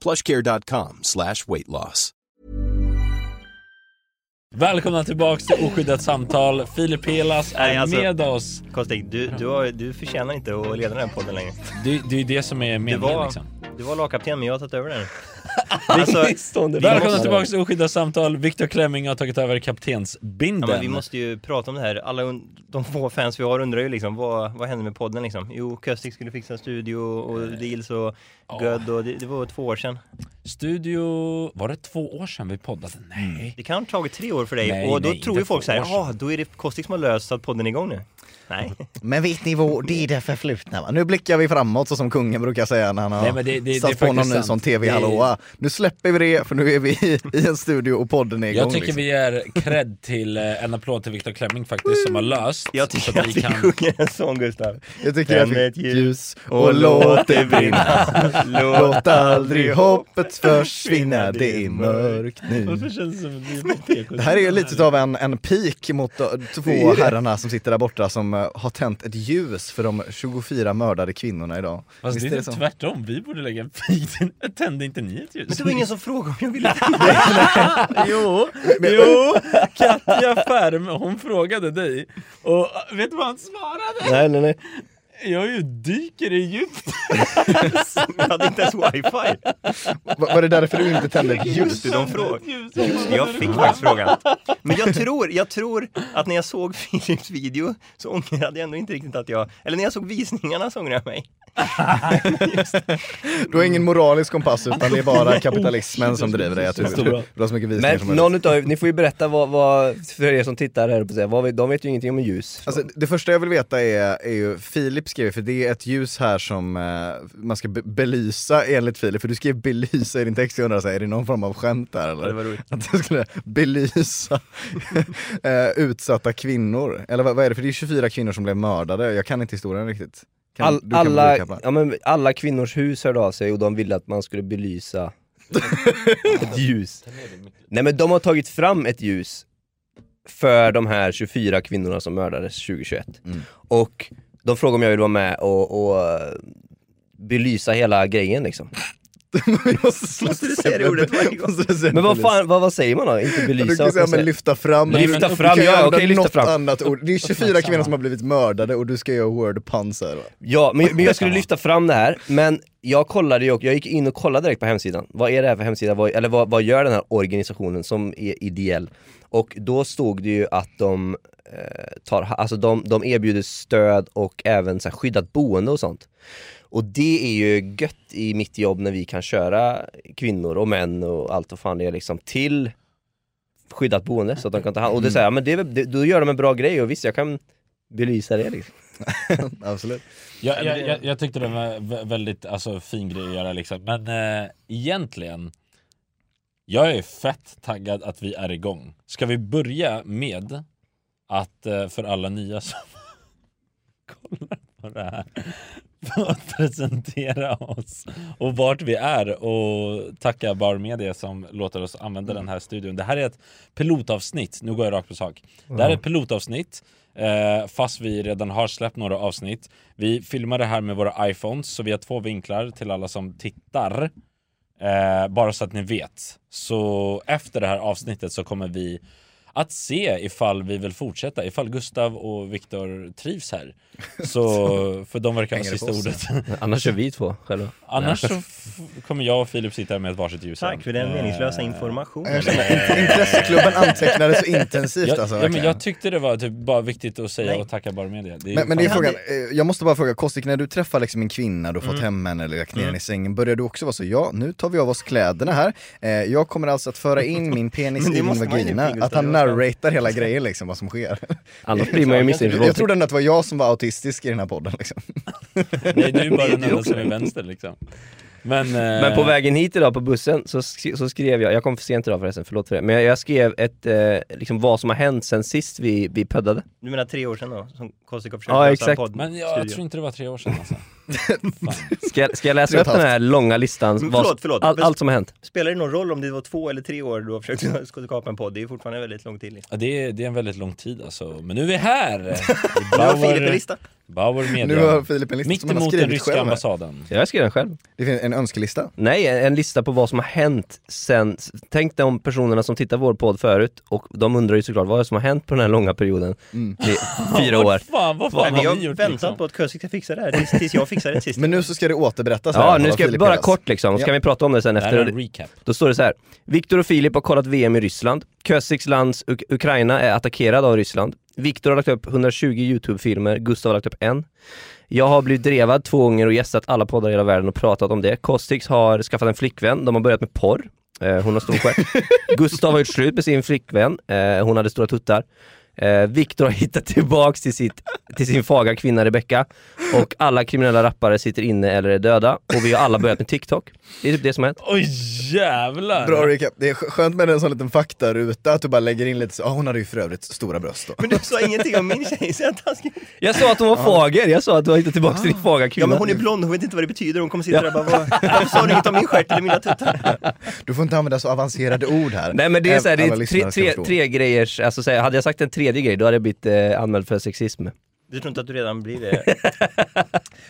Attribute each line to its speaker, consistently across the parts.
Speaker 1: plushcare.com slash weight loss.
Speaker 2: Välkomna tillbaks till Oskyddat samtal. Filip Helas är
Speaker 3: Nej, alltså-
Speaker 2: med oss.
Speaker 3: Kostig, du, du, har, du förtjänar inte att leda den här podden längre.
Speaker 2: Det, det är ju det som är
Speaker 3: Du
Speaker 2: meningen
Speaker 3: var,
Speaker 2: liksom.
Speaker 3: du var lagkapten men jag har tagit över den. Alltså,
Speaker 2: Välkomna tillbaks till Oskyddat samtal. Viktor Klemming har tagit över kaptensbindeln.
Speaker 3: ja, men vi måste ju prata om det här. Alla un- de få fans vi har undrar ju liksom vad, vad hände med podden liksom? Jo, Köstig skulle fixa en studio och deals och göd och det, det var två år sedan.
Speaker 2: Studio... Var det två år sedan vi poddade?
Speaker 3: Mm.
Speaker 2: Nej.
Speaker 3: Det kan ha tagit tre år för dig
Speaker 2: Nej,
Speaker 3: och då
Speaker 2: nej,
Speaker 3: tror
Speaker 2: inte
Speaker 3: ju folk
Speaker 2: två
Speaker 3: så här,
Speaker 2: år sedan.
Speaker 3: ja då är det Kostig som har löst så att podden är igång nu. Nej,
Speaker 4: Men vet ni vad, det är det förflutna va? Nu blickar vi framåt så som kungen brukar säga när han har
Speaker 2: Nej, men det- det- det är
Speaker 4: satt på någon ny
Speaker 2: faktiskt sant.
Speaker 4: sån
Speaker 2: Det är-
Speaker 4: tv-hallåa. Nu släpper vi det för nu är vi i, i en studio och podden är igång. liksom.
Speaker 2: Jag
Speaker 3: liksom.
Speaker 2: tycker vi ger cred till eh, en applåd till Viktor Klemming faktiskt som har löst.
Speaker 3: jag
Speaker 2: så
Speaker 3: tycker att vi sjunger en sång Gustav.
Speaker 4: jag tycker att
Speaker 3: Tänd ett
Speaker 4: vi ljus
Speaker 3: och
Speaker 4: och låt det brinna.
Speaker 3: Låt
Speaker 4: Låt aldrig hoppet försvinna, det är mörkt nu.
Speaker 2: Varför känns det som att det är
Speaker 4: Det här är ju lite av en, en pik mot de två herrarna som sitter där borta som eh, har tänt ett ljus för de 24 mördade kvinnorna idag.
Speaker 2: Fast det
Speaker 4: Visst
Speaker 2: är
Speaker 4: så?
Speaker 2: tvärtom, vi borde lägga en pik. Tände inte ni ett ljus?
Speaker 3: Men det var ingen som frågade om jag ville
Speaker 2: Jo, jo, Katja Färm, hon frågade dig och äh, vet du vad han svarade?
Speaker 4: Nej, nej, nej.
Speaker 2: Jag är ju dyker i djupt.
Speaker 3: Jag hade inte ens wifi.
Speaker 4: Var, var det därför du inte tände ett ljus?
Speaker 3: Just det, de frågade. Jag fick faktiskt frågan. Men jag tror, jag tror att när jag såg Philips video så ångrade jag ändå inte riktigt att jag, eller när jag såg visningarna så ångrade jag mig.
Speaker 4: Du har ingen moralisk kompass utan det är bara kapitalismen som driver dig. Jag tror du du har så mycket visning som
Speaker 5: Men
Speaker 4: möjligt.
Speaker 5: någon utav ni får ju berätta vad, vad för er som tittar här på sig, vad, vet- de vet ju ingenting om ljus.
Speaker 4: Alltså, det första jag vill veta är, är ju, Filip skrev, för det är ett ljus här som eh, man ska be- belysa enligt Filip, för du skrev belysa i din text, jag undrar så här, är det någon form av skämt där eller?
Speaker 3: det var roligt.
Speaker 4: Att du skulle belysa eh, utsatta kvinnor, eller vad, vad är det? För det är 24 kvinnor som blev mördade, jag kan inte historien riktigt. Kan,
Speaker 5: All,
Speaker 4: du kan
Speaker 5: alla,
Speaker 4: recapa?
Speaker 5: ja, men alla kvinnors hus hörde av sig och de ville att man skulle belysa ett ljus. Nej men de har tagit fram ett ljus för de här 24 kvinnorna som mördades 2021.
Speaker 4: Mm.
Speaker 5: Och de frågade om jag ville vara med och, och eh, belysa hela grejen liksom.
Speaker 4: Vi måste sluta
Speaker 3: Måste du säga det ordet varje gång?
Speaker 4: måste du säga
Speaker 5: Men vad
Speaker 4: belysa.
Speaker 5: fan, vad, vad säger man då? Inte
Speaker 4: Du
Speaker 5: belysa?
Speaker 4: kan
Speaker 5: vad ska
Speaker 4: säga
Speaker 5: man
Speaker 4: men
Speaker 5: säga?
Speaker 4: lyfta fram. men-
Speaker 5: Lyfta
Speaker 4: du
Speaker 5: fram,
Speaker 4: kan
Speaker 5: ja,
Speaker 4: använda
Speaker 5: okej, lyfta
Speaker 4: något
Speaker 5: fram.
Speaker 4: annat ord. Det är 24 kvinnor som har blivit mördade och du ska göra word puns här va?
Speaker 5: Ja, men, men jag skulle lyfta fram det här, men jag kollade ju och jag gick in och kollade direkt på hemsidan. Vad är det här för hemsida? Vad, eller vad, vad gör den här organisationen som är ideell? Och då stod det ju att de eh, tar, alltså de, de erbjuder stöd och även så här, skyddat boende och sånt. Och det är ju gött i mitt jobb när vi kan köra kvinnor och män och allt vad fan det är liksom till skyddat boende så att de kan ta hand Och det är så här, ja, men det, är väl- det, då gör de en bra grej och visst jag kan belysa det liksom.
Speaker 4: Absolut.
Speaker 2: Jag, jag, jag, jag tyckte det var vä- väldigt alltså, fin grej att göra liksom. Men eh, egentligen, jag är fett taggad att vi är igång. Ska vi börja med att eh, för alla nya som kollar på det här. för att presentera oss och vart vi är och tacka Bar Media som låter oss använda den här studion. Det här är ett pilotavsnitt, nu går jag rakt på sak. Det här är ett pilotavsnitt eh, fast vi redan har släppt några avsnitt. Vi filmar det här med våra iPhones så vi har två vinklar till alla som tittar. Eh, bara så att ni vet. Så efter det här avsnittet så kommer vi att se ifall vi vill fortsätta, ifall Gustav och Viktor trivs här. Så, för de verkar ha
Speaker 4: Hänger det på
Speaker 2: sista
Speaker 4: oss?
Speaker 2: ordet.
Speaker 5: Annars kör vi två själva.
Speaker 2: Annars så f- kommer jag och Filip sitta här med ett varsitt ljus.
Speaker 3: Tack
Speaker 2: igen.
Speaker 3: för den
Speaker 2: Eh,
Speaker 3: meningslösa informationen.
Speaker 4: Jag känner, int- intresseklubben antecknade så intensivt
Speaker 2: Jag,
Speaker 4: alltså.
Speaker 2: ja, men
Speaker 4: verkligen.
Speaker 2: jag tyckte det var typ bara viktigt att säga
Speaker 3: Nej.
Speaker 2: och tacka bara media. Det är
Speaker 4: Men, men det är
Speaker 2: fan-
Speaker 4: frågan, eh, jag måste bara fråga, Kostik när du träffar liksom en kvinna, du har fått hem henne eller lagt ner henne i sängen, börjar du också vara så, ja nu tar vi av oss kläderna här, eh, jag kommer alltså att föra in min penis i
Speaker 3: Men det
Speaker 4: din
Speaker 3: måste man ju
Speaker 4: vagina,
Speaker 3: inte,
Speaker 4: att han
Speaker 3: Gustav.
Speaker 4: narratar hela grejen liksom, vad som sker.
Speaker 5: Annars blir man ju misstänkt för
Speaker 4: Jag
Speaker 5: våldtäkt.
Speaker 4: trodde ändå att det var jag som var autistisk i den här podden liksom.
Speaker 2: Nej, du är bara den enda som är vänster liksom. Men, eh,
Speaker 5: Men på vägen hit idag på bussen så, sk- så skrev jag, jag kom för sent idag förresten, förlåt för det, men jag, jag skrev ett, eh, liksom vad som har hänt sen sist vi, vi puddade.
Speaker 3: Du menar tre år sedan då? Som Kostikov försökte
Speaker 5: Ja,
Speaker 3: lösa
Speaker 5: exakt.
Speaker 3: podd-
Speaker 2: Men jag
Speaker 3: studio.
Speaker 2: tror inte det var tre år sedan alltså.
Speaker 5: Ska, jag- ska jag läsa
Speaker 4: Tre och
Speaker 5: upp
Speaker 4: ett
Speaker 5: den här långa listan?
Speaker 3: Men
Speaker 5: Vad-
Speaker 3: förlåt, förlåt.
Speaker 5: All, allt som har hänt.
Speaker 3: Spelar det någon roll om det var två eller tre år du har försökt ska skapa en podd? Det är fortfarande väldigt lång tid.
Speaker 2: Ja, det, är, det är en väldigt lång tid alltså. Men nu är vi här! I
Speaker 3: Nu har Filip en lista.
Speaker 2: Bauer Media.
Speaker 4: Nu har Filip en lista
Speaker 2: Mitt
Speaker 4: som han har
Speaker 2: emot den
Speaker 4: skrivit
Speaker 2: ryska
Speaker 4: själv. här.
Speaker 2: ambassaden.
Speaker 5: Jag skrev den själv.
Speaker 4: Det finns en önskelista.
Speaker 5: Nej, en en lista på vad som har hänt sen. Tänk dig om personerna som tittar på vår podd förut och de undrar ju såklart vad är det som har hänt på den här långa perioden. Det är fyra
Speaker 2: Vad
Speaker 5: år.
Speaker 2: Fan, vad fan
Speaker 3: Nej, men
Speaker 2: har
Speaker 3: jag
Speaker 2: vi gjort
Speaker 3: väntat
Speaker 2: liksom?
Speaker 3: på att Kuusik ska fixa det här tills, tills jag fixar det sist.
Speaker 4: Men nu så ska det återberättas här,
Speaker 5: Ja, nu
Speaker 4: vad
Speaker 5: ska jag
Speaker 4: Filip
Speaker 5: bara
Speaker 4: gör.
Speaker 5: kort liksom, så
Speaker 4: Ja.
Speaker 5: kan vi prata om det sen
Speaker 2: Det här är en
Speaker 5: efter.
Speaker 2: recap.
Speaker 5: Då står det så här. Viktor och Filip har kollat VM i Ryssland. Kösiks lands Uk- Ukraina är attackerad av Ryssland. Viktor har lagt upp 120 YouTube-filmer, Gustav har lagt upp en. Jag har blivit drevad två gånger och gästat alla poddar i hela världen och pratat om det. Kostix har skaffat en flickvän, de har börjat med porr. Eh, hon har stor stjärt. Gustav har gjort slut med sin flickvän, eh, hon hade stora tuttar. Eh, Viktor har hittat tillbaks till, sitt, till sin fagra kvinna Rebecca. Och alla kriminella rappare sitter inne eller är döda. Och vi har alla börjat med TikTok. Det är typ det som har hänt.
Speaker 2: Oj jävlar!
Speaker 4: Bra recap, det är skö- skönt med en sån liten faktaruta, att du bara lägger in lite så, ah, hon hade ju för övrigt stora bröst då.
Speaker 3: Men du sa ingenting om min tjej, så jag taskig.
Speaker 5: Jag sa att hon var fager, jag sa att du har hittat tillbaks till din fagra kvinna.
Speaker 3: Ja men hon är blond, hon vet inte vad det betyder. Hon kommer sitta där och bara, "Vad- varför sa du inget om min stjärt eller mina tuttar?
Speaker 4: Du får inte använda så avancerade ord här.
Speaker 5: Nej men det är såhär, det
Speaker 4: Alla
Speaker 5: är
Speaker 4: lyssnare
Speaker 5: tre,
Speaker 4: ska
Speaker 5: tre,
Speaker 4: förstå.
Speaker 5: tre grejers, alltså så här, hade jag sagt en tredje grej då hade jag blivit eh, anmäld för sexism.
Speaker 3: Du tror inte att du redan blir det?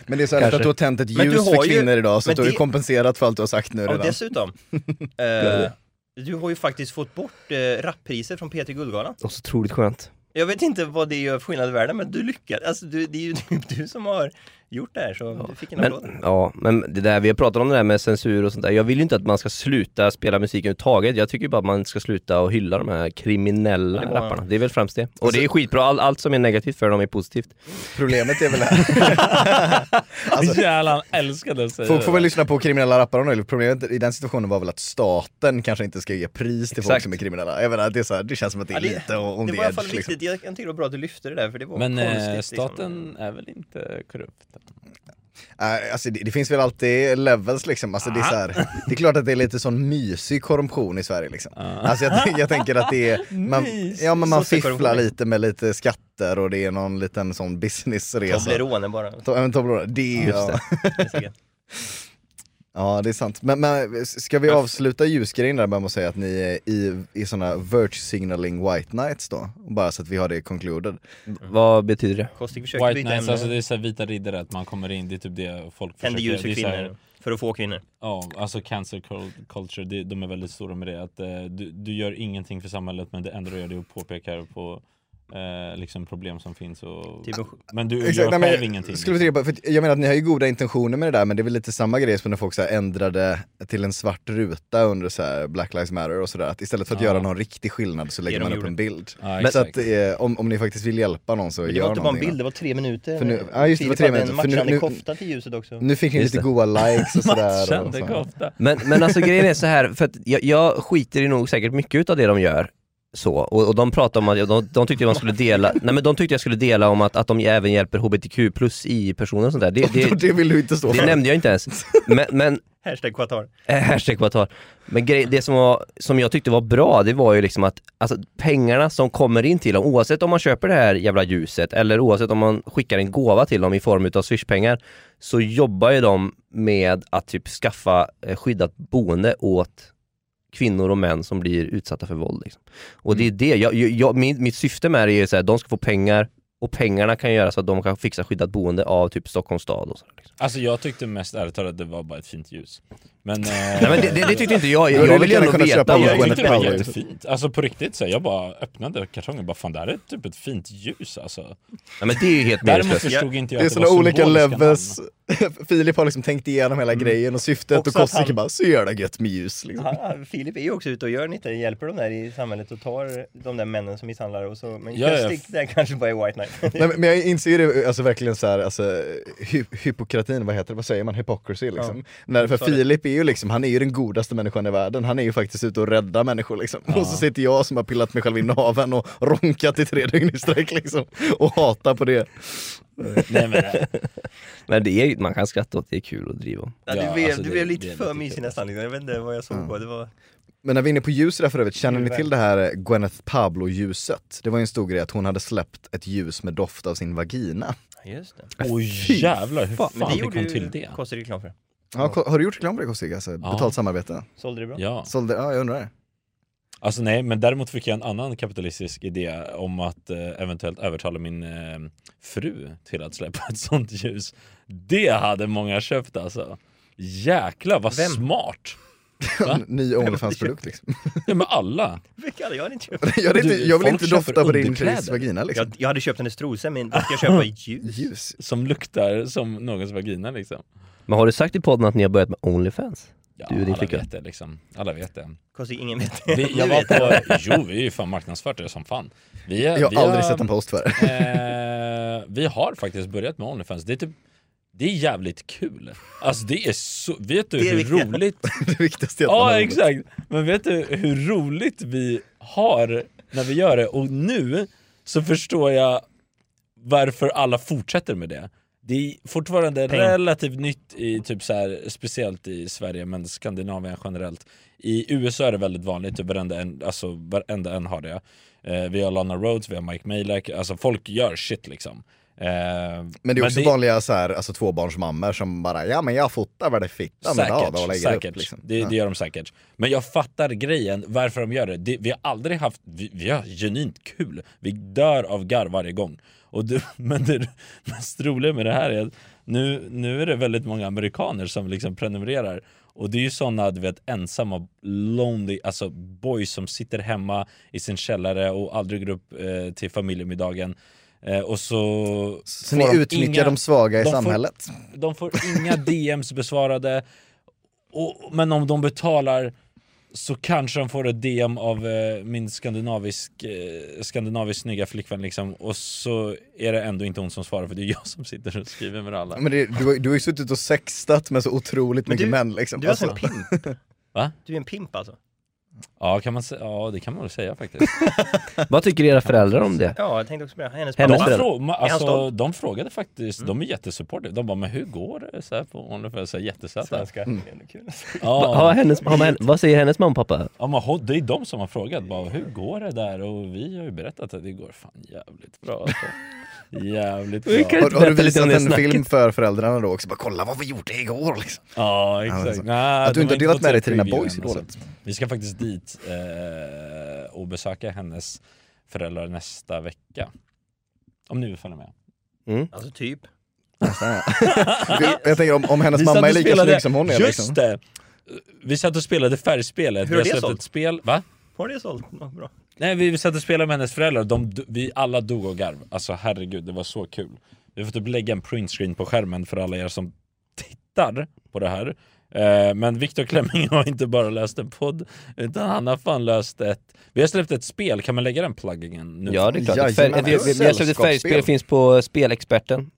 Speaker 4: Men det är så här
Speaker 5: Kanske.
Speaker 4: att du har tänt ett
Speaker 3: Men du
Speaker 4: ljus
Speaker 3: har
Speaker 4: för
Speaker 3: ju-
Speaker 4: kvinnor idag, så
Speaker 3: men
Speaker 4: att du har ju
Speaker 3: det-
Speaker 4: kompenserat för allt du har sagt nu
Speaker 3: Ja,
Speaker 4: redan.
Speaker 3: dessutom. Eh, du har ju faktiskt fått bort eh, rappriset från P3 Guldgalan.
Speaker 5: Och så otroligt skönt.
Speaker 3: Jag vet inte vad det gör för skillnad i världen, men du lyckades. Alltså, du, det är ju typ du som har gjort det här, så du fick en applåd.
Speaker 5: Men, ja, men det där, vi har pratat om det där med censur och sånt där. Jag vill ju inte att man ska sluta spela musik överhuvudtaget. Jag tycker ju bara att man ska sluta och hylla de här kriminella
Speaker 3: Det var-
Speaker 5: rapparna. Det är väl främst det. Och det är skitbra, All, allt som är negativt för dem är positivt.
Speaker 4: Problemet är väl det här. alltså-
Speaker 2: Jävlar, han älskade att säga
Speaker 4: Folk får
Speaker 2: det.
Speaker 4: väl lyssna på kriminella rappare nu, eller problemet i den situationen var väl att staten kanske inte ska ge pris till folk
Speaker 5: Exakt.
Speaker 4: som är kriminella. Jag menar, det, är så här, det känns som att det är lite och on
Speaker 3: det
Speaker 4: the
Speaker 3: var i alla
Speaker 4: edge.
Speaker 3: fall
Speaker 4: liksom.
Speaker 3: viktigt. Jag, jag tycker det var bra att du lyfte det där, för det var
Speaker 2: Men
Speaker 3: konstigt.
Speaker 2: eh,
Speaker 3: liksom.
Speaker 2: staten är väl inte korrupt?
Speaker 4: Nej, Alltså, det, det finns väl alltid levels liksom. Alltså, det, är så här, det är klart att det är lite sån mysig korruption i Sverige liksom. Alltså, jag, tänk- jag tänker att det är, man, ja, men man
Speaker 3: Sossekorruption.
Speaker 4: fifflar lite med lite skatter och det är någon liten sån businessresa.
Speaker 3: Toblerone bara.
Speaker 4: To- ja, men Toblerone, det,
Speaker 5: Just
Speaker 4: ja.
Speaker 5: det.
Speaker 4: ja det är sant. Men, men ska vi avsluta ljusgrejen där med att säga att ni är i, i såna virtue signaling white knights då? Bara så att vi har det concluded.
Speaker 5: Vad betyder det?
Speaker 3: Kostik försöker
Speaker 2: White
Speaker 3: byta
Speaker 2: knights,
Speaker 3: ämne.
Speaker 2: alltså det är så här vita riddare, att man kommer in, det är typ det folk försöker...
Speaker 3: Tänder ljus för
Speaker 2: det är så här-
Speaker 3: kvinnor, för att få kvinnor.
Speaker 2: Ja, alltså cancer cul- culture, det, de är väldigt stora med det. Att, eh, du, du gör ingenting för samhället men det enda du gör det är att påpeka på eh, liksom problem som finns. Och,
Speaker 3: Typ,
Speaker 2: men du
Speaker 4: Exakt,
Speaker 2: gör
Speaker 4: nej, men
Speaker 2: själv
Speaker 4: jag
Speaker 2: ingenting. liksom.
Speaker 4: Skulle vi
Speaker 3: liksom?
Speaker 4: tänka på, för att jag menar att ni har ju goda intentioner med det där men det är väl lite samma grej som när folk så här ändrade till en svart ruta under så här Black Lives Matter och sådär. Att istället för att
Speaker 2: Ja.
Speaker 4: göra någon riktig skillnad så lägger
Speaker 3: de
Speaker 4: man upp
Speaker 3: gjorde.
Speaker 4: en bild.
Speaker 2: Ja,
Speaker 4: så
Speaker 2: exakt.
Speaker 4: att eh, om, om ni faktiskt vill hjälpa någon så
Speaker 3: men det
Speaker 4: gör
Speaker 3: var inte bara en
Speaker 4: någonting.
Speaker 3: bild, det var tre minuter.
Speaker 4: För nu- ja, just det, det var tre
Speaker 3: Filip hade
Speaker 4: minuter. För
Speaker 3: en
Speaker 4: nu-
Speaker 3: matchande
Speaker 4: nu-
Speaker 3: kofta till ljuset också.
Speaker 4: Nu fick ni
Speaker 5: Just
Speaker 4: lite
Speaker 5: det.
Speaker 4: goa likes och sådär. och
Speaker 2: Matchande
Speaker 4: så.
Speaker 2: kofta!
Speaker 5: Men, men alltså grejen är så här för att jag, jag skiter i nog säkert mycket utav det de gör. så, och, och de pratade om att, de, de tyckte man skulle dela, nej men de tyckte jag skulle dela om att, att de även hjälper hbtq plus i-personer och sånt där. Det,
Speaker 4: Det,
Speaker 5: det,
Speaker 4: vill du inte stå
Speaker 5: det
Speaker 4: för.
Speaker 5: nämnde jag inte ens. Men, men
Speaker 3: Hashtag Qatar.
Speaker 5: Eh, Hashtag Qatar. Men grej, det som, var, som jag tyckte var bra, det var ju liksom att alltså, pengarna som kommer in till dem, oavsett om man köper det här jävla ljuset eller oavsett om man skickar en gåva till dem i form av swishpengar, så jobbar ju de med att typ skaffa eh, skyddat boende åt kvinnor och män som blir utsatta för våld. Liksom. Och
Speaker 4: Mm.
Speaker 5: det är det, jag, jag, jag, min, mitt syfte med det är ju så här, de ska få pengar och pengarna kan göra så att de kan fixa skyddat boende av typ Stockholms stad och sådär. Liksom.
Speaker 2: Alltså jag tyckte mest ärligt talat det var bara ett fint ljus. Men, eh,
Speaker 5: Nej men det, det, det tyckte inte jag,
Speaker 4: hade
Speaker 5: jag vill
Speaker 4: lika
Speaker 5: ju
Speaker 4: gärna
Speaker 5: ändå
Speaker 4: kunnat
Speaker 5: veta.
Speaker 4: köpa
Speaker 5: vad-
Speaker 4: en
Speaker 2: jag tyckte det var
Speaker 4: Power.
Speaker 2: jättefint. Alltså på riktigt så här, jag bara öppnade kartongen och bara fan det här är typ ett fint ljus alltså.
Speaker 5: Ja, men det är ju helt
Speaker 2: Däremot
Speaker 5: meningslöst.
Speaker 2: förstod inte jag
Speaker 4: Det är
Speaker 2: att det var
Speaker 4: sådana olika
Speaker 2: symboliska
Speaker 4: levels.
Speaker 2: namn.
Speaker 4: Filip har liksom tänkt igenom hela grejen och syftet
Speaker 3: Mm. Också
Speaker 4: och Kostik
Speaker 3: att han-
Speaker 4: bara så jävla gött med ljus liksom.
Speaker 3: Han, Filip är ju också ute och gör lite, hjälper de där i samhället och tar de där männen som misshandlar och så. Men
Speaker 2: Ja, ja.
Speaker 3: Kustik där kanske bara är white knight.
Speaker 4: Nej, men- men jag inser ju det, alltså verkligen så här, alltså, hy- hypokratin, vad heter det, vad säger man, hypocrisy liksom. När, för
Speaker 3: sa det.
Speaker 4: Filip är ju liksom, han är ju den godaste människan i världen, han är ju faktiskt ute och räddar människor liksom. Och så sitter jag som har pillat mig själv i naveln och ronkat i tre dygn i sträck liksom, och hatar på det.
Speaker 2: Nej, men, eh,
Speaker 5: Men det är, man kan skratta åt det, är kul att driva om.
Speaker 3: Ja, du
Speaker 2: Ja,
Speaker 3: blev,
Speaker 2: alltså
Speaker 3: du
Speaker 2: det-
Speaker 3: blev
Speaker 2: det är
Speaker 3: lite för
Speaker 2: lite
Speaker 3: mysig
Speaker 2: kul.
Speaker 3: nästan. Liksom. Jag vet inte vad jag såg på. Det var...
Speaker 4: Men när vi är inne på ljus där för övrigt, känner ni
Speaker 3: Ljuvväg.
Speaker 4: till det här Gwyneth Paltrow-ljuset? Det var ju en stor grej att hon hade släppt ett ljus med doft av sin vagina.
Speaker 3: Just det.
Speaker 2: oj jävlar hur fan
Speaker 3: Men det
Speaker 2: det
Speaker 3: gjorde
Speaker 2: kom
Speaker 3: ju
Speaker 2: till det?
Speaker 3: Kostig reklam för.
Speaker 4: Ja, ko- har du gjort reklam för det Kostik? Alltså, betalt samarbete?
Speaker 3: Sålde det bra?
Speaker 2: Ja.
Speaker 4: Sålde, ja jag undrar det.
Speaker 2: Alltså nej, men däremot fick jag en annan kapitalistisk idé om att eh, eventuellt övertala min eh, fru till att släppa ett sånt ljus. Det hade många köpt alltså. Jäklar vad
Speaker 3: Vem?
Speaker 2: smart!
Speaker 4: Ny Onlyfans-produkt liksom.
Speaker 2: Ja men alla!
Speaker 3: Vilka hade jag hade inte köpt?
Speaker 4: Jag, hade inte,
Speaker 2: Du,
Speaker 4: jag vill
Speaker 2: folk
Speaker 4: inte
Speaker 2: köper
Speaker 4: dofta på din
Speaker 2: underkläder.
Speaker 4: tjejs vagina liksom.
Speaker 3: Jag, jag hade köpt hennes trosor men jag ska köpa ljus.
Speaker 4: Ljus.
Speaker 2: Som luktar som någons vagina liksom.
Speaker 5: Men har du sagt i podden att ni har börjat med Onlyfans?
Speaker 2: Ja,
Speaker 5: Du och din
Speaker 2: alla
Speaker 5: flickvän.
Speaker 2: vet det liksom. Alla vet det.
Speaker 3: Kostig, ingen vet det.
Speaker 2: Vi, jag
Speaker 3: Ni
Speaker 2: var
Speaker 3: vet det.
Speaker 2: på, jo vi är ju fan marknadsförare som fan. Vi är,
Speaker 4: Jag
Speaker 2: vi
Speaker 4: har aldrig
Speaker 2: är-
Speaker 4: sett en post för det.
Speaker 2: Eh, vi har faktiskt börjat med Onlyfans. Det är, typ, det är jävligt kul. Alltså det är så, vet du
Speaker 3: Det är
Speaker 2: hur
Speaker 3: viktigt.
Speaker 2: roligt?
Speaker 4: Det viktigaste är att man har
Speaker 2: Ja
Speaker 4: roligt.
Speaker 2: exakt! Men vet du hur roligt vi har när vi gör det? Och nu så förstår jag varför alla fortsätter med det. Det är fortfarande relativt nytt i typ så här, speciellt i Sverige men Skandinavien generellt. I USA är det väldigt vanligt, typ varenda en, alltså varenda en har det. Eh, vi har Lana Rhodes, vi har Mike Malek, alltså folk gör shit liksom. Eh,
Speaker 4: Men det är också vanliga så här, alltså, tvåbarnsmammor som bara ja men jag fotar vad det är fitta med
Speaker 2: Säkert,
Speaker 4: av och lägger
Speaker 2: säkert.
Speaker 4: upp. Liksom.
Speaker 2: Det, det gör de säkert. Men jag fattar grejen varför de gör det. det vi har aldrig haft, vi, vi har genuint kul. Vi dör av garv varje gång. Och det, men det mest roliga med det här är att nu, nu är det väldigt många amerikaner som liksom prenumererar. Och det är ju sådana du vet ensamma lonely, alltså boys som sitter hemma i sin källare och aldrig går upp eh, till familjemiddagen. Eh, och så...
Speaker 4: Så
Speaker 2: får
Speaker 4: ni
Speaker 2: de
Speaker 4: utnyttjar
Speaker 2: inga-
Speaker 4: de svaga i
Speaker 2: de får-
Speaker 4: samhället.
Speaker 2: de får inga DMs besvarade, och, men om de betalar så kanske de får ett DM av eh, min skandinavisk, eh, skandinaviskt snygga flickvän liksom och så är det ändå inte hon som svarar för det är jag som sitter och skriver med alla.
Speaker 4: Men det, du, har- du har ju suttit och sextat med så otroligt
Speaker 3: Men
Speaker 4: mycket
Speaker 3: du-
Speaker 4: män liksom.
Speaker 3: Du är alltså en
Speaker 4: Alltså,
Speaker 3: pimp.
Speaker 2: Va?
Speaker 3: Du är en pimp alltså?
Speaker 2: Ja, kan man sä- ja det kan man väl säga faktiskt.
Speaker 5: Vad tycker era föräldrar om det?
Speaker 3: Ja, jag tänkte också på det.
Speaker 5: Hennes
Speaker 3: Hennes
Speaker 2: De,
Speaker 3: pappa.
Speaker 5: föräldrar.
Speaker 2: frå- ma- alltså,
Speaker 3: stolt?
Speaker 2: de frågade faktiskt, de är jättesupportive. De bara men hur går det så här på Onlyfans? Så här Jättesöta.
Speaker 3: Svenska. Det är ändå kul.
Speaker 5: Va-
Speaker 2: Ja,
Speaker 5: Har hennes, har man, vad säger hennes mamma och pappa?
Speaker 2: ja men, ho- det är de som har frågat bara hur går det där? Och vi har ju berättat att det går fan jävligt bra alltså. Jävligt
Speaker 5: Vi kan-
Speaker 2: bra.
Speaker 4: har, har du
Speaker 5: Berätta lite
Speaker 4: visat
Speaker 5: om det
Speaker 4: en
Speaker 5: snacket.
Speaker 4: film för föräldrarna då också? Bara kolla vad vi gjorde igår liksom.
Speaker 2: Ja
Speaker 4: Ja, men
Speaker 2: exakt.
Speaker 4: så-
Speaker 2: Nej,
Speaker 4: att du
Speaker 2: de
Speaker 4: inte
Speaker 2: har
Speaker 4: har delat
Speaker 2: fått
Speaker 4: med dig
Speaker 2: sett
Speaker 4: till dina
Speaker 2: previewen
Speaker 4: boys liksom. i
Speaker 2: och
Speaker 4: dåligt.
Speaker 2: sånt. Vi ska faktiskt dit eh, och besöka hennes föräldrar nästa vecka. Om ni vill följa med. Mm.
Speaker 3: Alltså typ.
Speaker 4: Jag tänker om, om hennes
Speaker 2: Vi
Speaker 4: mamma
Speaker 2: satt
Speaker 4: är
Speaker 2: och
Speaker 4: lika
Speaker 2: spelade-
Speaker 4: snygg som hon är
Speaker 2: Just
Speaker 4: liksom.
Speaker 2: det! Vi satt och spelade färgspelet.
Speaker 3: Hur
Speaker 2: vi
Speaker 3: har
Speaker 2: har
Speaker 3: det
Speaker 2: släppt
Speaker 3: sålt?
Speaker 2: ett spel. Va?
Speaker 3: Har det sålt något bra?
Speaker 2: Nej vi vi satt och spelade med hennes föräldrar. De, vi alla dog av garv. Alltså herregud det var så kul. Vi får typ lägga en printscreen på skärmen för alla er som tittar på det här. Eh, Men Viktor Klemming har inte bara löst en podd, utan han har fan löst ett... Vi har släppt ett spel, kan man lägga den pluggingen nu?
Speaker 5: Ja det är klart, Ett färg,
Speaker 4: Jajamän.
Speaker 5: ett, ett, ett, ett, ett färgspel finns på Spelexperten.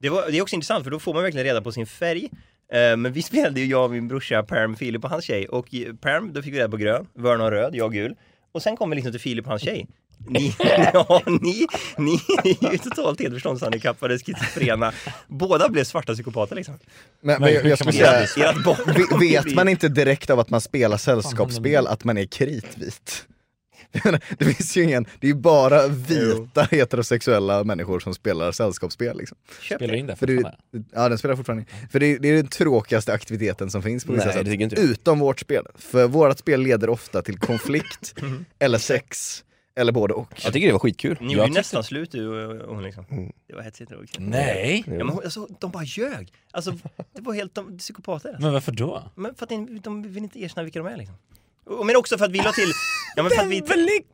Speaker 3: Det, var, det är också intressant för då får man verkligen reda på sin färg. Eh, Men vi spelade ju, jag och min brorsa Perm, Filip och hans tjej. Och i- Perm, då fick vi reda på grön, Vernon röd, jag gul. Och sen kommer vi liksom till Filip och hans tjej. Ni, ja, ni, ni är ju totalt helt förståndshandikappade, schizofrena. Båda blev svarta psykopater liksom.
Speaker 4: Men, men jag,
Speaker 2: hur
Speaker 4: jag
Speaker 2: kan
Speaker 4: skulle
Speaker 2: man
Speaker 4: säga,
Speaker 2: göra
Speaker 3: Ert, ert barn
Speaker 4: Ve-
Speaker 3: kommer
Speaker 4: Vet
Speaker 3: bli-
Speaker 4: man inte direkt av att man spelar sällskapsspel att man är kritvit? Jag menar, Det finns ju ingen, det är ju bara vita heterosexuella människor som spelar sällskapsspel. Liksom.
Speaker 3: Köp
Speaker 2: Spelar
Speaker 3: det.
Speaker 2: in det
Speaker 4: För det,
Speaker 2: fortfarande?
Speaker 4: är- ja, den spelar fortfarande. För det, är- det är den tråkigaste aktiviteten som finns på vissa
Speaker 5: Nej, det tycker
Speaker 4: sätt.
Speaker 5: inte jag.
Speaker 4: Utom vårt spel. För vårt spel leder ofta till konflikt, eller sex, eller både och.
Speaker 5: Jag tycker det var skitkul.
Speaker 3: Ni gjorde ju nästan slut du och och hon liksom.
Speaker 4: Mm.
Speaker 3: Det var hetsigt. Det var kul.
Speaker 2: Nej!
Speaker 3: Ja, men hon- alltså, de bara ljög. Alltså, det var helt de, psykopater.
Speaker 2: Men varför då?
Speaker 3: Men för att de, de vill inte erkänna vilka de är liksom. Och- Men också för att vi la till... Ja, men för att vi,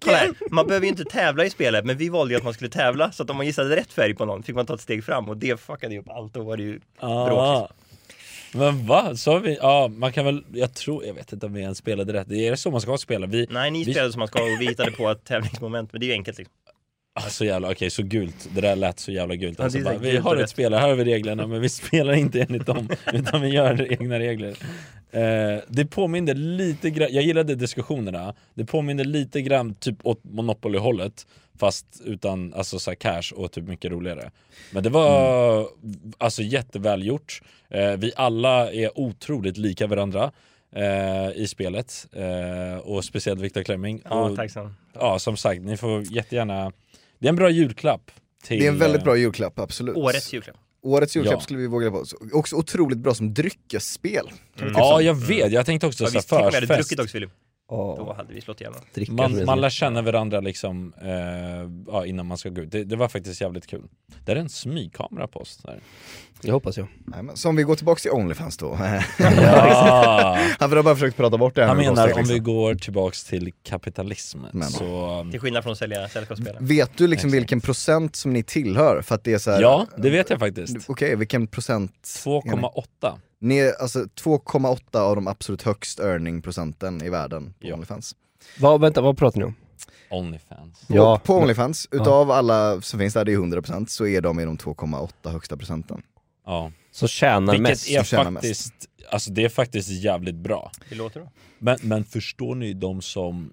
Speaker 3: kolla här, man behöver ju inte tävla i spelet, men vi valde ju att man skulle tävla. Så att om man gissade rätt färg på någon fick man ta ett steg fram och det fuckade ju upp allt. Då var det ju bråk. liksom.
Speaker 2: Ah. Men va? Så har vi, ja man kan väl, jag tror, jag vet inte om vi ens spelade rätt. Är det så man ska spela? Vi,
Speaker 3: Nej, ni
Speaker 2: vi,
Speaker 3: spelade som man ska och vi hittade på ett tävlingsmoment, men det är ju enkelt liksom.
Speaker 2: Ah, så jävla, okej så gult. Det där lät så jävla gult.
Speaker 3: Ja,
Speaker 2: Alltså,
Speaker 3: det är
Speaker 2: bara,
Speaker 3: så
Speaker 2: vi
Speaker 3: gult
Speaker 2: har
Speaker 3: och
Speaker 2: ett
Speaker 3: rätt.
Speaker 2: spel, här har vi reglerna men vi spelar inte enligt dem. utan vi gör egna regler. Eh, det påminner lite grann, jag gillade diskussionerna. Det påminner lite grann typ åt Monopoly-hållet. Fast utan alltså, så här cash och typ mycket roligare. Men det var
Speaker 3: Mm.
Speaker 2: alltså jättevälgjort. Eh, vi alla är otroligt lika varandra. eh, I spelet eh, och speciellt Viktor Klemming
Speaker 3: Ja,
Speaker 2: Ah, och
Speaker 3: tack så.
Speaker 2: Ja, som sagt, ni får jättegärna... Det är en bra julklapp. Till,
Speaker 4: Det är en väldigt bra julklapp, absolut.
Speaker 3: Årets julklapp.
Speaker 4: Årets julklapp
Speaker 2: Ja.
Speaker 4: skulle vi våga på. Också otroligt bra som dryckesspel.
Speaker 2: eh, Ja, jag vet. Jag tänkte också
Speaker 3: Ja,
Speaker 2: så
Speaker 3: vi
Speaker 2: här,
Speaker 3: till och med hade
Speaker 2: förfest. Ah.
Speaker 3: druckit också Filip. Då
Speaker 5: Oh,
Speaker 3: hade vi slått igenom.
Speaker 5: dricka, som
Speaker 2: Man,
Speaker 5: jag
Speaker 2: man
Speaker 5: säger.
Speaker 2: lär känna varandra liksom eh, ja, innan man ska gå ut. Det, det var faktiskt jävligt kul. Det är en smygkamera på oss. Där.
Speaker 5: Jag hoppas jag.
Speaker 4: Nej, men Som vi går tillbaka till Onlyfans då.
Speaker 2: Ja.
Speaker 4: Han har bara försökt prata bort det här
Speaker 2: Han
Speaker 4: nu,
Speaker 2: Ah, menar
Speaker 4: konstigt,
Speaker 2: om vi
Speaker 4: liksom.
Speaker 2: går tillbaks till kapitalismen
Speaker 4: Men.
Speaker 2: så...
Speaker 3: Till skillnad från att sälja
Speaker 2: Mm.
Speaker 3: sällskapsspelare.
Speaker 4: Vet du liksom
Speaker 2: Exakt.
Speaker 4: vilken procent som ni tillhör? För att det är så här,
Speaker 2: Ja, det vet jag faktiskt.
Speaker 4: Okej, vilken procent? är ni?
Speaker 2: 2,8.
Speaker 4: Ni är alltså 2,8 av de absolut högst earning procenten i världen på
Speaker 2: Ja.
Speaker 4: Onlyfans.
Speaker 5: Vad, vänta, vad pratar ni om?
Speaker 2: Onlyfans.
Speaker 4: Ja, och på Onlyfans, utav alla som finns där, det är 100% så är de i de 2,8 högsta procenten.
Speaker 2: Ja.
Speaker 5: Som tjänar mest.
Speaker 2: Vilket är
Speaker 4: Som tjänar mest.
Speaker 2: faktiskt... Alltså det är faktiskt jävligt bra.
Speaker 3: Det låter då.
Speaker 2: Men, men förstår ni de som...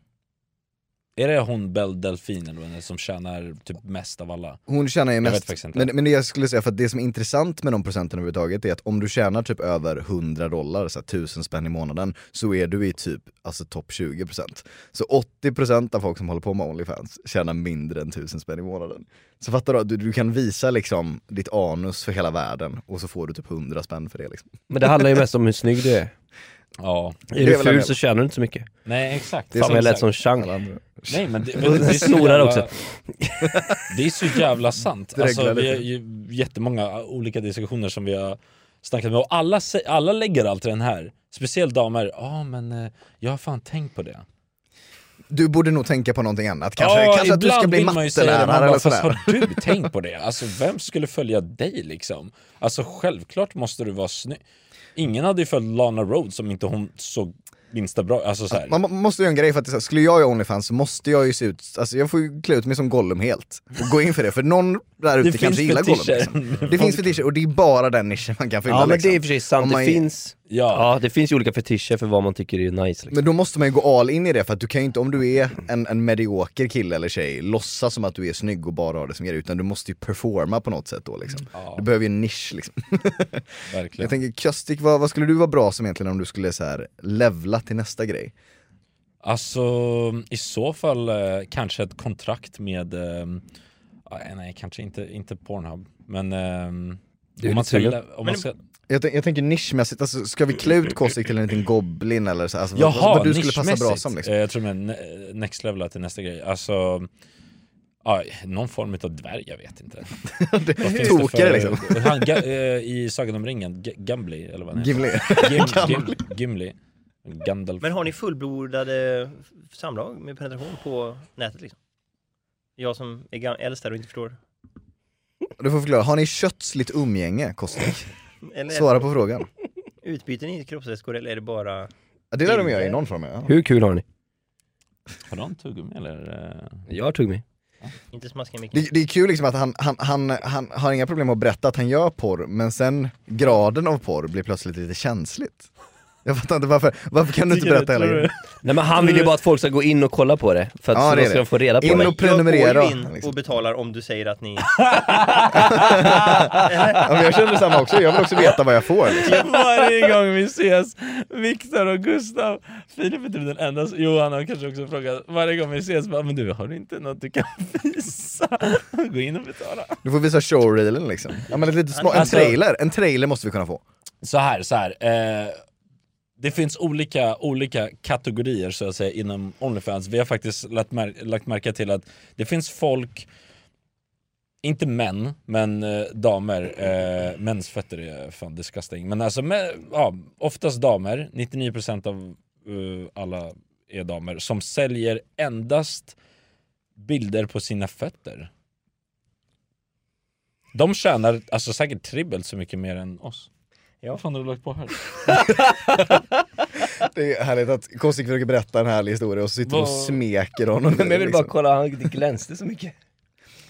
Speaker 2: Är det hon Belle Delfin eller vad hon är, som tjänar typ mest av alla?
Speaker 4: Hon tjänar ju
Speaker 2: vet
Speaker 4: mest,
Speaker 2: faktiskt inte.
Speaker 4: men, men det jag skulle säga för att det som är intressant med de procenten överhuvudtaget är att om du tjänar typ över 100 dollar, så här 1000 spänn i månaden, så är du i typ alltså topp 20%. Så 80% av folk som håller på med Onlyfans tjänar mindre än 1000 spänn i månaden. Så fattar du, att du, du kan visa liksom ditt anus för hela världen och så får du typ 100 spänn för det liksom.
Speaker 5: Men det handlar ju mest om hur snygg du är.
Speaker 2: Ja.
Speaker 5: Är
Speaker 4: väl
Speaker 5: du
Speaker 4: en del.
Speaker 5: ful så tjänar du inte så mycket.
Speaker 2: Nej exakt.
Speaker 5: Fan vad jag lät som Chang.
Speaker 4: Alla andra.
Speaker 2: Nej men det, men
Speaker 5: Och
Speaker 2: det är så
Speaker 5: snorar
Speaker 2: jävla,
Speaker 5: också.
Speaker 2: Det är så jävla sant.
Speaker 4: Det
Speaker 2: Alltså,
Speaker 4: reglar
Speaker 2: vi
Speaker 4: lite.
Speaker 2: har ju jättemånga olika diskussioner som vi har snackat med och alla, sä- alla lägger alltid den här. Speciellt damer, ja men eh, jag har fan tänkt på det.
Speaker 4: Du borde nog tänka på någonting annat kanske. kanske att du ska
Speaker 2: ibland
Speaker 4: bli
Speaker 2: vill man ju säga det, man
Speaker 4: mattelärare
Speaker 2: bara,
Speaker 4: eller
Speaker 2: fast
Speaker 4: sådär.
Speaker 2: har du tänkt på det? Alltså vem skulle följa dig liksom? Alltså självklart måste du vara snygg. Ingen hade ju följt Lana Rhodes om inte hon såg minsta bra, alltså såhär.
Speaker 4: Man må- måste göra en grej för att det är så här, skulle jag göra Onlyfans så måste jag ju se ut, alltså jag får ju klä ut mig som Gollum helt. Och gå in för det, för någon där ute kanske gillar Gollum. Liksom. Det finns fetischer och det är bara den nischen man kan fylla.
Speaker 5: Ja men
Speaker 4: liksom.
Speaker 5: det är i och för sig sant,
Speaker 4: Om man
Speaker 5: det
Speaker 4: är-
Speaker 5: finns,
Speaker 2: Ja.
Speaker 5: ja, det finns ju olika fetischer för vad man tycker är nice liksom.
Speaker 4: Men då måste man ju gå all in i det för att du kan ju inte, om du är en, en medioker kille eller tjej, låtsas som att du är snygg och bara har det som grej, utan du måste ju performa på något sätt då liksom. Du behöver ju en nisch liksom.
Speaker 2: Verkligen.
Speaker 4: Jag tänker Köstik, vad, vad skulle du vara bra som egentligen om du skulle så här levla till nästa grej?
Speaker 2: Alltså i så fall eh, kanske ett kontrakt med, ehm, ah, nej kanske inte, inte Pornhub, men ehm, om man ska,
Speaker 5: sugen.
Speaker 2: lä- om man ska
Speaker 4: Jag, tän- jag tänker nischmässigt, alltså, ska vi klä ut Kosik till en liten goblin eller så? Alltså, vad,
Speaker 2: Jaha,
Speaker 4: vad du skulle passa bra
Speaker 2: nischmässigt.
Speaker 4: som liksom?
Speaker 2: Eh, Jag tror med ne- next level till nästa grej. Alltså, aj, någon form av dvärg, jag vet inte. Vad finns det
Speaker 4: Tokare,
Speaker 2: för-
Speaker 4: liksom.
Speaker 2: Han, ga, eh, I Sagan om ringen, G- Gimli eller vad han heter.
Speaker 4: Gimli.
Speaker 2: Gim, Gim, Gimli. Gandalf.
Speaker 3: Men har ni fullbordade samlag med penetration på nätet liksom? Jag som är gam- äldst här och inte förstår.
Speaker 4: Du får förklara, har ni kötsligt umgänge Kostik?
Speaker 3: Eller
Speaker 4: Svara på frågan.
Speaker 3: utbyter ni kroppsvätskor eller är det bara...
Speaker 4: Ja, Det lär de göra i någon form ja.
Speaker 5: Hur kul har ni?
Speaker 2: Har de tuggummi eller? eh?
Speaker 5: Jag tog mig.
Speaker 3: Inte smaska i micken.
Speaker 4: det, det är kul liksom att han, han, han, han har inga problem att berätta att han gör porr, men sen graden av porr blir plötsligt lite känsligt. Jag fattar inte varför, varför kan du inte
Speaker 2: Tycker
Speaker 4: berätta hela
Speaker 2: tror
Speaker 4: grejen?
Speaker 2: du?
Speaker 5: Nej men han vill ju bara att folk ska gå in och kolla på Mm. det, för att
Speaker 4: Ja,
Speaker 5: så
Speaker 4: det
Speaker 5: då
Speaker 4: är
Speaker 5: ska
Speaker 4: det.
Speaker 5: de få reda på
Speaker 4: In
Speaker 5: det.
Speaker 4: och- prenumerera,
Speaker 3: Jag går ju in
Speaker 4: liksom.
Speaker 3: och betalar om du säger att ni...
Speaker 4: Ja, men jag känner samma också, jag vill också veta vad jag får. liksom.
Speaker 2: Varje gång vi ses, Viktor och Gustav, Filip är typ den enda, som- Johan har kanske också frågat, varje gång vi ses bara men du har du inte något du kan visa? Gå in och betala.
Speaker 4: Du får visa showreelen liksom. Ja, men ett litet små, en
Speaker 2: Alltså-
Speaker 4: trailer, en trailer måste vi kunna få.
Speaker 2: Så här, så här. Eh, det finns olika, olika kategorier så att säga inom Onlyfans. Vi har faktiskt lagt, mär- lagt märke till att det finns folk inte män, men eh, damer. Eh, mäns fötter är fan disgusting. Men alltså, med, ja, oftast damer. 99% av eh, alla är damer som säljer endast bilder på sina fötter. De tjänar alltså säkert tribbelt så mycket mer än oss. Ja. Vad fan har du lagt på här?
Speaker 4: Det är härligt att Kostik försöker berätta en härlig historia och så sitter du och
Speaker 2: Vad-
Speaker 4: smeker honom.
Speaker 5: Men jag vill bara
Speaker 4: liksom.
Speaker 5: kolla, han det glänste så mycket.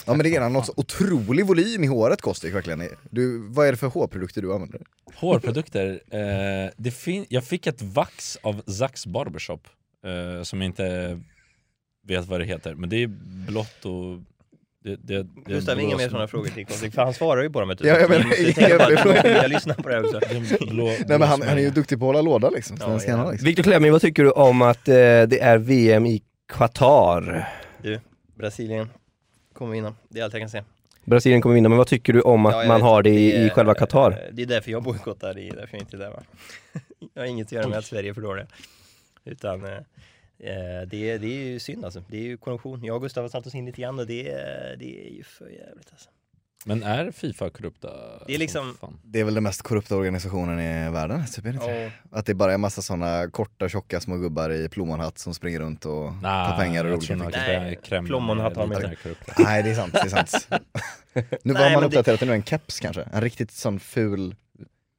Speaker 4: Ja men det är han har något så otrolig volym i håret Kostik verkligen. Du, vad är det för hårprodukter du använder?
Speaker 2: Hårprodukter. Eh, det fin- jag fick ett vax av Zax Barbershop. Eh, som jag inte vet vad det heter. Men det är blått och... Det, det, det är
Speaker 3: Gustav,
Speaker 2: blå
Speaker 3: inga mer
Speaker 2: smak.
Speaker 3: sådana frågor till Kostik, för han svarar ju på dem. vet du.
Speaker 4: Ja, jag
Speaker 3: Så
Speaker 4: menar-
Speaker 3: ni måste tänka på att
Speaker 4: jag-
Speaker 3: någon vill lyssna på det här också.
Speaker 2: Det är en Blå,
Speaker 4: Nej men han,
Speaker 2: blå
Speaker 4: han är ju
Speaker 2: smak.
Speaker 4: duktig på att hålla låda liksom. Så
Speaker 3: Ja,
Speaker 4: den ska
Speaker 3: ja.
Speaker 4: han ha, liksom.
Speaker 5: Viktor Klemming, vad tycker du om att eh, det är VM i Qatar?
Speaker 3: Du, Brasilien kommer vinna. Det är allt jag kan säga.
Speaker 5: Brasilien kommer vinna, men vad tycker du om att
Speaker 3: Ja, jag
Speaker 5: man
Speaker 3: vet.
Speaker 5: har det i, i
Speaker 3: är-
Speaker 5: själva Qatar?
Speaker 3: Det är därför jag bojkottar, det är därför jag inte är där va. Jag har inget att göra med att Sverige är för dåliga. Utan eh, eh, det, är- det är ju synd alltså. Det är ju korruption. Jag och Gustav har satt oss in lite grann och det, är- det är ju för jävligt alltså.
Speaker 2: Men är Fifa korrupta?
Speaker 3: Det är liksom-
Speaker 2: Fan.
Speaker 4: Det är väl den mest korrupta organisationen i världen, typ, är det inte?
Speaker 3: Ja.
Speaker 4: Att det bara är en massa såna korta tjocka små gubbar i plommonhatt som springer runt och tar pengar och
Speaker 2: jag
Speaker 4: olika
Speaker 2: tror nog att
Speaker 4: fickor.
Speaker 3: Nej,
Speaker 2: det är Kreml
Speaker 3: plommonhatt har de
Speaker 2: är lite
Speaker 3: inte.
Speaker 2: mer korrupta.
Speaker 4: Nej det är sant, det är sant. nu
Speaker 3: Nej,
Speaker 4: har man
Speaker 3: men
Speaker 4: uppdaterat det nu, en keps kanske. En riktigt sån ful,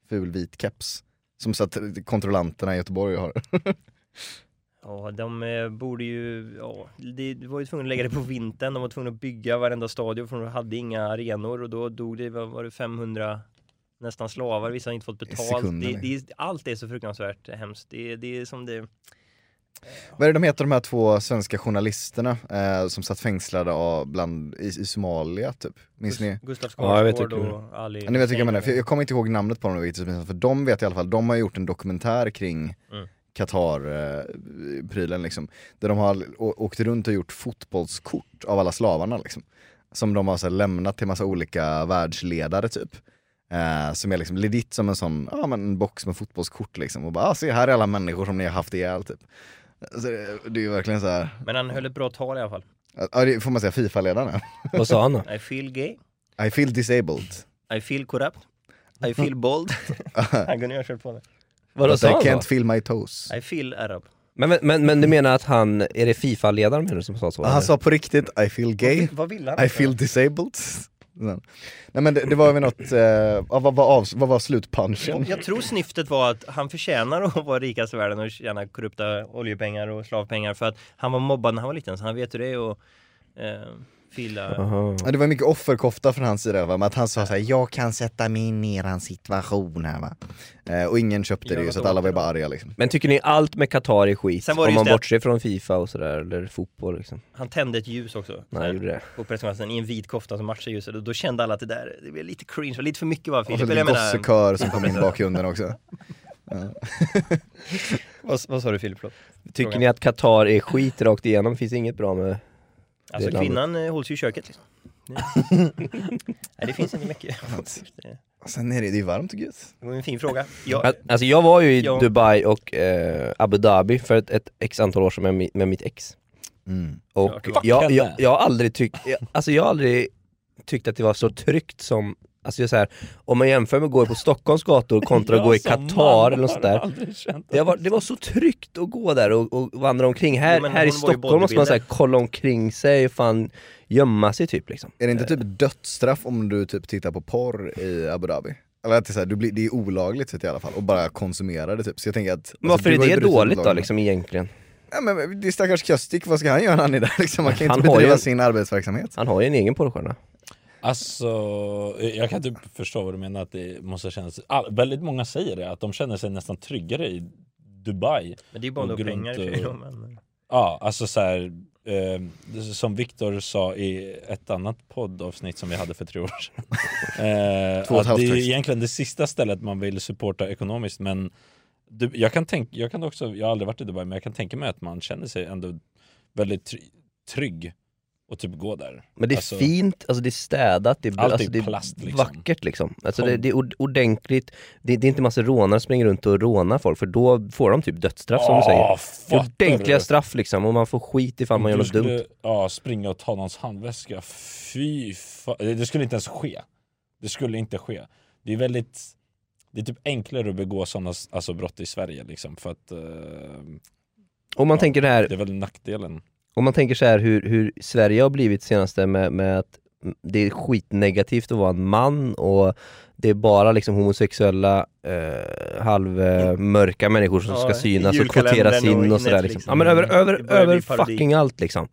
Speaker 4: ful vit keps. Som så att kontrollanterna i Göteborg har.
Speaker 3: Ja, de eh, borde ju, ja, de, de var ju tvungna att lägga det på vintern. De var tvungna att bygga varenda stadion för de hade inga arenor och då dog det, vad var det 500 nästan slavar, vissa har inte fått betalt.
Speaker 4: Sekunder,
Speaker 3: Det,
Speaker 4: nej.
Speaker 3: det, är- allt är så fruktansvärt hemskt. Det, det är som det...
Speaker 4: Vad är det de heter de här två svenska journalisterna eh, som satt fängslade av bland, i, i Somalia typ? Minns ni?
Speaker 3: Gustav
Speaker 5: Ja, jag vet
Speaker 3: Skarsgård
Speaker 5: vilka
Speaker 3: och Ali.
Speaker 4: Ja, ni vet vilka jag menar, för jag jag kommer inte ihåg namnet på dem vilket är så pinsamt, för de vet i alla fall, de har gjort en dokumentär kring
Speaker 3: Mm.
Speaker 4: Qatar-prylen liksom. Där de har å- åkt runt och gjort fotbollskort av alla slavarna liksom. Som de har så här, lämnat till massa olika världsledare typ. Eh, som är liksom legit som en sån, ja men en box med fotbollskort liksom. Och bara, ah, se här är alla människor som ni har haft ihjäl typ. Så det, det är ju verkligen så här,
Speaker 3: Men han höll ett bra tal i alla fall.
Speaker 4: ja det får man säga Fifa-ledarna.
Speaker 5: Vad sa han då?
Speaker 3: I feel gay,
Speaker 4: I feel disabled.
Speaker 3: I feel corrupt, I feel bold. han kunde ju ha kört på det.
Speaker 5: Vadå
Speaker 4: But I
Speaker 5: sa han
Speaker 4: can't
Speaker 5: då?
Speaker 4: feel my toes.
Speaker 3: I feel arab.
Speaker 5: Men, men, men, men du menar att han, är det Fifa-ledaren menar du som sa så?
Speaker 4: Ah, Han
Speaker 5: eller?
Speaker 4: sa på riktigt I feel gay,
Speaker 3: Vad vill han?
Speaker 4: I feel disabled. Nej men det, det var väl något, eh, ja, vad, var av, vad var slutpunchen?
Speaker 3: Jag tror snyftet var att han förtjänar att vara rikast i världen och tjäna korrupta oljepengar och slavpengar för att han var mobbad när han var liten så han vet hur det är att eh, fila.
Speaker 5: Aha.
Speaker 4: Ja, Det var mycket offerkofta från hans sida va, men att han sa såhär jag kan sätta mig in i eran situation här va. Eh, och ingen köpte det ju så att alla var ju bara arga liksom.
Speaker 5: Men tycker ni allt med Qatar är skit?
Speaker 3: Sen var det
Speaker 5: om
Speaker 3: just
Speaker 5: man
Speaker 3: det att-
Speaker 5: bortser från Fifa och sådär, eller fotboll liksom?
Speaker 3: Han tände ett ljus också
Speaker 5: Nej, jag gjorde det.
Speaker 3: på presskonferensen i en vit kofta som matchar ljuset och då kände alla att det där, det blev lite cringe, lite för mycket var
Speaker 4: Och
Speaker 3: Filip.
Speaker 4: så
Speaker 5: Alltså,
Speaker 3: Eller
Speaker 4: lite
Speaker 3: jag menar-
Speaker 4: gossekör som kom in i bakgrunden också.
Speaker 3: vad, vad sa du Filip? Förlåt.
Speaker 5: Tycker
Speaker 3: Fråga.
Speaker 5: ni att Qatar är skit rakt igenom? Finns inget bra med...
Speaker 3: Alltså
Speaker 5: Det är
Speaker 3: kvinnan eh, hålls ju i köket liksom. Det- Nej det finns inte mycket. Det
Speaker 4: Och sen är det, det är ju varmt och gött.
Speaker 3: var en fin fråga. Jag,
Speaker 5: Al- Alltså jag var ju i
Speaker 3: Ja.
Speaker 5: Dubai och eh, Abu Dhabi för ett, ett x antal år sedan med, mi- med mitt ex.
Speaker 4: Mm.
Speaker 5: Och
Speaker 3: Klart.
Speaker 5: jag,
Speaker 2: Fuck
Speaker 5: jag,
Speaker 2: henne.
Speaker 5: jag har aldrig tyckt, jag, alltså jag har aldrig tyckt att det var så tryggt som, alltså jag så här, om man jämför med att gå på Stockholms gator kontra att gå i Qatar eller något sånt där. Det var, det var så tryggt att gå där och, och vandra omkring. Här,
Speaker 3: Jo, men
Speaker 5: här i
Speaker 3: hon var ju
Speaker 5: Stockholm måste man så här, kolla omkring sig och fan gömma sig typ liksom.
Speaker 4: Är det inte typ dödsstraff om du typ tittar på porr i Abu Dhabi? Eller att det är, så här, du blir, det är olagligt typ, i alla fall, och bara konsumera det typ. Så jag tänker att...
Speaker 5: Men
Speaker 4: alltså,
Speaker 5: varför
Speaker 4: du har ju
Speaker 5: är det
Speaker 4: brutit
Speaker 5: dåligt då
Speaker 4: lagen.
Speaker 5: liksom egentligen?
Speaker 4: Ja, men det är stackars Köstik, vad ska han göra när han är där liksom? Han kan
Speaker 5: Han
Speaker 4: inte
Speaker 5: har
Speaker 4: bedriva
Speaker 5: ju-
Speaker 4: sin arbetsverksamhet.
Speaker 5: Han har ju en egen porrstjärna.
Speaker 2: Alltså, jag kan typ förstå vad du menar att det måste kännas... All, väldigt många säger det, att de känner sig nästan tryggare i Dubai.
Speaker 3: Men det är ju bara
Speaker 2: Och
Speaker 3: några
Speaker 2: grunt
Speaker 3: pengar i och för sig
Speaker 2: och-
Speaker 3: då, men...
Speaker 2: Ja, alltså så här, eh, det- som Viktor sa i ett annat poddavsnitt som vi hade för tre år sedan. eh,
Speaker 4: Två och ett
Speaker 2: att
Speaker 4: halvt
Speaker 2: det är
Speaker 4: faktiskt.
Speaker 2: egentligen det sista stället man vill supporta ekonomiskt, men du, jag kan tänka, jag kan också, jag har aldrig varit i Dubai, men jag kan tänka mig att man känner sig ändå väldigt try- trygg och typ gå där.
Speaker 5: Men det är
Speaker 2: Alltså-
Speaker 5: fint, alltså det är städat, det är,
Speaker 2: Allt är
Speaker 5: alltså, det är
Speaker 2: plast, liksom.
Speaker 5: vackert liksom. Alltså
Speaker 2: Kom.
Speaker 5: det, det är ord- ordentligt, det, det är inte massa rånare som springer runt och rånar folk för då får de typ dödsstraff som du säger.
Speaker 2: Åh,
Speaker 5: Det är
Speaker 2: fattar
Speaker 5: ordentliga
Speaker 2: du?
Speaker 5: straff liksom och man får skit ifall man gör
Speaker 2: du
Speaker 5: något
Speaker 2: skulle,
Speaker 5: dumt.
Speaker 2: Ja, springa och ta någons handväska. Fy fa- Det det skulle inte ens ske. Det skulle inte ske. Det är väldigt... Det är typ enklare att begå sådana alltså, brott i Sverige liksom för att eh,
Speaker 5: Om man
Speaker 2: Ja,
Speaker 5: tänker det här,
Speaker 2: det är väl nackdelen.
Speaker 5: om man tänker så här hur, hur Sverige har blivit senaste med, med att det är skitnegativt att vara en man och det är bara liksom homosexuella eh, halvmörka människor som
Speaker 3: Ja,
Speaker 5: ska synas och
Speaker 3: julkalendern
Speaker 5: kvoteras in
Speaker 3: och
Speaker 5: och sådär
Speaker 3: Netflix
Speaker 5: liksom.
Speaker 3: och-
Speaker 5: Ja men över,
Speaker 3: Det
Speaker 5: över,
Speaker 3: börjar bli
Speaker 5: över
Speaker 3: parodi.
Speaker 5: fucking allt liksom.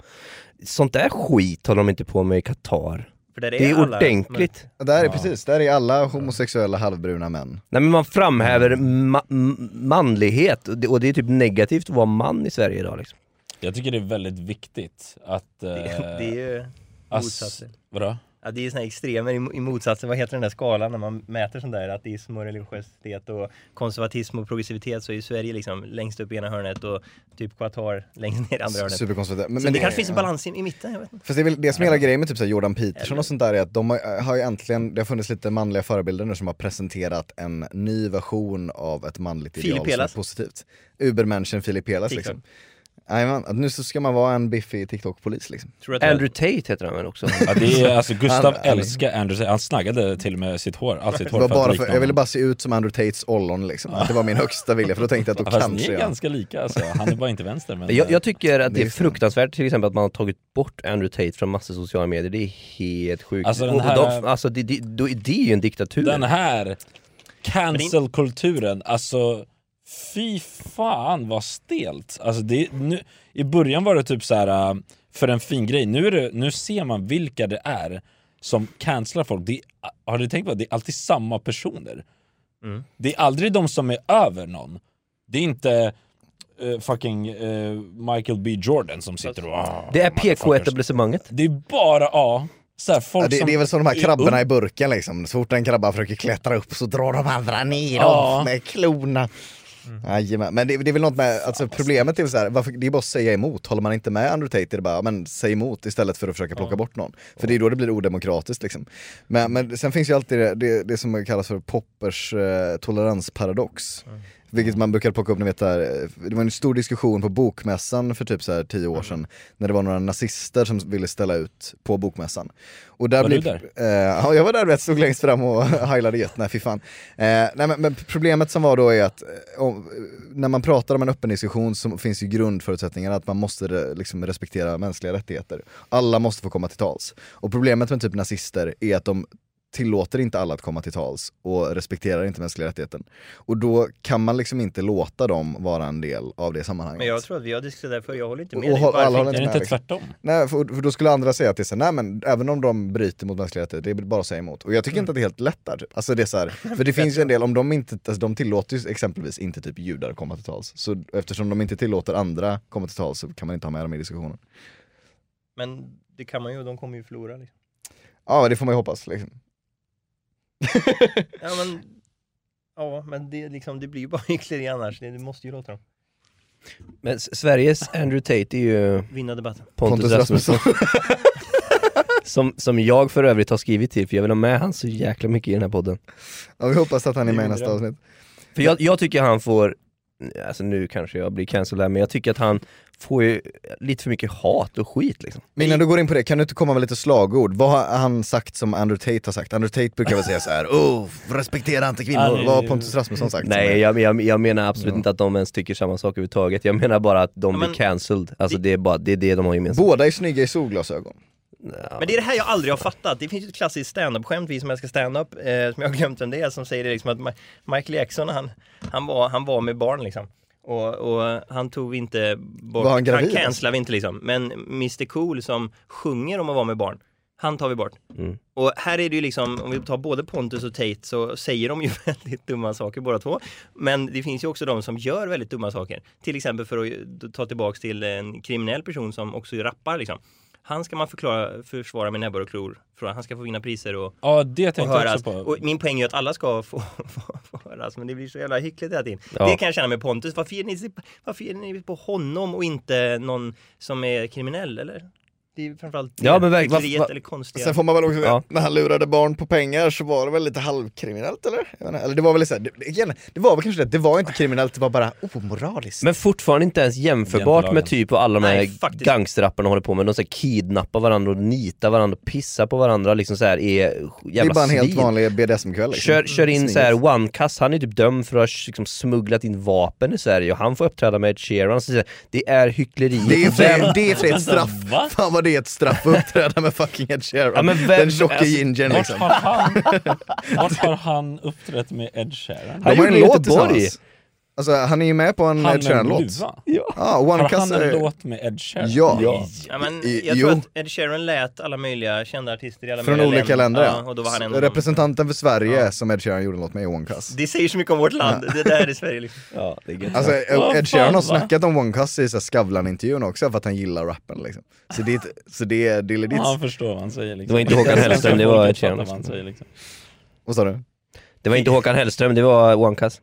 Speaker 5: Sånt där skit håller de inte på med i Qatar.
Speaker 3: För där
Speaker 5: Det är
Speaker 3: alla-
Speaker 5: ordentligt.
Speaker 4: Där är precis, där är alla homosexuella halvbruna män.
Speaker 5: Nej men man framhäver
Speaker 3: Mm.
Speaker 5: ma- m- manlighet och det, och det är typ negativt att vara man i Sverige idag liksom.
Speaker 2: Jag tycker det är väldigt viktigt att... eh,
Speaker 3: Men, det, det är ju
Speaker 2: ass-
Speaker 3: motsatsen.
Speaker 2: vadå?
Speaker 3: Ja, det är såna här extremer i, i motsatsen, vad heter den där skalan när man mäter sånt där ateism och religiositet och konservatism och progressivitet så är ju Sverige liksom längst upp i ena hörnet och typ Qatar längst ner i andra hörnet. Så
Speaker 4: Superkonservativa. Men,
Speaker 3: det, kanske finns en balans i, i mitten, jag vet inte.
Speaker 4: Fast det är väl det som är hela grejen med typ så här Jordan Peterson och sånt där är att de har, har ju äntligen, det har funnits lite manliga förebilder nu som har presenterat en ny version av ett manligt
Speaker 3: Filip
Speaker 4: ideal som är
Speaker 3: Elas.
Speaker 4: positivt. Ubermenschen Filip Elas
Speaker 3: TikTok.
Speaker 4: liksom. Jajamän, att nu så ska man vara en biffig TikTok-polis liksom.
Speaker 3: Tror du att
Speaker 5: Andrew Tate heter han väl också?
Speaker 2: Ja, det är, alltså, Gustav
Speaker 4: Han- han-
Speaker 2: älskar Andrew, han snaggade till och med sitt hår, allt sitt
Speaker 4: Det
Speaker 2: hår
Speaker 4: var
Speaker 2: för
Speaker 4: bara
Speaker 2: att
Speaker 4: för,
Speaker 2: likna
Speaker 4: jag ville
Speaker 2: honom.
Speaker 4: bara se ut som Andrew Tates ollon liksom. Att Det var min högsta vilja för då tänkte jag att då
Speaker 2: Fast ni
Speaker 4: kanske
Speaker 2: är
Speaker 4: jag...
Speaker 2: ganska lika alltså, han är bara inte vänster men...
Speaker 5: Jag, jag tycker att
Speaker 4: Det
Speaker 5: det,
Speaker 4: är
Speaker 5: är
Speaker 4: sant.
Speaker 5: fruktansvärt till exempel att man har tagit bort Andrew Tate från massa sociala medier, det är helt sjukt.
Speaker 2: Alltså, den
Speaker 5: Och- och
Speaker 2: här-
Speaker 5: de, alltså det, det, då- det är ju en diktatur.
Speaker 2: Den här cancelkulturen, alltså fy fan vad stelt. Alltså det, nu, I början var det typ så här äh, för en fin grej, nu, är det, nu ser man vilka det är som cancelar folk. Det, är- har du tänkt på det? Det är alltid samma personer.
Speaker 5: Mm.
Speaker 2: Det är aldrig de som är över någon. Det är inte eh, fucking eh, Michael B Jordan som sitter och... "Ah,
Speaker 5: det är
Speaker 2: motherfuckers."
Speaker 5: PK-etablissemanget.
Speaker 2: Det är bara, ja. Så här, folk
Speaker 4: Ja, det,
Speaker 2: som
Speaker 4: det är väl som de här
Speaker 2: är Oh.
Speaker 4: krabborna i burken liksom. Så fort en krabba försöker klättra upp så drar de andra ner
Speaker 2: Ja.
Speaker 4: dem med klorna. Jajamän, men det, det är väl något med, alltså problemet är väl så här, varför, det är bara att säga emot. Håller man inte med Andrew Tate är det bara, ja, men säg emot istället för att försöka plocka bort någon. För det är då det blir odemokratiskt liksom. Men, men sen finns ju alltid det, det, det som kallas för Poppers eh, toleransparadox.
Speaker 2: Mm.
Speaker 4: Vilket man brukar plocka upp, ni vet där, eh, det var en stor diskussion på bokmässan för typ så här tio
Speaker 2: Mm.
Speaker 4: år sedan. När det var några nazister som ville ställa ut på bokmässan. Och där
Speaker 2: Var
Speaker 4: blir,
Speaker 2: du där?
Speaker 4: Eh, ja, jag var där vet, stod längst fram och heilade gött, nej fy fan. Eh, nej, men, men problemet som var då är att eh, om, när man pratar om en öppen diskussion så finns ju grundförutsättningarna att man måste eh, liksom, respektera mänskliga rättigheter. Alla måste få komma till tals. Och problemet med typ nazister är att de tillåter inte alla att komma till tals och respekterar inte mänskliga rättigheten. Och då kan man liksom inte låta dem vara en del av det sammanhanget.
Speaker 3: Men jag tror att vi har diskuterat det här förr, jag håller inte
Speaker 4: Och-
Speaker 3: med
Speaker 4: och
Speaker 3: dig.
Speaker 4: håll-
Speaker 3: Varför
Speaker 4: alla håller
Speaker 3: inte?
Speaker 2: Är det
Speaker 4: med,
Speaker 2: inte
Speaker 4: liksom.
Speaker 2: tvärtom?
Speaker 4: Nej, för, för då skulle andra säga till sig, nej men även om de bryter mot mänskliga rättigheter, det är bara att säga emot. Och jag tycker inte att det är helt lätt där. typ. Alltså det är så här, för det finns ju en del, om de inte, alltså, de tillåter ju exempelvis inte typ judar att komma till tals. Så eftersom de inte tillåter andra komma till tals så kan man inte ha med dem i diskussionen.
Speaker 3: Men det kan man ju, de kommer ju förlora liksom.
Speaker 4: Ja, det får man ju hoppas liksom.
Speaker 3: Ja men, ja, men det, är liksom, det blir ju bara hyckleri annars, det, du måste ju låta dem
Speaker 5: Men S- Sveriges Andrew Tate är ju
Speaker 3: vinna debatten.
Speaker 5: Pontus,
Speaker 4: Pontus
Speaker 5: Rasmusson. som, som jag för övrigt har skrivit till, för jag vill ha med han så jäkla mycket i den här podden.
Speaker 4: Ja, vi hoppas att han är
Speaker 3: Det är
Speaker 4: med i
Speaker 3: min
Speaker 4: nästa
Speaker 3: dröm.
Speaker 4: avsnitt.
Speaker 5: För jag, jag tycker han får, alltså nu kanske jag blir cancelled här, men jag tycker att han får ju lite för mycket hat och skit liksom.
Speaker 4: Men innan du går in på det, kan du inte komma med lite slagord? Vad har han sagt som Andrew Tate har sagt? Andrew Tate brukar väl säga så här: oh, respektera inte
Speaker 2: Ja,
Speaker 4: kvinnor.
Speaker 2: det-
Speaker 4: Vad har Pontus Rasmusson
Speaker 3: liksom.
Speaker 4: sagt?
Speaker 5: Nej jag, jag, jag menar absolut inte att de ens tycker samma sak överhuvudtaget, jag menar bara att de
Speaker 3: Ja, men-
Speaker 5: blir cancelled, alltså det är bara det, är det de har gemensamt.
Speaker 4: Båda är snygga i solglasögon.
Speaker 3: Men det är det här jag aldrig har fattat. Det finns ju ett klassiskt standup-skämt, vi som älskar standup, eh, som jag har glömt vem det är, som säger det liksom att Ma- Michael Jackson, han, han, var, han var med barn liksom. Och, och han tog inte bort,
Speaker 4: Var han gravid? alltså?
Speaker 3: cancellade vi inte liksom. Men Mr Cool som sjunger om att vara med barn, Han tar vi bort.
Speaker 4: Mm.
Speaker 3: Och här är det ju liksom, om vi tar både Pontus och Tate så säger de ju väldigt dumma saker båda två. Men det finns ju också de som gör väldigt dumma saker. Till exempel för att ju- ta tillbaks till en kriminell person som också rappar liksom. Han ska man förklara, försvara med näbbar och klor. För han ska få vinna priser och
Speaker 2: Ja, det
Speaker 3: och
Speaker 2: tänkte jag
Speaker 3: höras.
Speaker 2: också på.
Speaker 3: Och min poäng är ju att alla ska få, få, få höras, men det blir så jävla hyckligt hela tiden.
Speaker 5: Ja.
Speaker 3: Det kan jag känna med Pontus. Varför ger, ni, varför ger ni på honom och inte någon som är kriminell, eller? Det är ju framförallt
Speaker 5: Ja, men verk-
Speaker 3: hyckleriet
Speaker 5: varför-
Speaker 3: eller konstiga...
Speaker 4: Sen får man väl också,
Speaker 5: Ja.
Speaker 4: när han lurade barn på pengar så var det väl lite halvkriminellt eller? Jag vet inte, eller det var väl så här, det, det- igen, det var väl kanske det, det var inte kriminellt, det var bara omoraliskt.
Speaker 5: Men fortfarande inte ens jämförbart
Speaker 2: Jämförlagen.
Speaker 5: med typ vad alla de
Speaker 3: Nej,
Speaker 5: här
Speaker 3: faktiskt.
Speaker 5: gangsterrapparna håller på med. De så här kidnappar varandra och nitar varandra och pissar på varandra. Liksom så här är
Speaker 4: det är
Speaker 5: jävla
Speaker 4: bara en helt
Speaker 5: svin.
Speaker 4: vanlig BDSM-kväll. Liksom.
Speaker 5: Kör, kör in
Speaker 4: Svingas.
Speaker 5: så här one cuss, han är typ dömd för att ha liksom smugglat in vapen i Sverige och han får uppträda med Ed Sheeran. Så det är- Det är hyckleri.
Speaker 4: Det är
Speaker 5: Vem-
Speaker 4: för, det är för ett straff.
Speaker 2: Va?
Speaker 4: Fan vad det är ett straff att uppträda med fucking Ed Sheeran.
Speaker 5: Ja, men vem-
Speaker 4: Den tjocka
Speaker 5: alltså,
Speaker 4: gingern
Speaker 2: Vart
Speaker 4: liksom.
Speaker 2: har han, vart har han uppträtt med Ed Sheeran?
Speaker 5: Han
Speaker 4: De har
Speaker 5: gjorde
Speaker 4: en låt
Speaker 5: Göteborg.
Speaker 4: tillsammans. Alltså han är ju med på en Ed
Speaker 2: Han med en
Speaker 4: Sheeran-låt.
Speaker 2: luva?
Speaker 4: Ja, One
Speaker 2: Har
Speaker 4: Cuss
Speaker 2: han en
Speaker 4: är...
Speaker 2: låt med Ed Sheeran?
Speaker 4: Ja.
Speaker 5: Ja.
Speaker 3: Ja, men
Speaker 4: I-
Speaker 3: jag
Speaker 4: jo.
Speaker 3: tror att Ed Sheeran lät alla möjliga kända artister i alla
Speaker 4: Från
Speaker 3: möjliga
Speaker 4: olika länder
Speaker 3: ja.
Speaker 4: ja.
Speaker 3: Och då var han en
Speaker 4: Så
Speaker 3: av dem.
Speaker 4: Representanten för Sverige som Ed Sheeran gjorde en låt med är One Cuss.
Speaker 3: Det säger så mycket om vårt land. Det där är Sverige liksom.
Speaker 5: Ja, det är gött.
Speaker 4: Alltså
Speaker 2: Vad fan,
Speaker 4: Ed Sheeran har
Speaker 2: va?
Speaker 4: snackat om One Cuss i så här Skavlan-intervjun också för att han gillar rappen liksom. Så det är, ett- så det är, det är legit.
Speaker 2: Han förstår vad han säger liksom.
Speaker 5: Det var inte Håkan Hellström, det var Ed Sheeran.
Speaker 2: Fattar vad han säger, liksom.
Speaker 4: Vad sa du?
Speaker 5: Det var inte Håkan Hellström, det var One Cuss.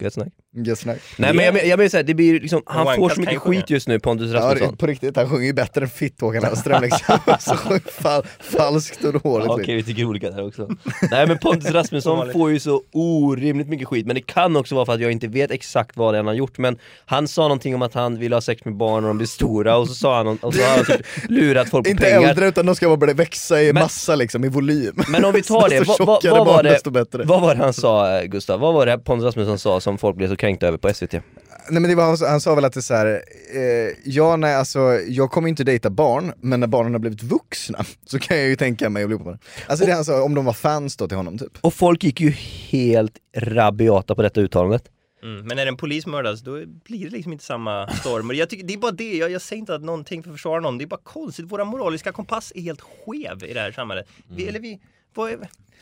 Speaker 5: Gött snack.
Speaker 4: Yes, nej.
Speaker 5: Nej men jag, men- jag menar såhär, det blir ju liksom, han
Speaker 3: One
Speaker 5: får
Speaker 3: Cuss
Speaker 5: så mycket
Speaker 3: kan ju sjunga.
Speaker 5: skit just nu Pontus
Speaker 4: Ja, det,
Speaker 5: Rasmusson.
Speaker 4: på riktigt, han sjunger ju bättre än Fitt-Håkan Hellström liksom. så sjunger fall, falskt och dåligt.
Speaker 5: Ja, Okej,
Speaker 4: liksom.
Speaker 5: vi tycker olika där också. Nej men Pontus Rasmusson
Speaker 3: Ovanligt.
Speaker 5: får ju så orimligt mycket skit, men det kan också vara för att jag inte vet exakt vad det är han har gjort, men han sa någonting om att han ville ha sex med barn när de blir stora, och så sa han, och så har han typ lurat folk på
Speaker 4: Inte
Speaker 5: pengar.
Speaker 4: äldre utan de ska bara börja växa i
Speaker 5: Men-
Speaker 4: massa liksom, i volym.
Speaker 5: Men om vi tar det,
Speaker 4: Desto
Speaker 5: vad, vad,
Speaker 4: tjockare
Speaker 5: vad, var
Speaker 4: barn,
Speaker 5: det
Speaker 4: desto bättre.
Speaker 5: vad var det han sa eh, Gustav? Vad var det Pontus Rasmusson sa som folk blev så kränkta över på SVT?
Speaker 4: Nej men det var, han sa- han sa väl att det är så här, eh, ja nej alltså jag kommer inte dejta barn, men när barnen har blivit vuxna så kan jag ju tänka mig att bli ihop med dem. Alltså det han sa, om de var fans då till honom typ.
Speaker 5: Och folk gick ju helt rabiata på detta uttalandet.
Speaker 3: Mm. Men när en polis mördas, då blir det liksom inte samma storm. Och jag tycker, det är bara det, jag, jag säger inte att någonting för att försvara någon. Det är bara konstigt. Våra moraliska kompass är helt skev i det här samhället.
Speaker 4: Mm.
Speaker 3: Vi, eller vi, vad är,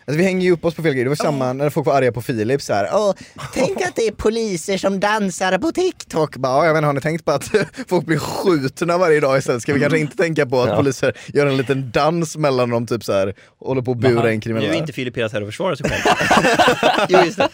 Speaker 4: Alltså vi hänger ju upp oss på fel grejer, det var samma när folk var arga på Filip så här. Åh, tänk att det är poliser som dansar på TikTok. Bara, "Ja, jag vet inte, har ni tänkt på att folk blir skjutna varje dag istället? Ska vi kanske inte tänka på att poliser gör en liten dans mellan dem, typ så här, håller på att bura in
Speaker 3: Nu är
Speaker 4: kriminella?
Speaker 3: inte Filip Eras här och försvarar sig själv. jo, just det.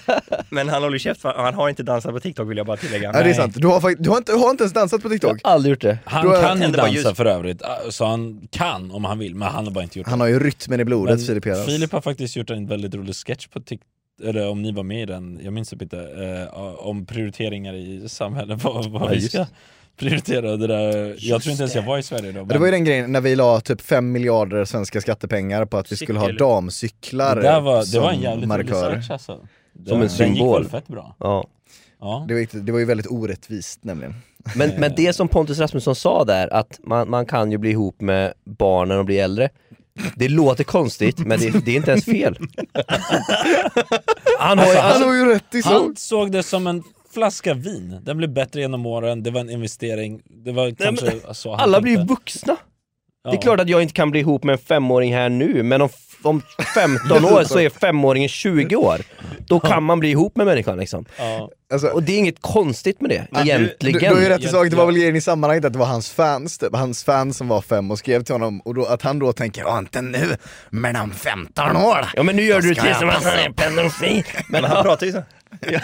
Speaker 3: Men han håller käft, för han har inte dansat på TikTok vill jag bara tillägga.
Speaker 4: Ja det är
Speaker 2: Nej.
Speaker 4: sant, du har, fakt- du har, inte, har inte ens dansat på TikTok.
Speaker 5: Aldrig gjort det.
Speaker 2: Han
Speaker 4: Då är-
Speaker 2: kan ju
Speaker 3: tände bara
Speaker 2: dansa
Speaker 3: ljus.
Speaker 2: för övrigt, äh, så han kan om han vill, men han har bara inte gjort det.
Speaker 4: Han har ju rytmen i blodet,
Speaker 2: Men
Speaker 4: Filip Eras.
Speaker 2: Filip har faktiskt gjort en väldigt rolig sketch på TikTok eller om ni var med i den, jag minns typ inte, eh, om prioriteringar i samhället, vad, vad vi
Speaker 5: just
Speaker 2: ska prioritera. Det där. Jag tror inte ens jag var i Sverige då.
Speaker 4: Men det var ju den grejen när vi la typ 5 miljarder svenska skattepengar på att vi skulle ha
Speaker 3: Cykel.
Speaker 4: damcyklar
Speaker 2: det, där var, det
Speaker 4: som
Speaker 2: var en jävligt rolig
Speaker 4: markörer.
Speaker 2: sketch alltså. Den,
Speaker 5: Som en
Speaker 2: Den
Speaker 5: symbol.
Speaker 2: gick väl fett bra.
Speaker 5: Ja.
Speaker 2: Ja.
Speaker 4: Det var, inte- det var ju väldigt orättvist nämligen.
Speaker 5: Men, men det som Pontus Rasmusson sa där, att man, man kan ju bli ihop med barnen och bli äldre. Det låter konstigt, men det, det är inte ens fel. Han har ju,
Speaker 4: Han
Speaker 5: alltså,
Speaker 4: har ju rätt i så.
Speaker 2: Han såg det som en flaska vin, den blev bättre genom åren, det var en investering, det var kanske så han
Speaker 5: alla blir ju
Speaker 2: tänkte.
Speaker 5: vuxna. Det
Speaker 2: Ja.
Speaker 5: är klart att jag inte kan bli ihop med en femåring här nu, men om, om 15 år så är femåringen 20 år. Då kan man bli ihop med människan liksom.
Speaker 2: Ja.
Speaker 4: Alltså,
Speaker 5: Och det är inget konstigt med det,
Speaker 4: Du,
Speaker 5: egentligen.
Speaker 4: du har ju rätt i sak, det var
Speaker 2: Ja.
Speaker 4: väl grejen i sammanhanget att det var hans fans, typ. hans fans som var fem och skrev till honom och då, att han då tänker "Ja, inte nu, men om 15 år.
Speaker 5: Ja men nu gör du det
Speaker 4: Ska
Speaker 5: till
Speaker 4: jag
Speaker 5: som att han
Speaker 4: passa?
Speaker 5: är pedofil.
Speaker 3: Men han pratar ju så.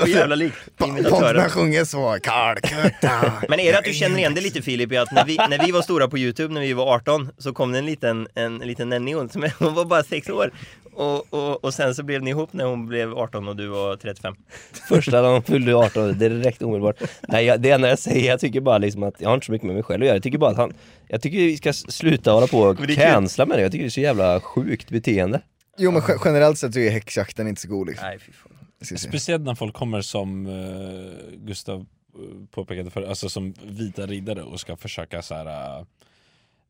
Speaker 3: Så jävla lik.
Speaker 4: Pontus
Speaker 3: Imitatören.
Speaker 4: sjunger så, Calcutta.
Speaker 3: Men är det att du känner igen det lite Filip i att när vi, när vi var stora på Youtube när vi var 18 så kom det en liten, en, en liten nennion som hon var bara 6 år. Och, och, och sen så blev ni ihop när hon blev 18 och du var 35.
Speaker 5: Första dagen hon fyllde 18, direkt omedelbart. Nej, jag, det enda jag säger, jag tycker bara liksom att, jag har inte så mycket med mig själv att göra. Jag tycker bara att han, jag tycker vi ska s- sluta hålla på och
Speaker 3: Men det är kul.
Speaker 5: cancella med det. Jag tycker det är så jävla sjukt beteende.
Speaker 4: Jo men ge- generellt sett så är häxjakten inte så god liksom.
Speaker 3: Nej, fy fan.
Speaker 4: Ska vi se.
Speaker 2: Speciellt när folk kommer som eh, Gustav eh, påpekade förut, alltså som vita riddare och ska försöka så här eh,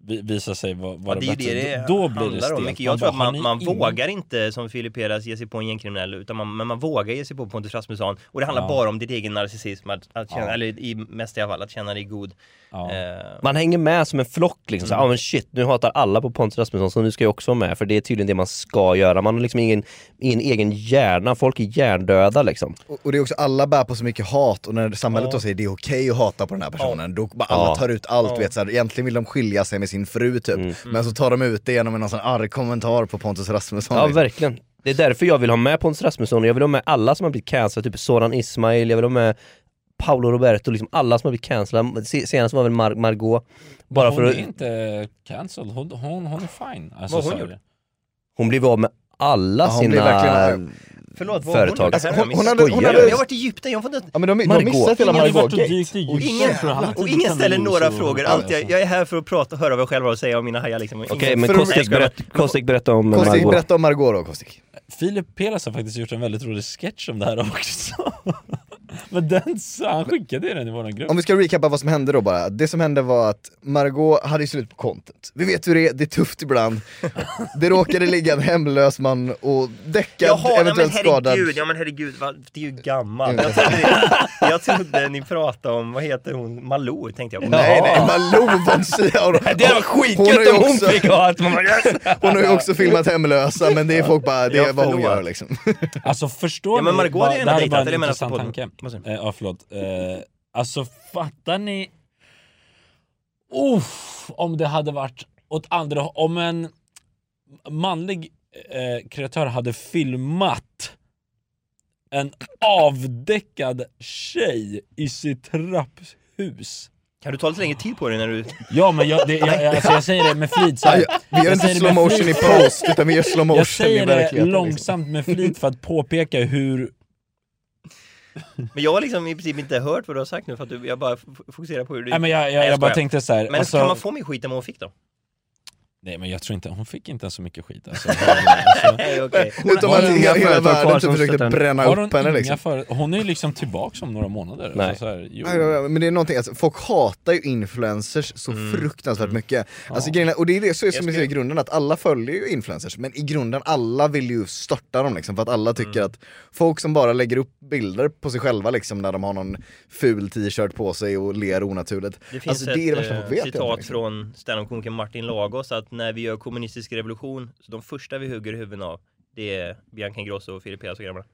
Speaker 2: vi- visar sig vara
Speaker 3: Ja,
Speaker 2: vara
Speaker 3: det är ju
Speaker 2: bättre.
Speaker 3: det det
Speaker 2: då blir det
Speaker 3: handlar om.
Speaker 2: stelt.
Speaker 3: mycket. Jag tror
Speaker 2: bara,
Speaker 3: att
Speaker 2: har ni
Speaker 3: man, man
Speaker 2: ingen-
Speaker 3: vågar inte som Filip Peras ge sig på en gängkriminell, utan man, men man vågar ge sig på Pontus Rasmusson. Och det handlar
Speaker 2: Ja.
Speaker 3: bara om din egen narcissism, att, att känna,
Speaker 2: Ja.
Speaker 3: eller i mest i alla fall, att känna dig god.
Speaker 2: Ja.
Speaker 3: Eh,
Speaker 5: Man hänger med som en flock liksom, såhär, ah, men shit, nu hatar alla på Pontus Rasmusson så nu ska jag också vara med, för det är tydligen det man ska göra. Man har liksom ingen, ingen egen hjärna, folk är hjärndöda liksom.
Speaker 4: Och, och det är också, alla bär på så mycket hat och när samhället då säger det är okej att hata på den här personen, då bara alla
Speaker 5: Ja. Mm.
Speaker 4: tar ut allt. Vet, så här, egentligen vill de skilja sig med sin fru typ, men så tar de ut det genom en någon sån arg kommentar på Pontus Rasmusson.
Speaker 5: Ja,
Speaker 4: liksom.
Speaker 5: verkligen. Det är därför jag vill ha med Pontus Rasmusson och jag vill ha med alla som har blivit cancellade, typ Soran Ismail, jag vill ha med Paolo Roberto, liksom alla som har blivit cancellade. Se- Senast var väl Mar- Margot bara
Speaker 2: Hon
Speaker 5: för att
Speaker 2: är inte cancelled, hon, hon, hon är fine. Alltså,
Speaker 3: Vad har hon
Speaker 2: så är
Speaker 3: gjort?
Speaker 2: det.
Speaker 5: hon blev av med alla
Speaker 4: Ja, hon blev verkligen
Speaker 5: sina...
Speaker 4: arg.
Speaker 3: förlåt, vad
Speaker 5: Företag.
Speaker 3: Hon, det
Speaker 4: Alltså,
Speaker 3: här har jag
Speaker 4: hon, hon
Speaker 3: missat.
Speaker 4: hade, hon
Speaker 5: Skojar
Speaker 3: jag
Speaker 4: hade,
Speaker 3: har varit i Egypten, jag får inte...
Speaker 4: ja, men de, de har
Speaker 5: Margot.
Speaker 4: missat hela
Speaker 2: Ingen har
Speaker 4: Margot
Speaker 2: varit och dykt
Speaker 4: Gate.
Speaker 2: i
Speaker 4: Och
Speaker 2: djupet.
Speaker 3: Ingen,
Speaker 2: Jävlar, han
Speaker 3: och
Speaker 2: tog
Speaker 3: ingen
Speaker 2: den
Speaker 3: ställer
Speaker 2: in
Speaker 3: några
Speaker 2: så-
Speaker 3: frågor.
Speaker 2: Ja,
Speaker 3: Allt jag,
Speaker 2: alltså.
Speaker 3: jag är här för att prata, höra vad jag själv har att säga om mina hajar liksom. Och
Speaker 5: Okej,
Speaker 3: ingen-
Speaker 5: men
Speaker 3: För-
Speaker 5: Kostik,
Speaker 3: jag
Speaker 5: berätt, Kostik berätta om
Speaker 4: Kostik,
Speaker 5: Margot.
Speaker 4: berätta om Margot då Kostik.
Speaker 2: Filip Pelas har faktiskt gjort en väldigt rolig sketch om det här också. Men den, så han skickade ju den i våran grupp.
Speaker 4: Om vi ska recappa vad som hände då bara. Det som hände var att Margot hade ju slut på content. Vi vet hur det är, det är tufft ibland. Det råkade ligga en hemlös man och däckad,
Speaker 3: Jaha, ja, men
Speaker 4: eventuellt skadad.
Speaker 3: herregud, ja men herregud, vad- det är ju gammalt. Jag trodde, jag trodde ni pratade om, vad heter hon, Malou tänkte jag på.
Speaker 4: Nej nej, Malou von Sydow.
Speaker 5: Det var
Speaker 4: har
Speaker 5: skitgött
Speaker 4: ju
Speaker 5: om hon
Speaker 4: också-
Speaker 5: fick ha allt! Man bara, yes!
Speaker 4: Hon har ju också filmat hemlösa men det är folk bara, det är
Speaker 3: Ja,
Speaker 4: vad hon
Speaker 3: förlåt.
Speaker 4: gör liksom.
Speaker 2: Alltså förstår
Speaker 3: Ja, men
Speaker 2: ni?
Speaker 3: Margot
Speaker 2: bara-
Speaker 3: är ju
Speaker 2: det här
Speaker 3: en
Speaker 2: bara en
Speaker 3: dejtat, eller jag menar
Speaker 2: intressant
Speaker 3: på
Speaker 2: tanke.
Speaker 3: podden. Vad säger
Speaker 2: Eh, ja, förlåt. Eh, alltså fattar ni? Uff, om det hade varit åt andra hå- Om en manlig eh, kreatör hade filmat en avdäckad tjej i sitt trapphus.
Speaker 3: Kan du ta lite längre tid på dig när du...
Speaker 2: Ja men jag, det, jag, alltså, jag säger det med flit så här.
Speaker 4: Vi gör
Speaker 2: Jag
Speaker 4: inte
Speaker 2: säger det
Speaker 4: slow
Speaker 2: med
Speaker 4: motion i
Speaker 2: flit.
Speaker 4: post utan vi gör slow
Speaker 2: Jag
Speaker 4: motion i
Speaker 2: säger det
Speaker 4: verkligheten. liksom.
Speaker 3: liksom.
Speaker 2: långsamt med flit för att påpeka hur
Speaker 3: Men jag har liksom i princip inte hört vad du har sagt nu för att du, jag bara f- fokuserar på hur du...
Speaker 2: Nej men jag, jag,
Speaker 3: Nej,
Speaker 2: jag,
Speaker 3: jag
Speaker 2: bara
Speaker 3: skojar.
Speaker 2: tänkte så här.
Speaker 3: men
Speaker 2: alltså,
Speaker 3: kan man få min skit än vad hon fick då?
Speaker 2: Nej men jag tror inte, hon fick inte ens så mycket skit alltså. alltså
Speaker 3: Nej okej.
Speaker 4: Utom
Speaker 5: Har
Speaker 4: att
Speaker 5: hon
Speaker 4: hela,
Speaker 5: inga
Speaker 4: hela
Speaker 5: företag kvar
Speaker 4: världen typ
Speaker 5: som
Speaker 4: försökte
Speaker 5: stöttar henne?
Speaker 4: bränna
Speaker 2: har hon,
Speaker 4: upp henne
Speaker 2: inga
Speaker 4: liksom.
Speaker 2: före- hon är ju liksom tillbaks om några månader.
Speaker 5: Nej.
Speaker 2: Alltså, så här, jo.
Speaker 4: Ja, ja, ja, Men det är någonting, alltså, folk hatar ju influencers så fruktansvärt mycket. Alltså, grejen är, och det är det så är som är i grunden, att alla följer ju influencers, men i grunden alla vill ju störta dem liksom, för att alla tycker att folk som bara lägger upp bilder på sig själva liksom, när de har någon ful t-shirt på sig och ler onaturligt.
Speaker 3: Det finns
Speaker 4: Alltså, det är det värsta folk
Speaker 3: eh,
Speaker 4: vet. egentligen,
Speaker 3: citat
Speaker 4: liksom.
Speaker 3: från standup-komikern Martin Lagos att när vi gör kommunistisk revolution, så de första vi hugger huvuden av, det är Bianca Ingrosso och Filip Peras och grabbarna.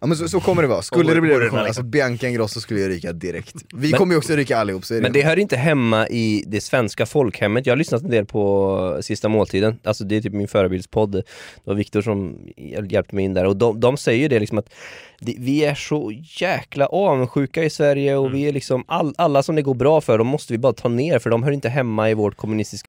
Speaker 4: Ja men så, så kommer det vara, skulle
Speaker 3: Och
Speaker 4: det bli
Speaker 3: går- går
Speaker 4: revolution,
Speaker 3: den här,
Speaker 4: alltså Bianca Ingrosso skulle ju ryka direkt. Vi kommer ju också ryka allihop, så är
Speaker 5: Men det hör inte hemma i det svenska folkhemmet. Jag har lyssnat en del på Sista måltiden, alltså det är typ min förebildspodd. Det var Viktor som hjäl- hjälpte mig in där och de, de säger ju det liksom att det, vi är så jäkla avundsjuka i Sverige och vi är liksom, all, alla som det går bra för, de måste vi bara ta ner för de hör inte hemma i vårt kommunistiska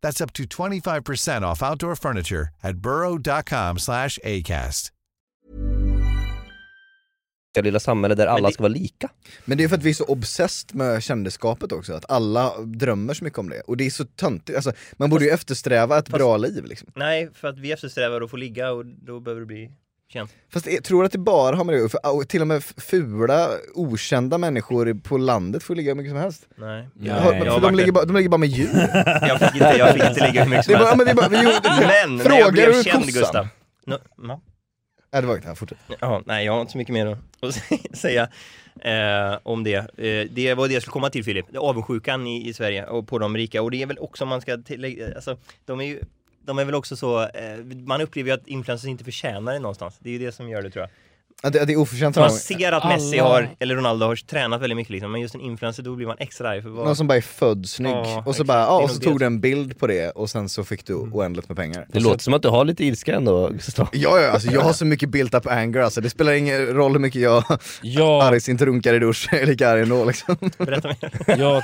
Speaker 6: That's up to 25% off outdoor furniture at burrow.com/acast.
Speaker 5: lilla samhälle där alla
Speaker 3: det-
Speaker 5: ska vara lika.
Speaker 4: Men det är för att vi är så obsessed med kändisskapet också, att alla drömmer så mycket om det. Och det är så töntigt, alltså, man borde ju eftersträva ett bra liv liksom.
Speaker 3: Nej, för att vi eftersträvar att få ligga och då behöver du bli känd.
Speaker 4: Fast jag tror att det bara har med det för, och Till och med f- fula, okända människor på landet får ligga hur mycket som helst.
Speaker 3: Nej.
Speaker 2: Ja,
Speaker 4: Har-
Speaker 2: jag
Speaker 4: för
Speaker 3: har
Speaker 4: de,
Speaker 3: varit
Speaker 4: ligger
Speaker 3: där.
Speaker 4: bara, de ligger bara med djur.
Speaker 3: Jag fick inte, jag fick inte ligga hur mycket
Speaker 4: Det
Speaker 3: som
Speaker 4: är bara,
Speaker 3: helst.
Speaker 4: men det är bara, vi gjorde,
Speaker 3: Men när
Speaker 4: Frågar
Speaker 3: jag
Speaker 4: du
Speaker 3: blev känd
Speaker 4: kossan?
Speaker 3: Gustav. No, no.
Speaker 4: nej, det var inte, här, fortsätt.
Speaker 3: Ja, nej, jag har inte så mycket mer att- att säga eh, om det. Eh, det var det jag skulle komma till Filip, Det är avundsjukan i, i Sverige och på de rika. Och det är väl också om man ska tillägga, alltså de är ju de är väl också så, eh, man upplever ju att influencers inte förtjänar det någonstans. Det är ju det som gör det tror jag.
Speaker 4: Att det, det är oförtjänt
Speaker 3: Man
Speaker 4: framgång.
Speaker 3: ser att
Speaker 2: Alla-
Speaker 3: Messi har, eller Ronaldo har tränat väldigt mycket liksom, men just en influencer då blir man extra arg för vad...
Speaker 4: Någon som bara är född snygg,
Speaker 3: Ja,
Speaker 4: och så
Speaker 3: exakt.
Speaker 4: bara,
Speaker 3: Det är
Speaker 4: ja, och
Speaker 3: nog
Speaker 4: så
Speaker 3: det Mm.
Speaker 4: tog
Speaker 3: som-
Speaker 4: du en bild på det och sen så fick du oändligt med pengar.
Speaker 5: Det låter som att du har lite ilska ändå Gustav.
Speaker 4: Ja, ja, alltså jag har så mycket built up anger alltså, det spelar ingen roll hur mycket jag
Speaker 2: Jag,
Speaker 4: args inte runkar i dusch, jag är lika arg ändå liksom.
Speaker 3: Berätta mer.
Speaker 2: jag,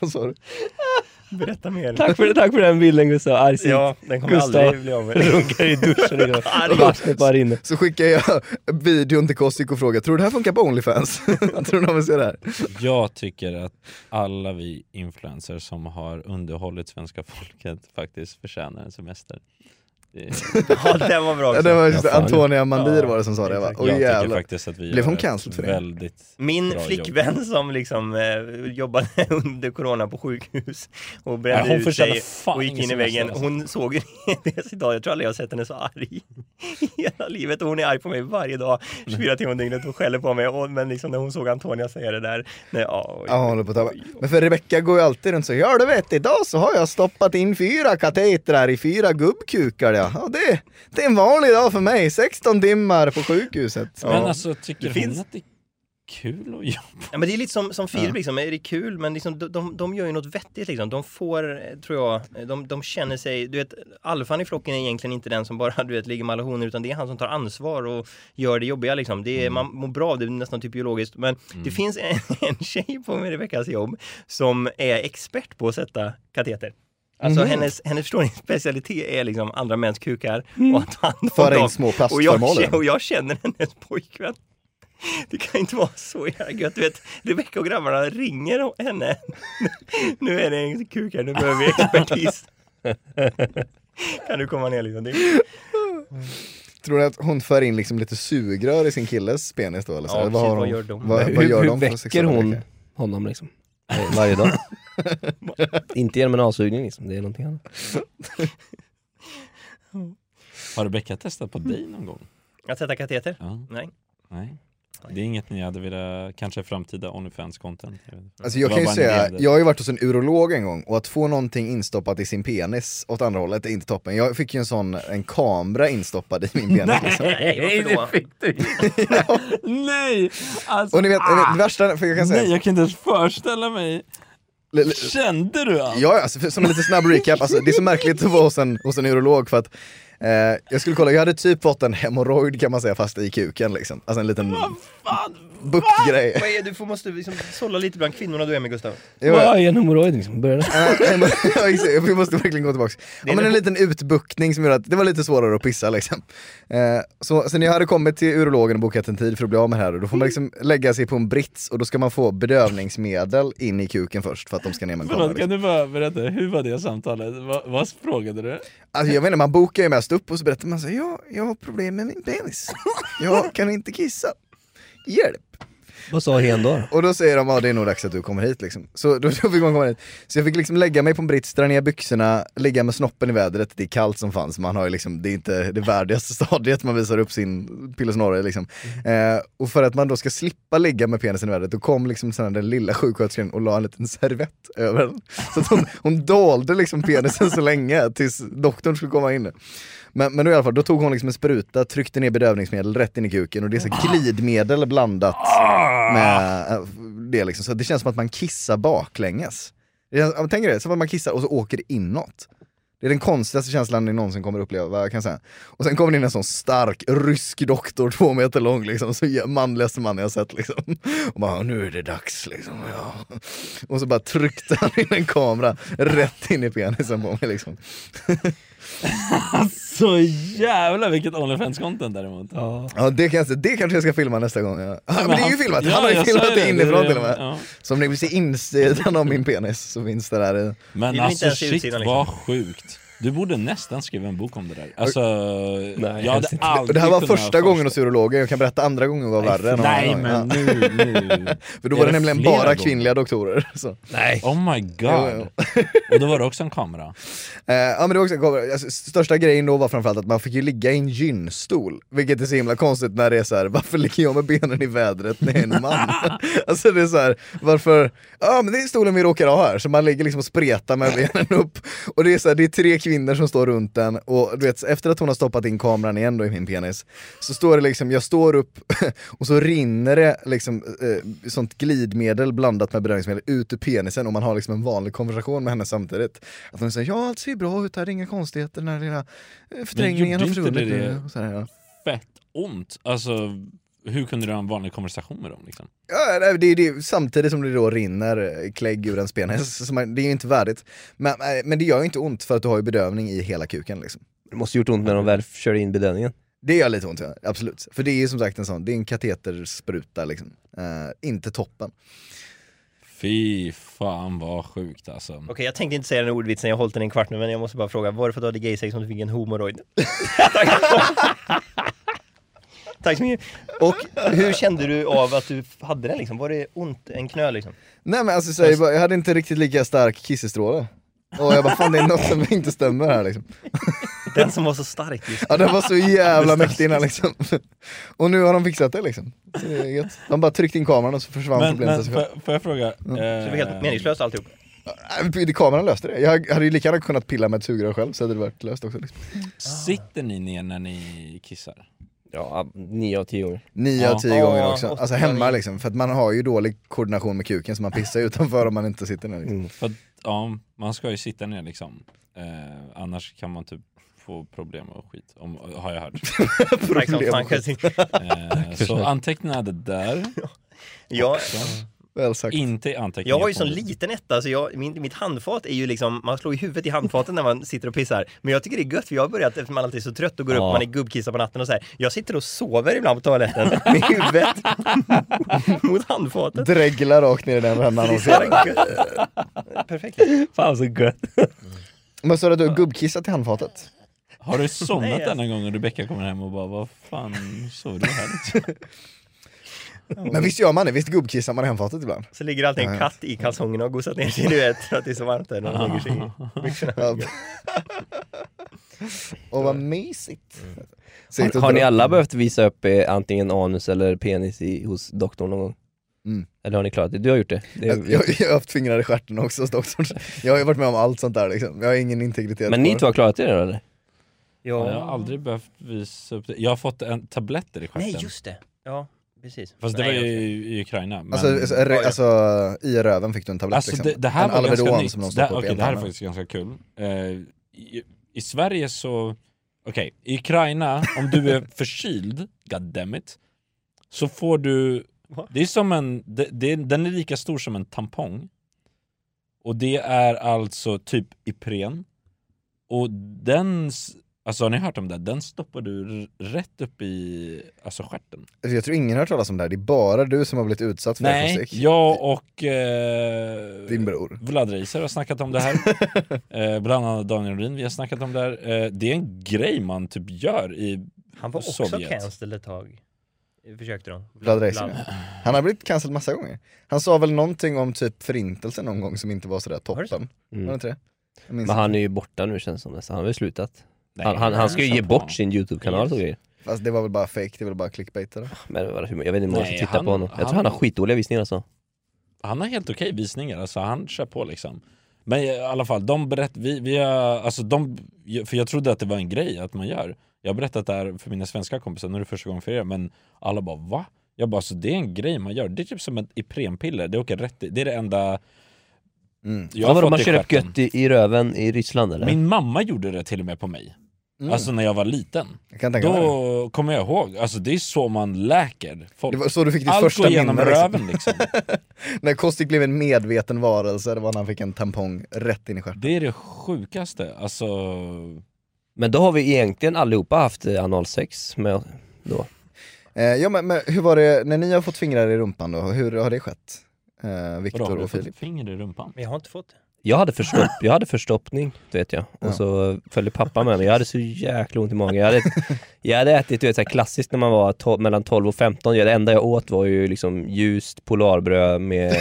Speaker 4: Vad sa du?
Speaker 3: Berätta mer.
Speaker 5: Tack för, tack för den bilden Gustav, argsint.
Speaker 3: Ja, den kommer jag
Speaker 5: Gustav.
Speaker 3: aldrig bli av med.
Speaker 5: Runkar i duschen igår.
Speaker 3: Arg.
Speaker 5: Och vattnet bara rinner.
Speaker 4: Så skickar jag videon till Kostik och frågar, tror du det här funkar på Onlyfans? tror du de vill se det här?
Speaker 2: jag tycker att alla vi influencers som har underhållit svenska folket faktiskt förtjänar en semester. Det,
Speaker 3: Ja, den var bra
Speaker 4: Ja,
Speaker 3: också.
Speaker 4: det var just
Speaker 2: Ja, fan.
Speaker 4: Antonia Mandir
Speaker 3: Ja,
Speaker 4: var det som sa det, jag bara,
Speaker 3: exakt.
Speaker 4: oj
Speaker 2: jag tycker
Speaker 4: jävlar.
Speaker 2: faktiskt att vi
Speaker 4: Blev
Speaker 2: gör
Speaker 4: hon
Speaker 2: ett
Speaker 4: cancelled för det?
Speaker 2: väldigt
Speaker 3: Min
Speaker 2: bra
Speaker 3: flickvän som liksom eh, jobbade under corona på sjukhus och brände
Speaker 2: Nej, hon
Speaker 3: ut
Speaker 2: förtjänar
Speaker 3: sig
Speaker 2: fan
Speaker 3: och gick in i
Speaker 2: ingen
Speaker 3: väggen.
Speaker 2: semester, alltså.
Speaker 3: Hon såg ju det idag, jag tror aldrig jag har sett henne så arg i hela livet. Och hon är arg på mig varje dag, 24 timmar om dygnet och skäller på mig. Och, men liksom när hon såg Antonia säga det där, nej, ja, oj.
Speaker 4: Ja, hon håller på att tappa. Men för Rebecca går ju alltid runt så, ja du vet idag så har jag stoppat in fyra katetrar i fyra gubbkukar ja. Och det, det är en vanlig dag för mig, 16 timmar på sjukhuset.
Speaker 2: jobb. Men alltså tycker
Speaker 3: Det finns-
Speaker 2: hon att det är kul att jobba?
Speaker 3: Ja, men det är lite som, som Filip, liksom. är det kul? Men liksom, de- de, de gör ju något vettigt liksom. De får, eh, tror jag, eh, de, de känner sig, du vet, alfan i flocken är egentligen inte den som bara, du vet, ligger med alla honor, utan det är han som tar ansvar och gör det jobbiga liksom. Det är,
Speaker 4: Mm.
Speaker 3: Man mår bra av det, det är nästan typ biologiskt. Men det finns en, en tjej på Rebeckas jobb som är expert på att sätta kateter. Alltså
Speaker 4: Mhm.
Speaker 3: hennes, hennes förstår ni, specialitet är liksom andra mäns kukar och att han
Speaker 4: Mm. Föra in små
Speaker 3: och jag,
Speaker 4: plastformaler.
Speaker 3: kä- och jag känner hennes pojkvän. Det kan inte vara så jävla gött. Du vet, Rebecca och grabbarna ringer om henne. Nu är det en kuk här, nu behöver vi expertis. Kan du komma ner liksom? Det är,
Speaker 4: Tror du att hon för in liksom lite sugrör i sin killes penis då? Eller så?
Speaker 3: Ja,
Speaker 4: Eller vad,
Speaker 3: precis,
Speaker 4: har
Speaker 3: vad
Speaker 4: hon,
Speaker 3: gör de?
Speaker 4: Vad, vad
Speaker 5: hur,
Speaker 4: gör
Speaker 5: hur
Speaker 4: de för
Speaker 5: väcker
Speaker 4: sexuell
Speaker 5: hon
Speaker 4: läggning?
Speaker 5: honom liksom? Eh, Varje dag? Inte genom en avsugning liksom, det är någonting annat.
Speaker 2: Har Rebecka testat på dig någon gång?
Speaker 3: att sätta kateter?
Speaker 2: Ja,
Speaker 3: Nej.
Speaker 2: nej. Det är inget ni hade velat, kanske framtida Onlyfans-content? Jag vet inte.
Speaker 4: Alltså
Speaker 2: Det
Speaker 4: jag
Speaker 2: var
Speaker 4: kan ju
Speaker 2: bara en
Speaker 4: säga,
Speaker 2: idé.
Speaker 4: jag har ju varit hos en urolog en gång och att få någonting instoppat i sin penis åt andra hållet är inte toppen. Jag fick ju en sån, en kamera instoppad i min penis.
Speaker 2: Nej,
Speaker 3: varför då?
Speaker 2: det fick du inte. Nej! Alltså,
Speaker 4: Och ni vet,
Speaker 2: ah!
Speaker 4: det värsta, för jag kan säga,
Speaker 2: Nej, jag kan inte ens föreställa mig.
Speaker 4: le- le-
Speaker 2: Kände du allt?
Speaker 4: Ja, ja, alltså, för- som en lite snabb recap, alltså, det är så märkligt att vara hos en, hos en urolog för att eh, jag skulle kolla, jag hade typ fått en hemorrojd kan man säga fast i kuken liksom. Alltså en liten buktgrej.
Speaker 3: Vad är, du får, måste liksom sålla lite bland kvinnorna du är med Gustav.
Speaker 4: Jo, ja.
Speaker 5: Vad är en hemorrojd liksom? Börjar det?
Speaker 4: Eh, men- jag inser- Vi måste verkligen gå tillbaks. Ja, men en liten utbuktning som gjorde att det var lite svårare att pissa liksom. Eh, så, så när jag hade kommit till urologen och bokat en tid för att bli av med det här, då får man liksom lägga sig på en brits och då ska man få bedövningsmedel in i kuken först för att de ska ner med en kamera.
Speaker 2: Förlåt,
Speaker 4: Liksom.
Speaker 2: kan du bara berätta, hur var det samtalet? Vad, vad frågade du?
Speaker 4: Alltså jag menar, man bokar ju mest upp och så berättar man så här, ja, jag har problem med min penis. Jag kan inte kissa. Hjälp!
Speaker 5: Vad sa hen då?
Speaker 4: Och då säger de, ja det är nog dags att du kommer hit liksom. Så då, då fick man komma hit. Så jag fick liksom lägga mig på en brits, dra ner byxorna, ligga med snoppen i vädret, det är kallt som fanns, man har ju liksom, det är inte det värdigaste stadiet man visar upp sin pillesnorre liksom. Eh, och för att man då ska slippa ligga med penisen i vädret, då kom liksom sen den lilla sjuksköterskan och la en liten servett över den. Så att hon, hon dolde liksom penisen så länge tills doktorn skulle komma in. Men, men då i alla fall, då tog hon liksom en spruta, tryckte ner bedövningsmedel rätt in i kuken och det är så här glidmedel blandat med eh, det liksom. Så det känns som att man kissar baklänges. Det känns, ja, men tänk er det, som att man kissar och så åker det inåt. Det är den konstigaste känslan ni någonsin kommer uppleva, kan jag säga. Och sen kommer det in en sån stark rysk doktor, två meter lång, liksom, så jä- manligaste man jag sett. Liksom. Och bara, nu är det dags liksom. Ja. Och så bara tryckte han in en kamera rätt in i penisen på mig liksom.
Speaker 2: Så jävla vilket Onlyfans-content däremot. Ja.
Speaker 4: Ja det kanske, det kanske jag ska filma nästa gång. Ja. Ah, men det är ju filmat, han har ju
Speaker 2: jag sa
Speaker 4: filmat det inifrån till och med.
Speaker 2: ja.
Speaker 4: Så om ni vill se insidan av min penis så finns det där eh. i.
Speaker 2: Men
Speaker 3: Vill inte
Speaker 2: alltså
Speaker 3: ens se
Speaker 2: shit
Speaker 3: utsidan,
Speaker 2: vad sjukt. Du borde nästan skriva en bok om det där. Alltså,
Speaker 5: Nej,
Speaker 2: jag hade
Speaker 5: helst inte.
Speaker 2: aldrig
Speaker 4: Det här var
Speaker 2: kunnat
Speaker 4: första gången hos
Speaker 2: föreställa-
Speaker 4: urologen, jag kan berätta andra gången var värre än
Speaker 2: Nej
Speaker 4: andra gången.
Speaker 2: men nu, nu.
Speaker 4: Ja. För då
Speaker 2: är
Speaker 4: var det
Speaker 2: det
Speaker 4: nämligen
Speaker 2: flera
Speaker 4: bara
Speaker 2: gånger?
Speaker 4: kvinnliga doktorer. Så.
Speaker 5: Nej.
Speaker 2: Oh my god. Och då var det också en kamera.
Speaker 4: Eh, ja men det var också, kom- alltså, största grejen då var framförallt att man fick ju ligga i en gynstol, vilket är så himla konstigt när det är så här: varför ligger jag med benen i vädret när jag är en man? alltså det är så här, varför, ja men det är stolen vi råkar ha här, så man ligger liksom och spretar med benen upp. Och det är så här, det är tre kvinnor som står runt den och du vet, efter att hon har stoppat in kameran igen då i min penis, så står det liksom, jag står upp och så rinner det liksom eh, sånt glidmedel blandat med bedövningsmedel ut ur penisen och man har liksom en vanlig konversation med henne samtidigt. Att hon säger ja allt ser ju bra ut här, det är inga konstigheter, den här lilla eh, förträngningen
Speaker 2: gjorde
Speaker 4: har
Speaker 2: inte
Speaker 4: försvunnit.
Speaker 2: det
Speaker 4: nu."
Speaker 2: det?
Speaker 4: Och så här, ja.
Speaker 2: Fett ont. Alltså, hur kunde du ha en vanlig konversation med dem liksom?
Speaker 4: Ja, nej, det, det, samtidigt som det då rinner eh, klägg ur ens penis, så man, det är ju inte värdigt. Men, eh, men det gör ju inte ont för att du har ju bedövning i hela kuken liksom.
Speaker 5: Det måste gjort ont när de väl körde in bedövningen.
Speaker 4: Det gör lite ont, ja. absolut. För det är ju som sagt en sån, det är en kateterspruta liksom. Eh, inte toppen.
Speaker 2: Fy fan vad sjukt alltså.
Speaker 3: Okej, jag tänkte inte säga den ordvitsen, jag har hållit den i en kvart nu, men jag måste bara fråga, var det för att du hade gaysex som du fick en homoroid? Tack så mycket. Och hur kände du av att du hade den liksom? Var det ont, en knöl liksom?
Speaker 4: Nej men alltså, så jag, bara, jag hade inte riktigt lika stark kissestråle. Och jag bara fan det är något som inte stämmer här liksom.
Speaker 3: Den som var så stark just
Speaker 4: Ja den var så jävla mäktig innan liksom. Och nu har de fixat det liksom. Så det är gött. De bara tryckte in kameran och så försvann
Speaker 2: Men,
Speaker 4: problemet av
Speaker 2: men
Speaker 4: sig själv.
Speaker 2: får, får jag fråga? eh,
Speaker 3: Så det var helt meningslöst alltihop.
Speaker 4: Nej, Kameran löste äh, det. Jag hade ju lika gärna kunnat pilla med ett sugrör själv så hade det varit löst också. Liksom.
Speaker 2: Ah. Sitter ni ner när ni kissar?
Speaker 5: Ja, nio av tio gånger.
Speaker 4: Nio
Speaker 2: Ja.
Speaker 4: av tio gånger
Speaker 3: Ja,
Speaker 4: också.
Speaker 3: åtta,
Speaker 4: Alltså hemma
Speaker 3: nio.
Speaker 4: liksom. För att man har ju dålig koordination med kuken så man pissar utanför om man inte sitter ner. Liksom.
Speaker 2: För att, ja, man ska ju sitta ner liksom. Eh, annars kan man typ få problem och skit, om, har jag hört.
Speaker 3: Tack som fan, Kerstin.
Speaker 2: Eh, så anteckna det där.
Speaker 3: Ja,
Speaker 4: Väl sagt.
Speaker 2: Inte i anteckningar.
Speaker 3: jag har ju
Speaker 2: på
Speaker 3: sån
Speaker 2: mobilen.
Speaker 3: liten etta, så jag, min, mitt handfat är ju liksom, man slår ju huvudet i handfaten när man sitter och pissar. Men jag tycker det är gött, för jag har börjat, eftersom man alltid är så trött och går upp,
Speaker 5: Ja.
Speaker 3: man är gubbkissar på natten och så här. Jag sitter och sover ibland på toaletten med huvudet mot handfatet.
Speaker 4: Dregla rakt ner i den rännan. och
Speaker 3: Det är så
Speaker 4: så-
Speaker 3: jävla gött. Perfekt.
Speaker 5: Fan så gött.
Speaker 4: Men så du att du har gubbkissat i handfatet?
Speaker 2: Har du somnat
Speaker 3: Nej, alltså- jag-
Speaker 2: denna gång när Rebecca kommer hem och bara vad fan sov du här?
Speaker 4: Men visst gör man det? Visst gubbkissar man i handfatet ibland?
Speaker 3: Så ligger alltid en katt i kalsongerna och gosat ner sig, du vet, för att det är så varmt där när de lägger sig i byxorna.
Speaker 4: Ja. Och vad mysigt! Sitt
Speaker 5: Har,
Speaker 4: och
Speaker 5: har ni
Speaker 4: dra-
Speaker 5: alla behövt visa upp eh, antingen anus eller penis i, hos doktorn någon gång?
Speaker 4: Mm.
Speaker 5: Eller har ni klarat det? Du har gjort det. det
Speaker 4: Jag, jag, jag har haft fingrar i stjärten också hos doktorn. Jag har ju varit med om allt sånt där liksom. Jag Mm. har ingen integritet
Speaker 5: men
Speaker 4: kvar.
Speaker 5: ni två har klarat det då eller?
Speaker 2: Ja. Jag har aldrig behövt visa upp det. Jag har fått en tabletter i stjärten.
Speaker 3: Nej, just det. Ja, precis.
Speaker 2: Fast det
Speaker 3: Nej,
Speaker 2: var ju
Speaker 3: jag-
Speaker 2: i Ukraina. Men...
Speaker 4: Alltså, alltså,
Speaker 3: Ja,
Speaker 4: re,
Speaker 3: ja.
Speaker 4: alltså i röven fick du en tablett
Speaker 2: Alltså
Speaker 4: liksom.
Speaker 2: det, det här
Speaker 4: en
Speaker 2: var ganska
Speaker 4: Alvedon
Speaker 2: nytt.
Speaker 4: som de
Speaker 2: det,
Speaker 4: stoppade upp i
Speaker 2: okay, det här är
Speaker 4: änden.
Speaker 2: faktiskt ganska kul. Eh, i, I Sverige så, okej, i Ukraina, om du är förkyld, goddammit, så får du, det är som en, det, det, den är lika stor som en tampong. Och det är alltså typ Ipren. Och den, s- alltså har ni hört om det? Den stoppar du r- rätt upp i, alltså stjärten.
Speaker 4: Alltså, Jag tror ingen har hört talas om det här, det är bara du som har blivit utsatt för
Speaker 2: Nej,
Speaker 4: fysik.
Speaker 2: jag och... Eh,
Speaker 4: Din bror.
Speaker 2: Vlad Reiser har snackat om det här. eh, bland annat Daniel Rydin, vi har snackat om det här. Eh, det är en grej man typ gör i
Speaker 3: Han var också
Speaker 2: Sovjet.
Speaker 3: cancelled ett tag. Försökte de.
Speaker 4: Vlad Reiser. Han har blivit cancelled massa gånger. Han sa väl någonting om typ förintelsen någon gång som inte var sådär
Speaker 3: Var det så?
Speaker 4: toppen.
Speaker 2: Mm.
Speaker 4: Var det inte det? Jag minns
Speaker 5: Men han är ju borta nu känns det som nästan. Han har väl slutat.
Speaker 2: Nej,
Speaker 5: han, han, han ska ju
Speaker 2: kör
Speaker 5: ge
Speaker 2: på.
Speaker 5: bort sin YouTube-kanal och grejer.
Speaker 4: Fast det var väl bara fake, det var väl bara clickbait eller?
Speaker 5: Men vad- jag vet inte om man ska
Speaker 2: Nej,
Speaker 5: titta
Speaker 2: han-
Speaker 5: på honom. Jag tror
Speaker 2: han-
Speaker 5: han har skitdåliga visningar alltså.
Speaker 2: Han har helt okej visningar, alltså han kör på liksom. Men i alla fall, de berätt, vi, vi har, alltså de, för jag trodde att det var en grej att man gör. Jag har berättat det här för mina svenska kompisar, nu är det första gången för er, men alla bara va? Jag bara, så det är en grej man gör. Det är typ som ett Iprenpiller, det åker rätt i, det är det enda
Speaker 4: Mm.
Speaker 2: jag
Speaker 5: Ja, vadå, man
Speaker 2: i
Speaker 5: kör upp
Speaker 2: stjärten.
Speaker 5: gött i, i röven i Ryssland eller?
Speaker 2: Min mamma gjorde det till och med på mig.
Speaker 4: Mm.
Speaker 2: Alltså när jag var liten.
Speaker 4: jag kan tänka mig det.
Speaker 2: Då kommer jag ihåg, alltså det är så man läker folk.
Speaker 4: Det var så du fick ditt
Speaker 2: Allt
Speaker 4: första
Speaker 2: går genom
Speaker 4: minne liksom.
Speaker 2: röven liksom.
Speaker 4: När Kostik blev en medveten varelse, det var när han fick en tampong rätt in i stjärten.
Speaker 2: Det är det sjukaste, alltså...
Speaker 5: Men då har vi egentligen allihopa haft eh, analsex med då.
Speaker 4: Eh, ja men, men hur var det, när ni har fått fingrar i rumpan då, hur har det skett? Eh,
Speaker 2: Vadå, har
Speaker 4: Viktor
Speaker 2: du
Speaker 4: och
Speaker 2: fått
Speaker 4: Filip?
Speaker 2: ett finger i rumpan?
Speaker 3: Men jag har inte fått det.
Speaker 5: Jag hade, förstopp, jag hade förstoppning, det vet jag. Och så följde pappa med mig. Jag hade så jäkla ont i magen. Jag hade, jag hade ätit, du vet, så här klassiskt när man var to- mellan 12 och 15. Ja, det enda jag åt var ju liksom ljust polarbröd med,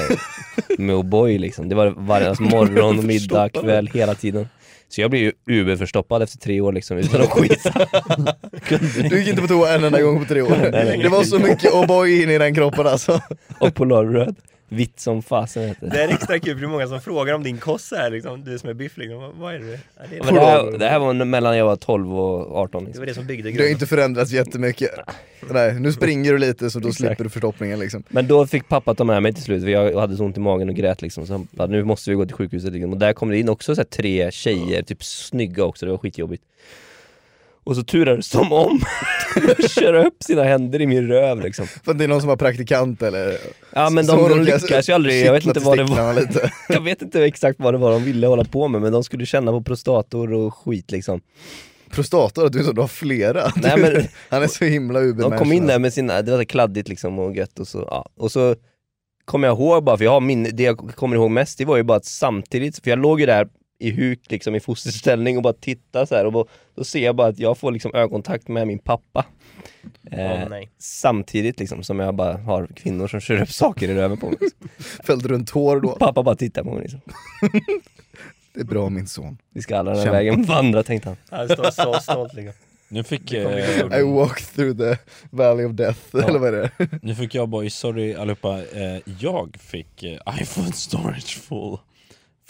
Speaker 5: med O'boy liksom. Det var varje alltså, morgon, middag, kväll, hela tiden. Så jag blev ju uberförstoppad efter tre år liksom, utan att skita.
Speaker 4: Du gick inte på toa en enda gång på tre år. Det var så mycket O'boy in i den kroppen alltså.
Speaker 5: Och polarbröd. Vitt som fasen heter det.
Speaker 3: Det är extra kul för det är många som frågar om din kost så här liksom, du som är biff liksom, vad- vad är det? Ja, det, är
Speaker 5: Men det, här, det här var mellan jag var 12 och 18.
Speaker 3: det
Speaker 5: Liksom.
Speaker 3: var det som byggde
Speaker 4: Du har
Speaker 3: grunden.
Speaker 4: inte förändrats jättemycket. Nej, nu springer du lite så då
Speaker 5: Exakt.
Speaker 4: slipper du förstoppningen liksom.
Speaker 5: Men då fick pappa ta med mig till slut, för jag hade så ont i magen och grät liksom. Så han bara, nu måste vi gå till sjukhuset. Liksom. Och där kom det in också så här, tre tjejer, typ snygga också, det var skitjobbigt. Och så turades de om och köra upp sina händer i min röv liksom.
Speaker 4: För att det är någon som har praktikant eller...
Speaker 5: Ja men
Speaker 4: Så
Speaker 5: de, de
Speaker 4: råkar
Speaker 5: lyckas ju aldrig, jag vet
Speaker 4: kittla
Speaker 5: inte vad det
Speaker 4: testiklarna
Speaker 5: var.
Speaker 4: Lite.
Speaker 5: Jag vet inte exakt vad det var de ville hålla på med, men de skulle känna på prostator och skit liksom.
Speaker 4: Prostator, att du är så- du har flera.
Speaker 5: Nej,
Speaker 4: Du-
Speaker 5: men-
Speaker 4: Han är så himla ubermänniska.
Speaker 5: De kom in där med sina, det var så kladdigt liksom och gött och så, ja. Och så kom jag ihåg bara, för jag har min, det jag kommer ihåg mest, det var ju bara att samtidigt, för jag låg ju där i huk liksom i fosterställning och bara tittade så här och då, då ser jag bara att jag får liksom ögonkontakt med min pappa. Eh,
Speaker 3: Åh, nej.
Speaker 5: samtidigt liksom som jag bara har kvinnor som kör upp saker i röven på mig. Liksom.
Speaker 4: Fällde runt hår då.
Speaker 5: Pappa bara tittar på mig liksom.
Speaker 4: Det är bra min son.
Speaker 5: Vi ska alla den här
Speaker 4: Kämpa.
Speaker 5: vägen vandra tänkte han.
Speaker 3: Han står så stolt liksom.
Speaker 2: Nu fick,
Speaker 3: bli
Speaker 2: eh,
Speaker 4: I walked through the valley of death, eller vad är det?
Speaker 2: nu fick jag boy, sorry allihopa, eh, jag fick eh, iPhone storage full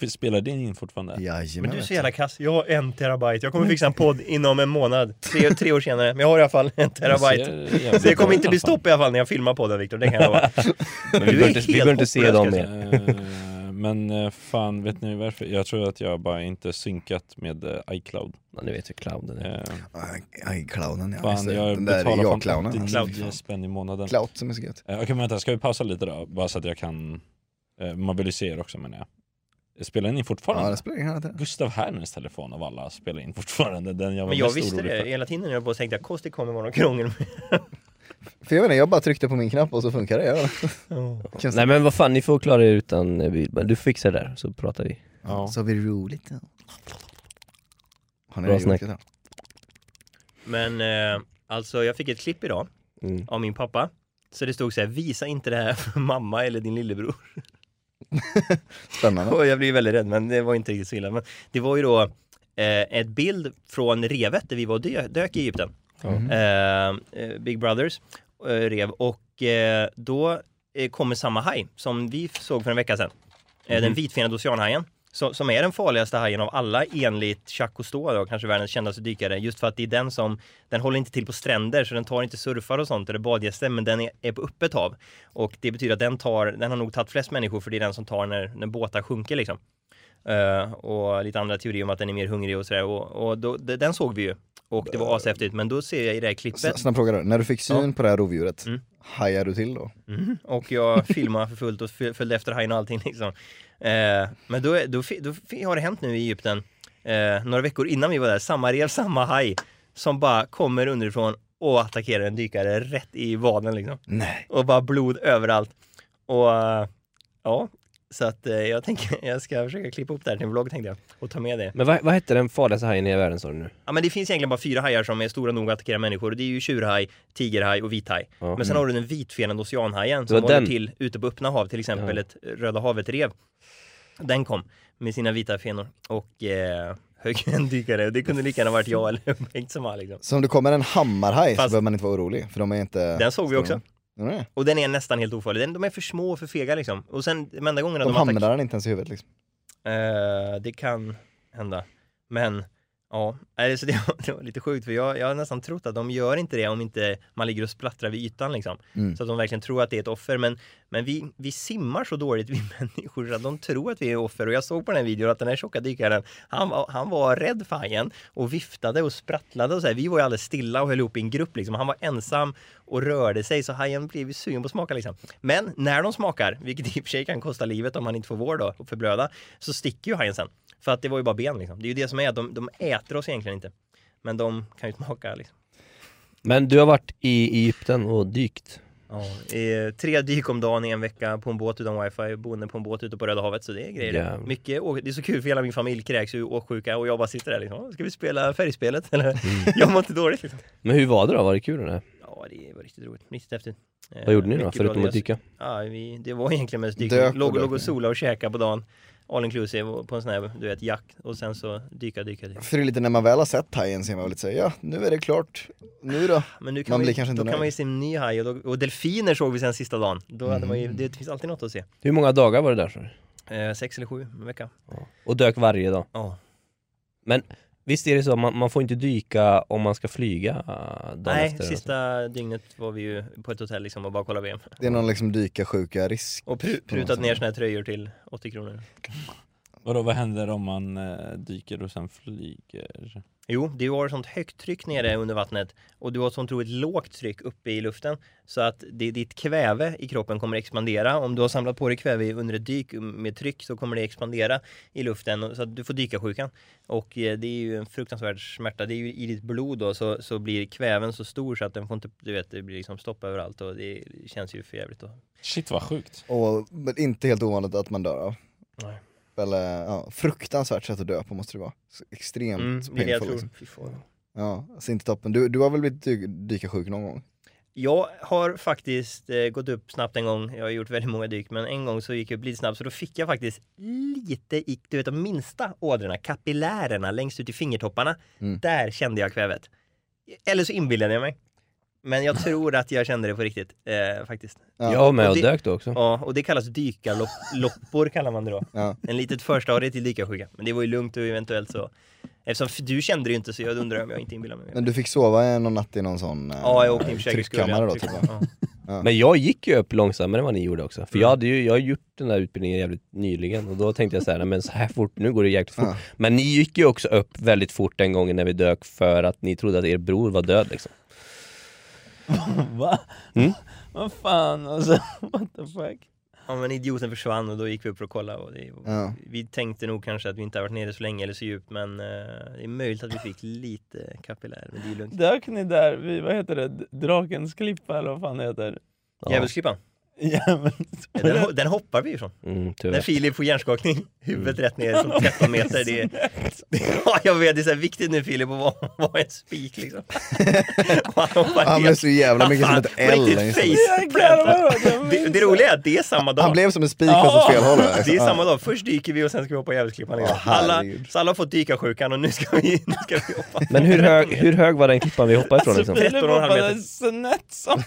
Speaker 2: F- Spelar din in fortfarande?
Speaker 4: Jajamän.
Speaker 3: Men du är så jävla kass, jag har en terabyte, jag kommer fixa en podd inom en månad, tre, tre år senare, men jag har i alla fall en terabyte.
Speaker 2: Du ser jävligt
Speaker 3: Så det kommer
Speaker 2: bra
Speaker 3: inte bli
Speaker 2: i alla fall.
Speaker 3: stopp i alla fall när jag filmar podden Viktor, det kan jag lova.
Speaker 5: Men vi
Speaker 3: Du
Speaker 5: behöver
Speaker 3: är
Speaker 5: inte, vi
Speaker 3: helt
Speaker 5: behöver inte se
Speaker 3: hopplös,
Speaker 5: dem
Speaker 3: ska jag
Speaker 5: mer.
Speaker 2: Eh, Men eh, fan, vet ni varför? Jag tror att jag bara inte synkat med eh, iCloud
Speaker 5: Ja, ni vet ju clownen är.
Speaker 2: eh,
Speaker 4: Aj, clownen ja.
Speaker 2: Fan,
Speaker 4: Just det.
Speaker 2: jag
Speaker 4: Den där
Speaker 2: betalar
Speaker 4: är
Speaker 2: fan
Speaker 4: jag-clownen. alltså.
Speaker 2: 89 spänn i månaden eh,
Speaker 4: Clout som är så gött.
Speaker 2: Okej men vänta, ska vi pausa lite då? Bara så att jag kan eh, Man vill ju se er också menar jag Spelar ni
Speaker 4: Ja,
Speaker 2: fortfarande?
Speaker 4: det spelar ingen roll.
Speaker 2: Gustav Herners telefon av alla spelar in fortfarande den jag var
Speaker 3: Men jag
Speaker 2: mest
Speaker 3: visste
Speaker 2: orolig
Speaker 3: det
Speaker 2: för
Speaker 3: hela tiden när jag var på och tänkte att kost det kommer vara något krångel med.
Speaker 4: För jag vet inte, jag bara tryckte på min knapp och så funkar det. Jag, Känns
Speaker 5: Nej men vad fan, ni får klara er utan eh, bild. Men Du fixar det där, så pratar vi.
Speaker 2: Ja.
Speaker 4: Så har vi roligt. då. Har ni
Speaker 5: Bra
Speaker 4: det
Speaker 5: snack.
Speaker 4: gjort det?
Speaker 3: Men eh, alltså jag fick ett klipp idag
Speaker 5: Mm.
Speaker 3: av min pappa. Så det stod så här, visa inte det här för mamma eller din lillebror.
Speaker 4: Spännande.
Speaker 3: Och jag blev väldigt rädd, men det var inte riktigt så illa. Men det var ju då eh, ett bild från revet där vi var och dö- dök i Egypten. Eh, eh, Big Brothers eh, rev. Och eh, då eh, kommer samma haj som vi f- såg för en vecka sedan. Eh, den vitfenade oceanhajen. Så, som är den farligaste hajen av alla enligt Jacques Cousteau, då, kanske världens kändaste dykare. Just för att det är den som, den håller inte till på stränder så den tar inte surfare och sånt eller badgäster men den är, är på öppet hav. Och det betyder att den tar, den har nog tagit flest människor för det är den som tar när, när båtar sjunker liksom. Eh, och lite andra teorier om att den är mer hungrig och sådär. Och, och då, d- den såg vi ju. Och det var ashäftigt. Men då ser jag i det här klippet
Speaker 4: S- Snabb fråga då, när du fick syn på det här rovdjuret,
Speaker 3: Mm.
Speaker 4: hajar du till då?
Speaker 3: Mhm. Och jag filmade för fullt och f- följde efter hajen och allting liksom. Eh, men då, då, fi- då fi- har det hänt nu i Egypten, eh, några veckor innan vi var där, samma rev, samma haj som bara kommer underifrån och attackerar en dykare rätt i vaden liksom.
Speaker 4: Nej.
Speaker 3: Och bara blod överallt. Och eh, ja, så att eh, jag tänker, jag ska försöka klippa upp det här till en vlogg tänkte jag. Och ta med det.
Speaker 5: Men vad, vad hette den farligaste hajen i världen sa du nu?
Speaker 3: Ja men det finns egentligen bara fyra hajar som är stora nog att attackera människor. Det är ju tjurhaj, tigerhaj och vithaj.
Speaker 5: Ja. Mm.
Speaker 3: Men sen har du den vitfenade oceanhajen
Speaker 5: var
Speaker 3: som håller
Speaker 5: den.
Speaker 3: till ute på öppna hav, till exempel
Speaker 5: Ja.
Speaker 3: ett Röda havet-rev. Den kom med sina vita fenor och eh, högg en dykare. Det kunde lika gärna varit jag eller Bengt som var liksom.
Speaker 4: Så om det kommer en hammarhaj så
Speaker 3: Fast-
Speaker 4: behöver man inte vara orolig, för de är inte...
Speaker 3: Den såg vi också.
Speaker 4: Ja, det är det.
Speaker 3: Och den är nästan helt ofarlig. Den, de är för små och för fega liksom. Och sen de enda gångerna
Speaker 4: De
Speaker 3: de,
Speaker 4: hamnar den inte ens i huvudet liksom.
Speaker 3: Eh, det kan hända. Men ja, Nej, så det, var, det var lite sjukt för jag, jag har nästan trott att de gör inte det om inte man ligger och splattrar vid ytan liksom.
Speaker 4: Mm.
Speaker 3: Så att de verkligen tror att det är ett offer. Men, men vi, vi simmar så dåligt vi människor så att de tror att vi är offer. Och jag såg på den här videon att den här tjocka dykaren, han, var- han var rädd för hajen och viftade och sprattlade och så här. Vi var ju alldeles stilla och höll ihop i en grupp liksom. Han var ensam och rörde sig så hajen blev ju sugen på att smaka liksom. Men när de smakar, vilket i och för sig kan kosta livet om han inte får vård då och förblöda, så sticker ju hajen sen. För att det var ju bara ben liksom. Det är ju det som är, att de, de äter oss egentligen inte. Men de kan ju smaka liksom.
Speaker 5: Men du har varit i Egypten och dykt.
Speaker 3: Ja, eh, tre dyk om dagen i en vecka på en båt utan wifi, boende på en båt ute på Röda havet. Så det är grejer.
Speaker 5: Jävlar.
Speaker 3: Mycket, å- det är så kul för hela min familj kräks ju åksjuka och jag bara sitter där liksom. "Åh, Ska vi spela färgspelet? Eller? Jag mår inte dåligt liksom.
Speaker 5: Men hur var det då? Var det kul eller?
Speaker 3: Ja, det var riktigt roligt. Riktigt häftigt. Eh,
Speaker 5: Vad gjorde ni då?
Speaker 3: mycket bra
Speaker 5: Förutom att
Speaker 3: deras-
Speaker 5: dyka?
Speaker 3: Ja, vi, det var egentligen mest
Speaker 4: Dök
Speaker 3: dykning.
Speaker 4: och
Speaker 3: Låg,
Speaker 4: dök
Speaker 3: låg
Speaker 4: ni.
Speaker 3: och sola och käka på dagen. All inclusive och på en sån här, du vet, jack. Och sen så dyka, dyka, dyka.
Speaker 4: För det är lite när man väl har sett hajen så är man väl lite såhär, ja nu är det klart, nu då?
Speaker 3: Men nu kan
Speaker 4: Man
Speaker 3: man,
Speaker 4: blir
Speaker 3: ju,
Speaker 4: kanske inte
Speaker 3: då kan
Speaker 4: nöjd.
Speaker 3: man ju se en ny haj och, då, och delfiner såg vi sen sista dagen. Då hade man
Speaker 4: Mm.
Speaker 3: ju, det finns alltid något att se.
Speaker 5: Hur många dagar var det där? sa du?
Speaker 3: Eh, sex eller sju en vecka.
Speaker 5: Och dök varje dag?
Speaker 3: Ja.
Speaker 5: Visst är det så, man, man får inte dyka om man ska flyga äh, dagen
Speaker 3: Nej,
Speaker 5: efter?
Speaker 3: sista dygnet var vi ju på ett hotell liksom och bara kollade VM.
Speaker 4: Det är någon liksom dyka sjuka risk.
Speaker 3: Och pru, prutat ner såna här tröjor till 80 kronor.
Speaker 2: Vadå, vad händer om man eh, dyker och sen flyger?
Speaker 3: Jo, det var sånt högt tryck nere under vattnet och du har sånt otroligt lågt tryck uppe i luften så att det, ditt kväve i kroppen kommer expandera. Om du har samlat på dig kväve i- under ett dyk med tryck så kommer det expandera i luften och- så att du får dyka sjukan. Och eh, det är ju en fruktansvärd smärta. Det är ju i ditt blod då så, så blir kväven så stor så att den får inte, du vet, det blir liksom stopp överallt och det känns ju för jävligt då.
Speaker 2: Shit vad sjukt.
Speaker 4: Och men inte helt ovanligt att man dör av.
Speaker 3: Nej.
Speaker 4: Eller, ja, fruktansvärt sätt att dö på måste det vara. Så extremt
Speaker 3: Mm, det är det jag
Speaker 4: painful
Speaker 3: tror.
Speaker 4: liksom.
Speaker 3: Fy fan.
Speaker 4: Ja, alltså inte toppen. Du, du har väl blivit dy- dyka sjuk någon gång?
Speaker 3: Jag har faktiskt eh, gått upp snabbt en gång. Jag har gjort väldigt många dyk, men en gång så gick jag upp lite snabbt så då fick jag faktiskt lite i, du vet de minsta ådrorna, kapillärerna längst ut i fingertopparna.
Speaker 4: Mm.
Speaker 3: Där kände jag kvävet. Eller så inbillade jag mig. Men jag tror att jag kände det på riktigt, eh, faktiskt.
Speaker 5: Ja, alltså? jag var med
Speaker 3: och
Speaker 5: och
Speaker 3: det-
Speaker 5: dök då också.
Speaker 3: Ja, och det kallas dykarloppor kallar man det då.
Speaker 4: Ja.
Speaker 3: En litet förstadie till dykarsjuka. Men det var ju lugnt och eventuellt så. Eftersom f- du kände det ju inte så jag undrar om jag inte inbillade mig.
Speaker 4: Men du fick sova en- någon natt i någon sån eh,
Speaker 3: ja, jag åkte in i
Speaker 4: tryckkammare
Speaker 3: försäkringskurvan.
Speaker 4: då typ? va?
Speaker 3: Ja.
Speaker 5: Men jag gick ju upp långsammare än vad ni gjorde också. För
Speaker 3: Mm.
Speaker 5: jag, hade ju, jag har gjort den där utbildningen jävligt nyligen och då tänkte jag så här, "Nej, men så här fort, nu går det jäkligt fort.
Speaker 4: Ja.
Speaker 5: Men ni gick ju också upp väldigt fort den gången när vi dök för att ni trodde att er bror var död liksom.
Speaker 2: Va? Vad fan alltså, what the fuck?
Speaker 3: Ja men idioten försvann och då gick vi upp för att kolla och det,
Speaker 4: Ja.
Speaker 3: Vi tänkte nog kanske att vi inte har varit nere så länge eller så djupt men eh, det är möjligt att vi fick lite kapillär men det är lugnt.
Speaker 2: Dök ni där vid, vad heter det, Drakens klippa eller vad fan det heter?
Speaker 5: Ja.
Speaker 3: Djävulsklippan, den, ho- den hoppar vi ifrån.
Speaker 5: Mm,
Speaker 3: När
Speaker 5: tyvärr.
Speaker 3: Filip får hjärnskakning, huvudet rätt ner som 13 meter. Det är, ja, jag vet, det är så här viktigt nu Filip att vara, vara en spik liksom. Och han hoppar
Speaker 4: Han blev
Speaker 3: ner.
Speaker 4: så jävla mycket som
Speaker 3: Fan,
Speaker 4: ett
Speaker 3: på
Speaker 4: L.
Speaker 3: riktigt
Speaker 4: liksom.
Speaker 3: faceplant. Det, det roliga är att det är samma dag.
Speaker 4: Han blev som en spik fast åt fel håll. liksom.
Speaker 3: Det är
Speaker 4: Ja.
Speaker 3: samma dag, först dyker vi och sen ska vi hoppa djävulsklippan igen.
Speaker 4: Åh,
Speaker 3: alla,
Speaker 4: herregud.
Speaker 3: så alla har fått dyka sjukan och nu ska vi, nu ska vi hoppa.
Speaker 5: Men hur hög, hur hög var den klippan vi hoppade ifrån
Speaker 3: Alltså,
Speaker 5: liksom?
Speaker 3: 13,5
Speaker 2: Filip
Speaker 3: meter.
Speaker 2: hoppade snett som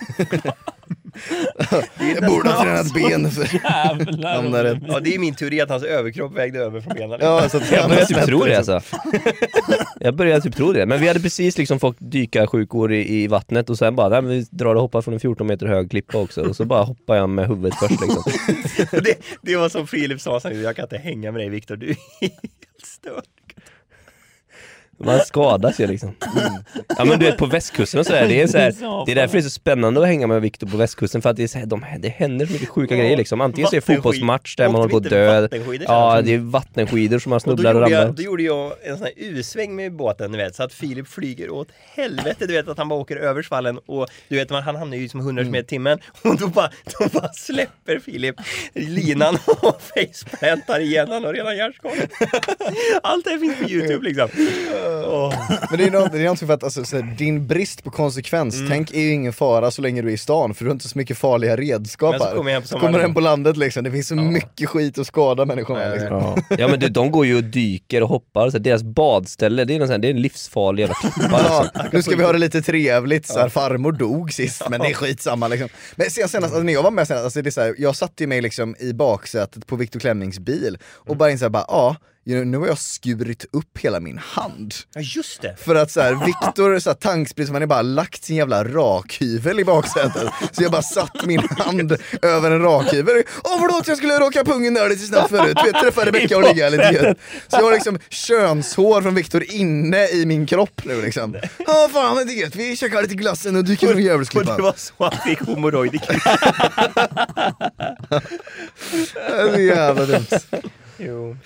Speaker 4: Jag borde ha tränat ben för
Speaker 2: jävlar.
Speaker 4: hamna rätt.
Speaker 3: Ja, det är min teori att hans överkropp vägde över från benen.
Speaker 4: Ja, så att
Speaker 5: Jag börjar typ
Speaker 4: Liksom.
Speaker 5: tro det alltså. Jag börjar typ tro det. Men vi hade precis liksom fått dyka sjukor i, i vattnet och sen bara, nej, men vi drar och hoppar från en 14 meter hög klippa också. Och så bara hoppar jag med huvudet först liksom.
Speaker 3: Det, det var som Filip sa, sen, jag kan inte hänga med dig Viktor, du är helt störd.
Speaker 5: Man skadas ju liksom. Ja men du vet på västkusten och sådär, det är så här, det är därför det är så spännande att hänga med Viktor på västkusten för att det, är så här, de, det händer så mycket sjuka grejer liksom. Antingen så är det
Speaker 3: Vattenskid-
Speaker 5: fotbollsmatch där man
Speaker 3: Åkte
Speaker 5: håller
Speaker 3: vi
Speaker 5: på att dö.
Speaker 3: inte vattenskidor
Speaker 5: Ja
Speaker 3: sen?
Speaker 5: det är vattenskidor som man
Speaker 3: Och då
Speaker 5: snubblar och
Speaker 3: gjorde,
Speaker 5: ramlar.
Speaker 3: jag, då gjorde jag en sån här U-sväng med båten, du vet, så att Filip flyger åt helvete, du vet att han bara åker över svallen och du vet, man- han hamnar ju som 100 meter i timmen och då bara, då bara släpper Filip linan och faceplantar igen, han har redan hjärnskakning. Allt det här finns på YouTube liksom. Åh.
Speaker 4: Men det är något, det är någonting för att alltså, så här, din brist på konsekvens, tänk är ju ingen fara så länge du är i stan för du har inte så mycket farliga redskap
Speaker 3: Mm. Men så
Speaker 4: här.
Speaker 3: kommer jag hem på
Speaker 4: Så
Speaker 3: sommaren.
Speaker 4: kommer den på landet liksom, det finns så mycket skit att skada människor
Speaker 3: Ja,
Speaker 4: med.
Speaker 3: jag
Speaker 4: Liksom.
Speaker 5: Ja. ja men du, de går ju och dyker och hoppar, så här, deras badställe det är, någon sån här, det är en livsfarlig jävla klippa
Speaker 4: Ja,
Speaker 5: alltså.
Speaker 4: nu ska vi ha det lite trevligt, så här, farmor dog sist men det är skitsamma liksom. Men sen, senast, alltså, när jag var med senast, alltså, det är så här, jag satte ju mig liksom i baksätet på Viktor Klemmings bil och bara insåg bara, ja, nu nu har jag skurit upp hela min hand.
Speaker 3: Ja, just det.
Speaker 4: För att så här, Viktor så här, tanksprit, så han har bara lagt sin jävla rakhyvel i baksätet. Så jag bara satt min hand över en rakhyvel. Åh förlåt jag skulle råka pungen där lite snabbt förut. Du vet, träffa Rebecka och ligga lite grann. Så jag har liksom könshår från Viktor inne i min kropp nu liksom. Ja fan vad gött, vi käkar lite glass sen och dyker från
Speaker 3: Och det
Speaker 4: djävulsklippan.
Speaker 3: var så han fick hemorrojd i knät.
Speaker 4: Det är så jävla dumt.
Speaker 3: Jo.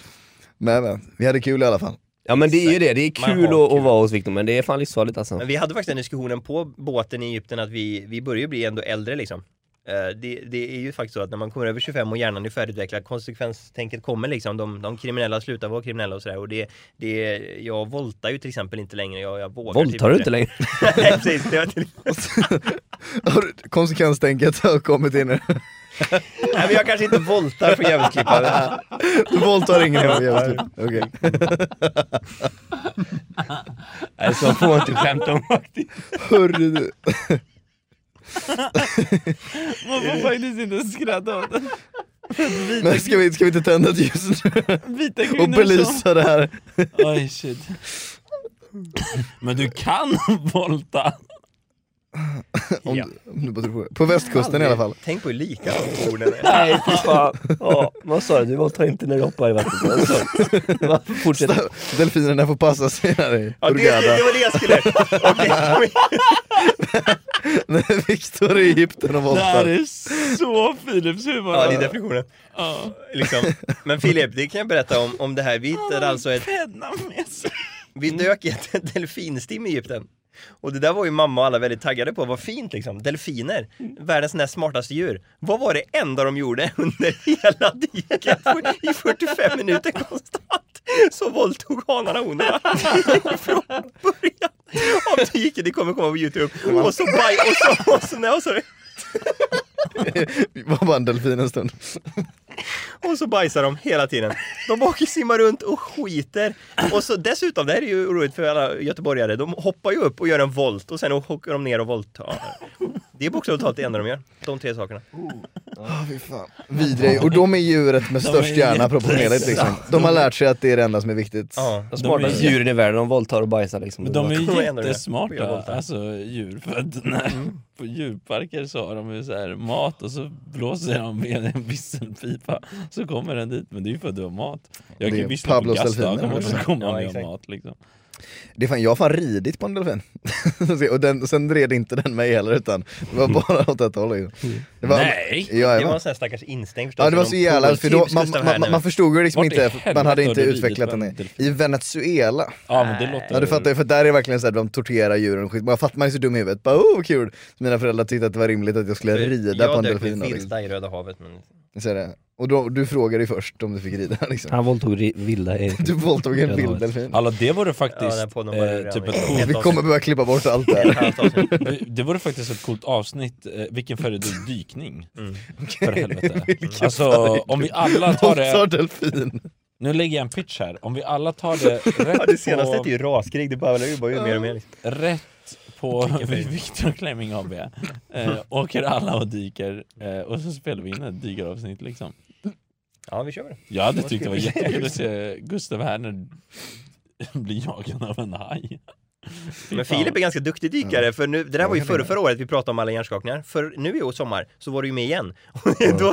Speaker 4: Men men, vi hade kul i alla fall.
Speaker 5: Ja men det är ju det, det är
Speaker 3: Man har
Speaker 5: kul att,
Speaker 3: kul.
Speaker 5: att vara hos Viktor men det är fan livsfarligt alltså.
Speaker 3: Men vi hade faktiskt den diskussionen på båten i Egypten att vi, vi börjar ju bli ändå äldre liksom. Eh, Det, det är ju faktiskt så att när man kommer över 25 och hjärnan är färdigutvecklad, konsekvenstänket kommer liksom. De, de kriminella slutar vara kriminella och sådär. Och det, det, jag voltar ju till exempel inte längre. Jag, jag vågar typ
Speaker 5: Våldtar du inte längre?
Speaker 3: Nej, precis. Det var till...
Speaker 4: Har du- Konsekvenstänket har kommit in nu.
Speaker 3: Nej, men jag kanske inte voltar på djävulsklipparen.
Speaker 4: Du våldtar ingen hemma jävligt. typ. Okej.
Speaker 5: Nej, så får man
Speaker 2: typ
Speaker 5: inte skämta om faktiskt.
Speaker 4: Hörru du.
Speaker 2: Man får faktiskt inte skratta åt det.
Speaker 4: Men ska vi, ska vi inte tända ett ljus nu
Speaker 2: Vita
Speaker 4: och belysa det här?
Speaker 2: Oj shit. Men du kan volta!
Speaker 4: Om, du- om du bara tror på det. På västkusten i alla fall.
Speaker 3: Tänk på hur lika de orden är.
Speaker 5: Nej, fy fan. Ja, vad sa du? Du våldtar inte när du hoppar i vattnet. Alltså. Va? Fortsätt.
Speaker 4: Delfinerna får passa sig här i
Speaker 3: Ja, det, det,
Speaker 4: Hurghada.
Speaker 3: det var det jag skulle... Okej.
Speaker 4: När Viktor är i Egypten och
Speaker 2: Det här
Speaker 4: våldtar.
Speaker 2: är så Philips humor!
Speaker 3: Ja, det är definitionen. Liksom. Men Filip, det kan jag berätta om, om det här. Vi hittade alltså ett,
Speaker 2: Penna med sig.
Speaker 3: vi dök i ett delfinstim i Egypten. Och det där var ju mamma och alla väldigt taggade på, vad fint liksom. Delfiner, världens näst smartaste djur. Vad var det enda de gjorde under hela dyket? I 45 minuter konstant så våldtog hanarna honorna. Från början av dyket, det kommer komma på Youtube. Och så baj, och så, och så, nej, och så,
Speaker 4: Vi var bara en delfin en stund.
Speaker 3: Och så bajsar de hela tiden. De åker simmar runt och skiter. Och så dessutom, det här är ju roligt för alla göteborgare, de hoppar ju upp och gör en volt och sen åker de ner och våldtar. Det är bokstavligt talat det enda de gör, de tre sakerna.
Speaker 4: Oh, fy fan. Vidriga. Och de är djuret med störst
Speaker 2: är
Speaker 4: hjärna proportionerligt liksom. De har lärt sig att det är det enda som är viktigt.
Speaker 3: Ja.
Speaker 5: De smartaste djuren i världen, de våldtar och bajsar liksom.
Speaker 2: Men de är
Speaker 3: Vad
Speaker 2: ju
Speaker 3: menar du? Jag
Speaker 2: jättesmarta,
Speaker 3: våldtar.
Speaker 2: alltså djur. För att när,
Speaker 3: Mm.
Speaker 2: på djurparker så har de ju så här mat och så blåser de med en visselpipa så kommer den dit. Men det är ju för att du har mat. Jag
Speaker 4: Det
Speaker 2: kan
Speaker 4: är
Speaker 2: ju lyssna på
Speaker 4: Pablos
Speaker 2: Gaston
Speaker 4: delfiner
Speaker 2: och så
Speaker 4: också.
Speaker 2: kommer
Speaker 3: Ja,
Speaker 2: han med
Speaker 3: exakt.
Speaker 2: mat liksom.
Speaker 4: Det är fan, jag har fan ridit på en delfin. och den, sen red inte den mig heller utan det var bara åt ett håll. Liksom. Det var,
Speaker 2: Mm. Nej!
Speaker 4: Ja,
Speaker 3: Det
Speaker 4: jag
Speaker 3: var
Speaker 4: var,
Speaker 3: en sån här stackars instinkt förstås.
Speaker 4: ja, det var så jävla... För då,
Speaker 3: Pooltips,
Speaker 4: man,
Speaker 3: Gustav
Speaker 4: man,
Speaker 3: här
Speaker 4: man
Speaker 3: nu.
Speaker 4: förstod ju liksom
Speaker 2: Vart i
Speaker 4: inte, man hade
Speaker 2: helvete
Speaker 4: inte
Speaker 2: har du ridit
Speaker 4: utvecklat
Speaker 2: på en
Speaker 4: den. i-
Speaker 2: delfin?
Speaker 4: I Venezuela.
Speaker 2: Ja men det låter
Speaker 4: Ja du
Speaker 2: ju-
Speaker 4: fattar ju, för där är det verkligen såhär, de torterar djuren och skit. Man fattar man är så dum i huvudet, bara oh vad kul! Så mina föräldrar tyckte att det var rimligt att jag skulle rida på en delfin. då,
Speaker 3: Jag dök
Speaker 4: Liksom.
Speaker 3: vilda i Röda havet men...
Speaker 4: Så är det. Och då, du frågade ju först om du fick rida liksom.
Speaker 5: Han våldtog ri- vilda i...
Speaker 4: Du våldtog en
Speaker 5: Ja,
Speaker 4: vild
Speaker 5: vet.
Speaker 4: delfin.
Speaker 2: Alla det vore
Speaker 3: Ja, den
Speaker 2: faktiskt
Speaker 3: här podden var ju
Speaker 2: eh,
Speaker 3: redan
Speaker 2: typ
Speaker 3: i-
Speaker 2: ett
Speaker 3: helt
Speaker 4: Vi
Speaker 2: coolt
Speaker 4: kommer behöva klippa bort allt det här.
Speaker 3: Allt avsnitt.
Speaker 2: Det vore faktiskt ett coolt avsnitt, eh, vilken föredrar dykning?
Speaker 3: Mm.
Speaker 2: För helvete.
Speaker 4: Vilken
Speaker 2: Alltså om vi alla tar
Speaker 4: Våldtar
Speaker 2: det,
Speaker 4: delfin.
Speaker 2: nu lägger jag en pitch här, om vi alla tar det
Speaker 3: Ja, det
Speaker 2: rätt
Speaker 3: senaste
Speaker 2: på,
Speaker 3: är typ ju raskrig, det bara ju bara ut mer och mer. Liksom.
Speaker 2: rätt på Victor Klemming AB, eh, åker alla och dyker eh, och så spelar vi in ett dykaravsnitt liksom.
Speaker 3: Ja, vi kör det.
Speaker 2: Jag hade tyckt det var jättekul att se Gustav Herner bli jagad av en haj. Fy
Speaker 3: Men
Speaker 2: fan.
Speaker 3: Filip är ganska duktig dykare, för nu, det där var ju förra, förra året vi pratade om alla hjärnskakningar. För nu i år sommar så var du ju med igen. Och då,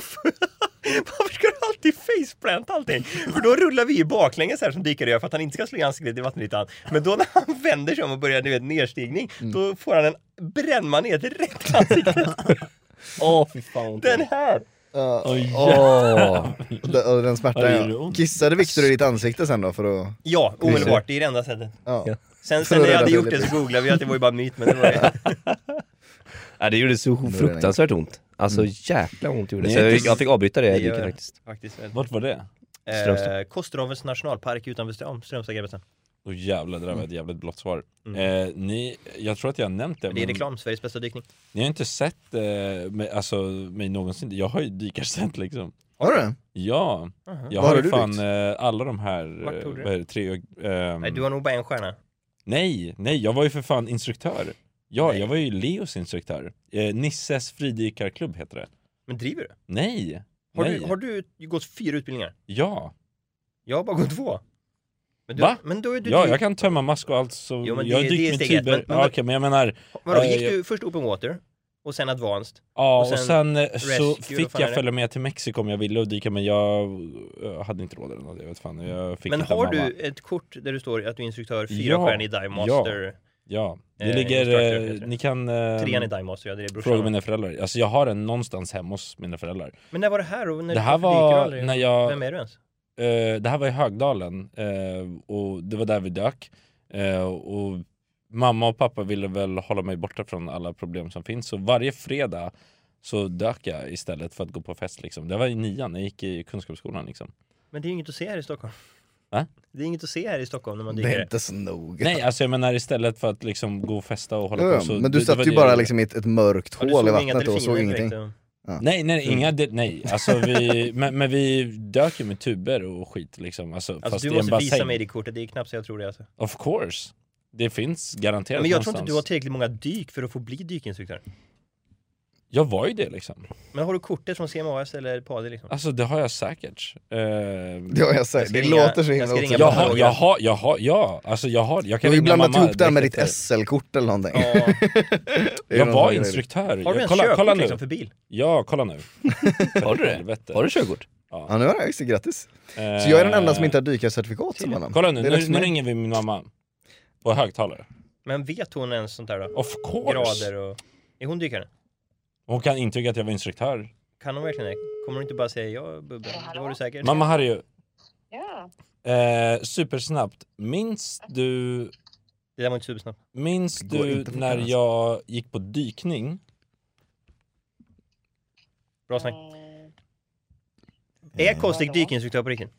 Speaker 3: varför ska du alltid faceplanta allting? För då rullar vi ju baklänges här som dykare gör för att han inte ska slå i ansiktet i vattenytan. Men då när han vänder sig om och börjar, du vet, nedstigning, då får han en brännmanet rätt i ansiktet.
Speaker 5: Åh, fy fan.
Speaker 3: Den här!
Speaker 4: Ja,
Speaker 2: Oj,
Speaker 5: Åh.
Speaker 4: och den- och den
Speaker 2: Ja, det
Speaker 4: smärtan
Speaker 2: gjorde
Speaker 4: ja.
Speaker 2: ont.
Speaker 4: Kissade Viktor i ditt ansikte sen då för att...
Speaker 3: Ja, omedelbart. Det är det enda sättet.
Speaker 4: Ja.
Speaker 3: Sen,
Speaker 4: För
Speaker 3: sen när
Speaker 4: att
Speaker 3: jag hade
Speaker 4: rädda
Speaker 3: gjort det så googlade vi att det var ju bara en myt, men det var ju...
Speaker 5: Ja, det gjorde så fruktansvärt ont. Alltså jäkla ont gjorde det.
Speaker 2: Nej,
Speaker 5: Så jag,
Speaker 2: inte-
Speaker 5: jag fick avbryta det,
Speaker 3: Det
Speaker 5: jag
Speaker 3: gör
Speaker 5: dyker
Speaker 3: det.
Speaker 5: faktiskt.
Speaker 3: Faktiskt.
Speaker 2: Vart var det?
Speaker 3: Eh,
Speaker 5: Strömstad.
Speaker 3: Kosterhavets nationalpark utanför Ström- Strömstad-Grebbestad.
Speaker 2: Åh jävlar, det där var ett jävligt blått svar.
Speaker 3: Mm.
Speaker 2: Eh, ni, jag tror att jag har nämnt det,
Speaker 3: Det är
Speaker 2: men-
Speaker 3: reklam, Sveriges bästa dykning.
Speaker 2: Ni har inte sett eh, mig, alltså, mig någonsin, jag har ju dykarsätt liksom
Speaker 4: Har du det?
Speaker 2: Ja, jag
Speaker 4: Vad
Speaker 2: har
Speaker 4: har
Speaker 2: ju
Speaker 4: du
Speaker 2: fan
Speaker 4: dykt?
Speaker 2: eh, alla de här,
Speaker 3: Vart
Speaker 2: eh,
Speaker 3: tog du
Speaker 2: vad är det, tre, ehm,
Speaker 3: Nej, du har nog bara en stjärna.
Speaker 2: nej, nej, jag var ju för fan instruktör Ja,
Speaker 3: Nej.
Speaker 2: jag var ju Leos instruktör eh, Nisses fridykarklubb heter det
Speaker 3: Men driver du?
Speaker 2: Nej,
Speaker 3: Har,
Speaker 2: nej,
Speaker 3: du? har du gått fyra utbildningar?
Speaker 2: ja,
Speaker 3: Jag har bara gått två. Men du,
Speaker 2: Va?
Speaker 3: Men då är du typ-
Speaker 2: ja, jag kan tömma mask och allt så,
Speaker 3: Jo, men
Speaker 2: jag
Speaker 3: det-
Speaker 2: dyker
Speaker 3: det är
Speaker 2: med
Speaker 3: steg ett,
Speaker 2: tuber,
Speaker 3: men- men-
Speaker 2: Ja, okej men jag menar
Speaker 3: Vadå,
Speaker 2: eh,
Speaker 3: gick
Speaker 2: jag-
Speaker 3: du först open water och sen advanced?
Speaker 2: Ja,
Speaker 3: Och
Speaker 2: och
Speaker 3: sen
Speaker 2: sen, eh, så
Speaker 3: rescue, vad
Speaker 2: fick
Speaker 3: fan är
Speaker 2: jag
Speaker 3: det?
Speaker 2: följa med till Mexiko om jag ville och dyka men jag eh, hade inte råd eller något, jag vet fan, jag fick
Speaker 3: Men
Speaker 2: inte av
Speaker 3: har
Speaker 2: mamma.
Speaker 3: du ett kort där du står att du är instruktör, fyra
Speaker 2: Ja,
Speaker 3: stjärnor i Dive Master,
Speaker 2: Ja, det
Speaker 3: Eh, instruktör,
Speaker 2: ligger, eh,
Speaker 3: heter det.
Speaker 2: ni kan eh,
Speaker 3: trean i Dive Master, jag hade det
Speaker 2: fråga
Speaker 3: brorsan. Men...
Speaker 2: mina föräldrar. Alltså jag har den någonstans hemma hos mina föräldrar.
Speaker 3: när var det här? Och när
Speaker 2: det här
Speaker 3: varför dyker du
Speaker 2: var
Speaker 3: aldrig?
Speaker 2: när jag,
Speaker 3: Vem är du ens?
Speaker 2: eh, det här var i Högdalen eh, och det var där vi dök. Eh, och mamma och pappa ville väl hålla mig borta från alla problem som finns så varje fredag Så dök jag istället för att gå på fest liksom. Det var i nian, jag gick i kunskapsskolan liksom.
Speaker 3: Men det är ju inget att se här i Stockholm.
Speaker 2: Va?
Speaker 3: Det är inget att se här i Stockholm när man
Speaker 4: Det är
Speaker 3: dyker.
Speaker 4: inte så noga.
Speaker 2: Nej alltså jag menar istället för att liksom gå och festa och hålla
Speaker 4: Ja,
Speaker 2: på så
Speaker 4: men du
Speaker 2: det- det var
Speaker 4: satt
Speaker 2: det
Speaker 4: ju
Speaker 2: jag
Speaker 4: bara
Speaker 2: gjorde.
Speaker 4: liksom i ett, ett mörkt
Speaker 3: Ja, du
Speaker 4: hål i
Speaker 3: inga
Speaker 4: vattnet och såg
Speaker 3: delfiner direkt,
Speaker 4: ingenting.
Speaker 3: ja.
Speaker 2: Nej, nej,
Speaker 4: Mm.
Speaker 2: inga, de- nej. Alltså vi, men, men vi dök ju med tuber och skit liksom. Alltså, fast
Speaker 3: Alltså, du
Speaker 2: i en
Speaker 3: måste
Speaker 2: bassäng.
Speaker 3: visa mig det kortet, det är knappt så jag tror det alltså.
Speaker 2: Of course. Det finns garanterat
Speaker 3: Men jag tror inte du har
Speaker 2: någonstans.
Speaker 3: tillräckligt många dyk för att få bli dykinstruktör.
Speaker 2: Jag var ju det liksom.
Speaker 3: Men har du kortet från CMAS eller PADI liksom?
Speaker 2: Alltså det har jag säkert. Eh,
Speaker 4: Det, har jag sagt.
Speaker 3: ska
Speaker 4: det
Speaker 3: ringa-
Speaker 4: låter så
Speaker 3: jag
Speaker 4: himla
Speaker 3: ska ringa
Speaker 4: otroligt.
Speaker 2: jag
Speaker 3: Gamla
Speaker 2: har,
Speaker 3: frågor.
Speaker 2: jag har, jag har, ja. Alltså jag har,
Speaker 4: Du
Speaker 2: jag kan
Speaker 4: har ju
Speaker 2: ringa
Speaker 4: blandat
Speaker 2: mamma
Speaker 4: ihop det här med
Speaker 2: direkt
Speaker 4: ditt
Speaker 2: efter.
Speaker 4: SL-kort eller någonting.
Speaker 3: Ja.
Speaker 4: Det är
Speaker 2: Jag
Speaker 4: någon
Speaker 2: var
Speaker 4: sån grej.
Speaker 2: instruktör.
Speaker 3: Har du
Speaker 2: jag,
Speaker 3: ens
Speaker 2: kolla,
Speaker 3: körkort
Speaker 2: kolla nu.
Speaker 3: liksom för bil?
Speaker 2: Ja, kolla nu.
Speaker 5: Har du det?
Speaker 2: Helvete. Eh,
Speaker 5: Har du körkort?
Speaker 4: Ja nu har jag, just det, grattis. Så jag är den enda som inte har dykarcertifikat som honom.
Speaker 2: Kolla nu,
Speaker 4: Det är
Speaker 2: nu,
Speaker 4: dags
Speaker 2: nu
Speaker 4: för mig.
Speaker 2: ringer vi min mamma. På högtalare.
Speaker 3: Men vet hon ens sånt där då?
Speaker 2: Of course!
Speaker 3: Grader och... Är hon dykare?
Speaker 2: Hon kan intyga att jag var instruktör.
Speaker 3: Kan hon verkligen det? Kommer hon inte bara säga ja Bubben? Det var du säker?
Speaker 2: Mamma Harry. Eh, supersnabbt. Minns du,
Speaker 3: Det där var inte supersnabbt.
Speaker 2: minns
Speaker 4: Det alltså. går
Speaker 2: du
Speaker 4: inte fort
Speaker 2: när
Speaker 4: alls.
Speaker 2: jag gick på dykning?
Speaker 3: Bra snack.
Speaker 2: Mm.
Speaker 3: Är Kostik dykinstruktör på riktigt?